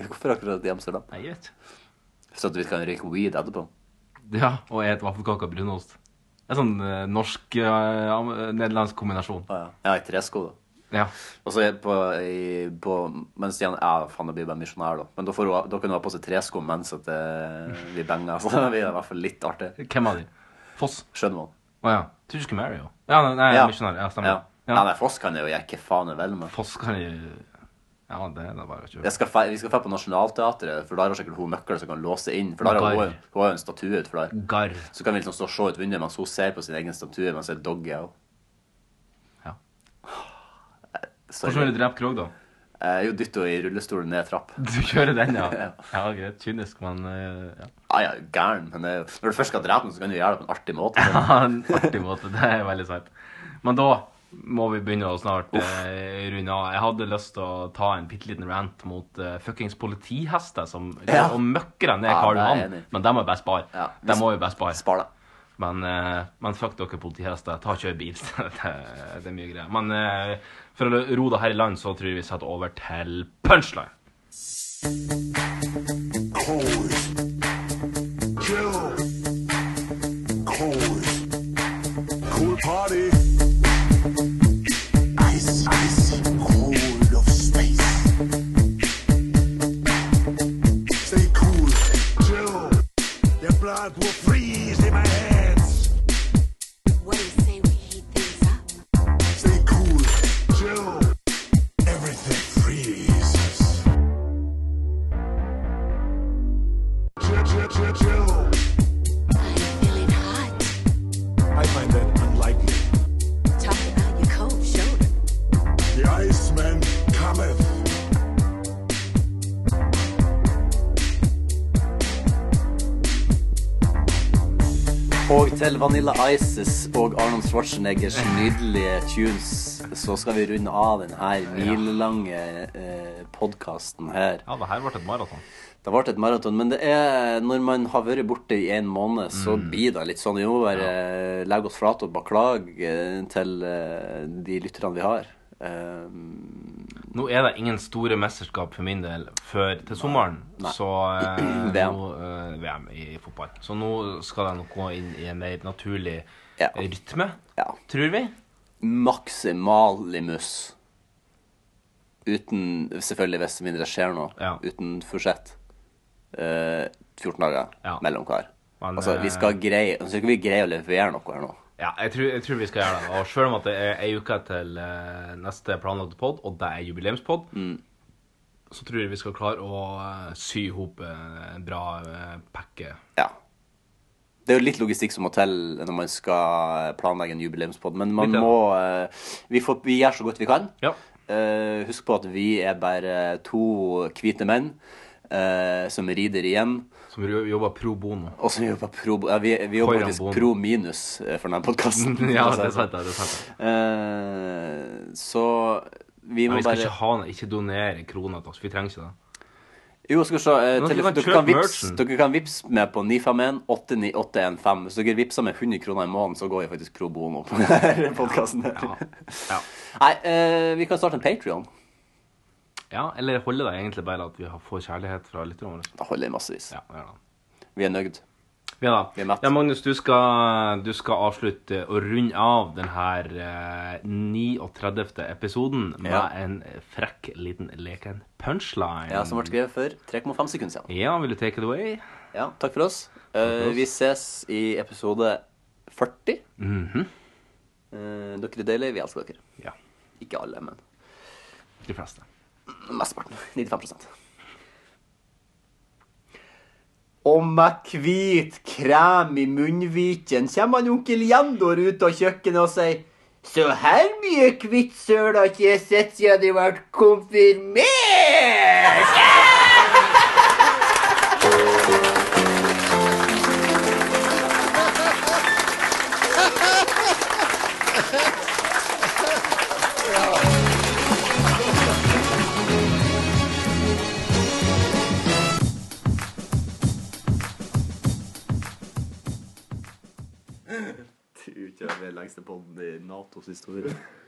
S2: Hvorfor akkurat i Amsterdam?
S3: Nei, jeg vet
S2: Så at vi kan røyke weed etterpå?
S3: Ja, og et vaffelkake og brunost. En sånn eh, norsk-nederlandsk kombinasjon.
S2: Ja, i tresko, da.
S3: Ja.
S2: Og så er på, i, på Mens Jan Ja, faen, da blir jeg bare misjonær, da. Men da, får hun, da kan hun ha på seg tresko mens at eh, vi banger. Så det blir i hvert fall litt artig.
S3: Hvem av de? Foss?
S2: Skjønner man.
S3: Å ja. Tror du skulle marry henne? Ja, nei, nei
S2: Ja.
S3: misjonær. Ja, stemmer.
S2: Ja. Nei, nei, Foss kan jeg jo gjøre hva faen jeg vil med.
S3: Foss kan jeg... Ja, det er da bare å kjøre.
S2: Jeg skal fe, vi skal dra på Nationaltheatret, for der har sikkert hun nøkler som kan låse inn. For der har hun,
S3: Garr.
S2: hun har jo en statue utenfor der.
S3: Garr.
S2: Så kan vi liksom stå og se ut vinduet mens hun ser på sin egen statue mens jeg dogger. og-
S3: Ja.
S2: Ah,
S3: Hvordan vil du drepe Krog, da?
S2: Eh, jo, dytte henne i rullestolen ned trapp.
S3: Du kjører den, ja. Ja, greit. Kynisk, men eh, ja.
S2: Ja, ja, gæren. Men det, er jo- når du først skal drepe noen, så kan du gjøre det på en artig måte.
S3: Ja, en artig måte. Det er veldig sant. Men da må vi begynne å snart eh, runde av. Jeg hadde lyst til å ta en bitte liten rant mot eh, fuckings politihester som
S2: Ja.
S3: og møkker dem ned
S2: Ja, det
S3: Karl
S2: er jeg
S3: Johan.
S2: enig i.
S3: Men dem må vi bare spare. Dem må vi bare spare.
S2: Spar
S3: det. Men, eh, men fuck dere politihester. Ta og kjør bil. det, er- det er mye greier. Men eh, for å ro det her i land, så tror jeg vi setter over til punchline.
S19: Kill. Cold. Cool party. Ice, ice, cold of space. Stay cool. Chill. The blood will freeze in my hands. What do you say we heat things up? Stay cool. Chill. Everything freezes. Chill, chill, chill, chill. I find that unlikely.
S13: Talk about your cold shoulder.
S19: The Iceman cometh.
S2: Og til Vanilla Ices og Arnold Schwarzeneggers nydelige tunes, så skal vi runde av denne milelange eh, podkasten her.
S3: Ja, det her ble et maraton.
S2: Det ble et maraton, men det er, når man har vært borte i en måned, så
S3: Mm.
S2: blir det litt sånn. Vi må bare eh, legge oss flate og beklage eh, til eh, de lytterne vi har. Eh,
S3: Nå er det ingen store mesterskap for min del før til sommeren.
S2: Nei.
S3: Så eh,
S2: VM.
S3: Nå, eh, VM i fotball. Så nå skal jeg nok gå inn i en mer naturlig rytme, tror vi.
S2: Maximalimus. Uten Selvfølgelig, hvis det mindre skjer noe. Uten forsett. Eh, 14 dager mellom hver.
S3: Men,
S2: altså, vi
S3: eh,
S2: skal greie altså, skal vi greie å levere noe her nå.
S3: Ja, jeg tror, jeg tror vi skal gjøre det. Og selv om at det er ei uke til eh, neste planlagte pod, og det er jubileumspod, så tror jeg vi skal klare å eh, sy i hop en bra eh, pakke.
S2: Ja. Det er jo litt logistikk som må til når man skal planlegge en jubileumspod, men man
S3: Litt, ja.
S2: må eh, vi, får, vi gjør så godt vi kan.
S3: Ja.
S2: Eh, husk på at vi er bare to hvite menn eh, som rider igjen.
S3: Som jobber pro bono.
S2: Og som jobber pro bo- ja, vi, vi jobber
S3: Foran
S2: faktisk
S3: bono.
S2: pro minus eh, for denne podkasten.
S3: Ja, det er sant, det er sant.
S2: Eh, så vi
S3: Nei,
S2: må
S3: vi skal
S2: bare
S3: ikke ha noe- ikke donere kroner til oss. Vi trenger ikke det.
S2: Jo, skal vi se. eh,
S3: Men dere
S2: telefon-
S3: kan
S2: dere,
S3: kjøpe
S2: kan vips,
S3: merchen.
S2: dere kan vips med på 951-89815. Hvis dere vipser med 100 kroner i måneden, så går vi faktisk pro bono på denne podkasten. Nei, eh, vi kan starte en Patrion.
S3: Ja, eller holder det egentlig bare at vi har- får kjærlighet fra lytterne våre?
S2: Det holder massevis.
S3: Ja, det gjør det.
S2: Vi er nøyd.
S3: Vi er da. ja, Magnus, du skal, du skal avslutte og runde av denne 39. episoden med
S2: Ja.
S3: en frekk liten leken punchline.
S2: Ja, som ble skrevet for 3,5 sekunder siden.
S3: Ja, vil du take it away?
S2: Ja, takk for oss.
S3: for
S2: Eh,
S3: oss.
S2: vi ses i episode 40.
S3: Mhm.
S2: Eh, dere er deilige. Vi elsker dere.
S3: Ja.
S2: Ikke alle, men
S3: De fleste.
S2: Mesteparten. 95 Og med hvit krem i munnviken kommer han onkel Jendor ut av kjøkkenet og sier Så her mye hvitt søl har ikke jeg sett siden de ble konfirmert! Du utgjør den lengste poden i Natos historie.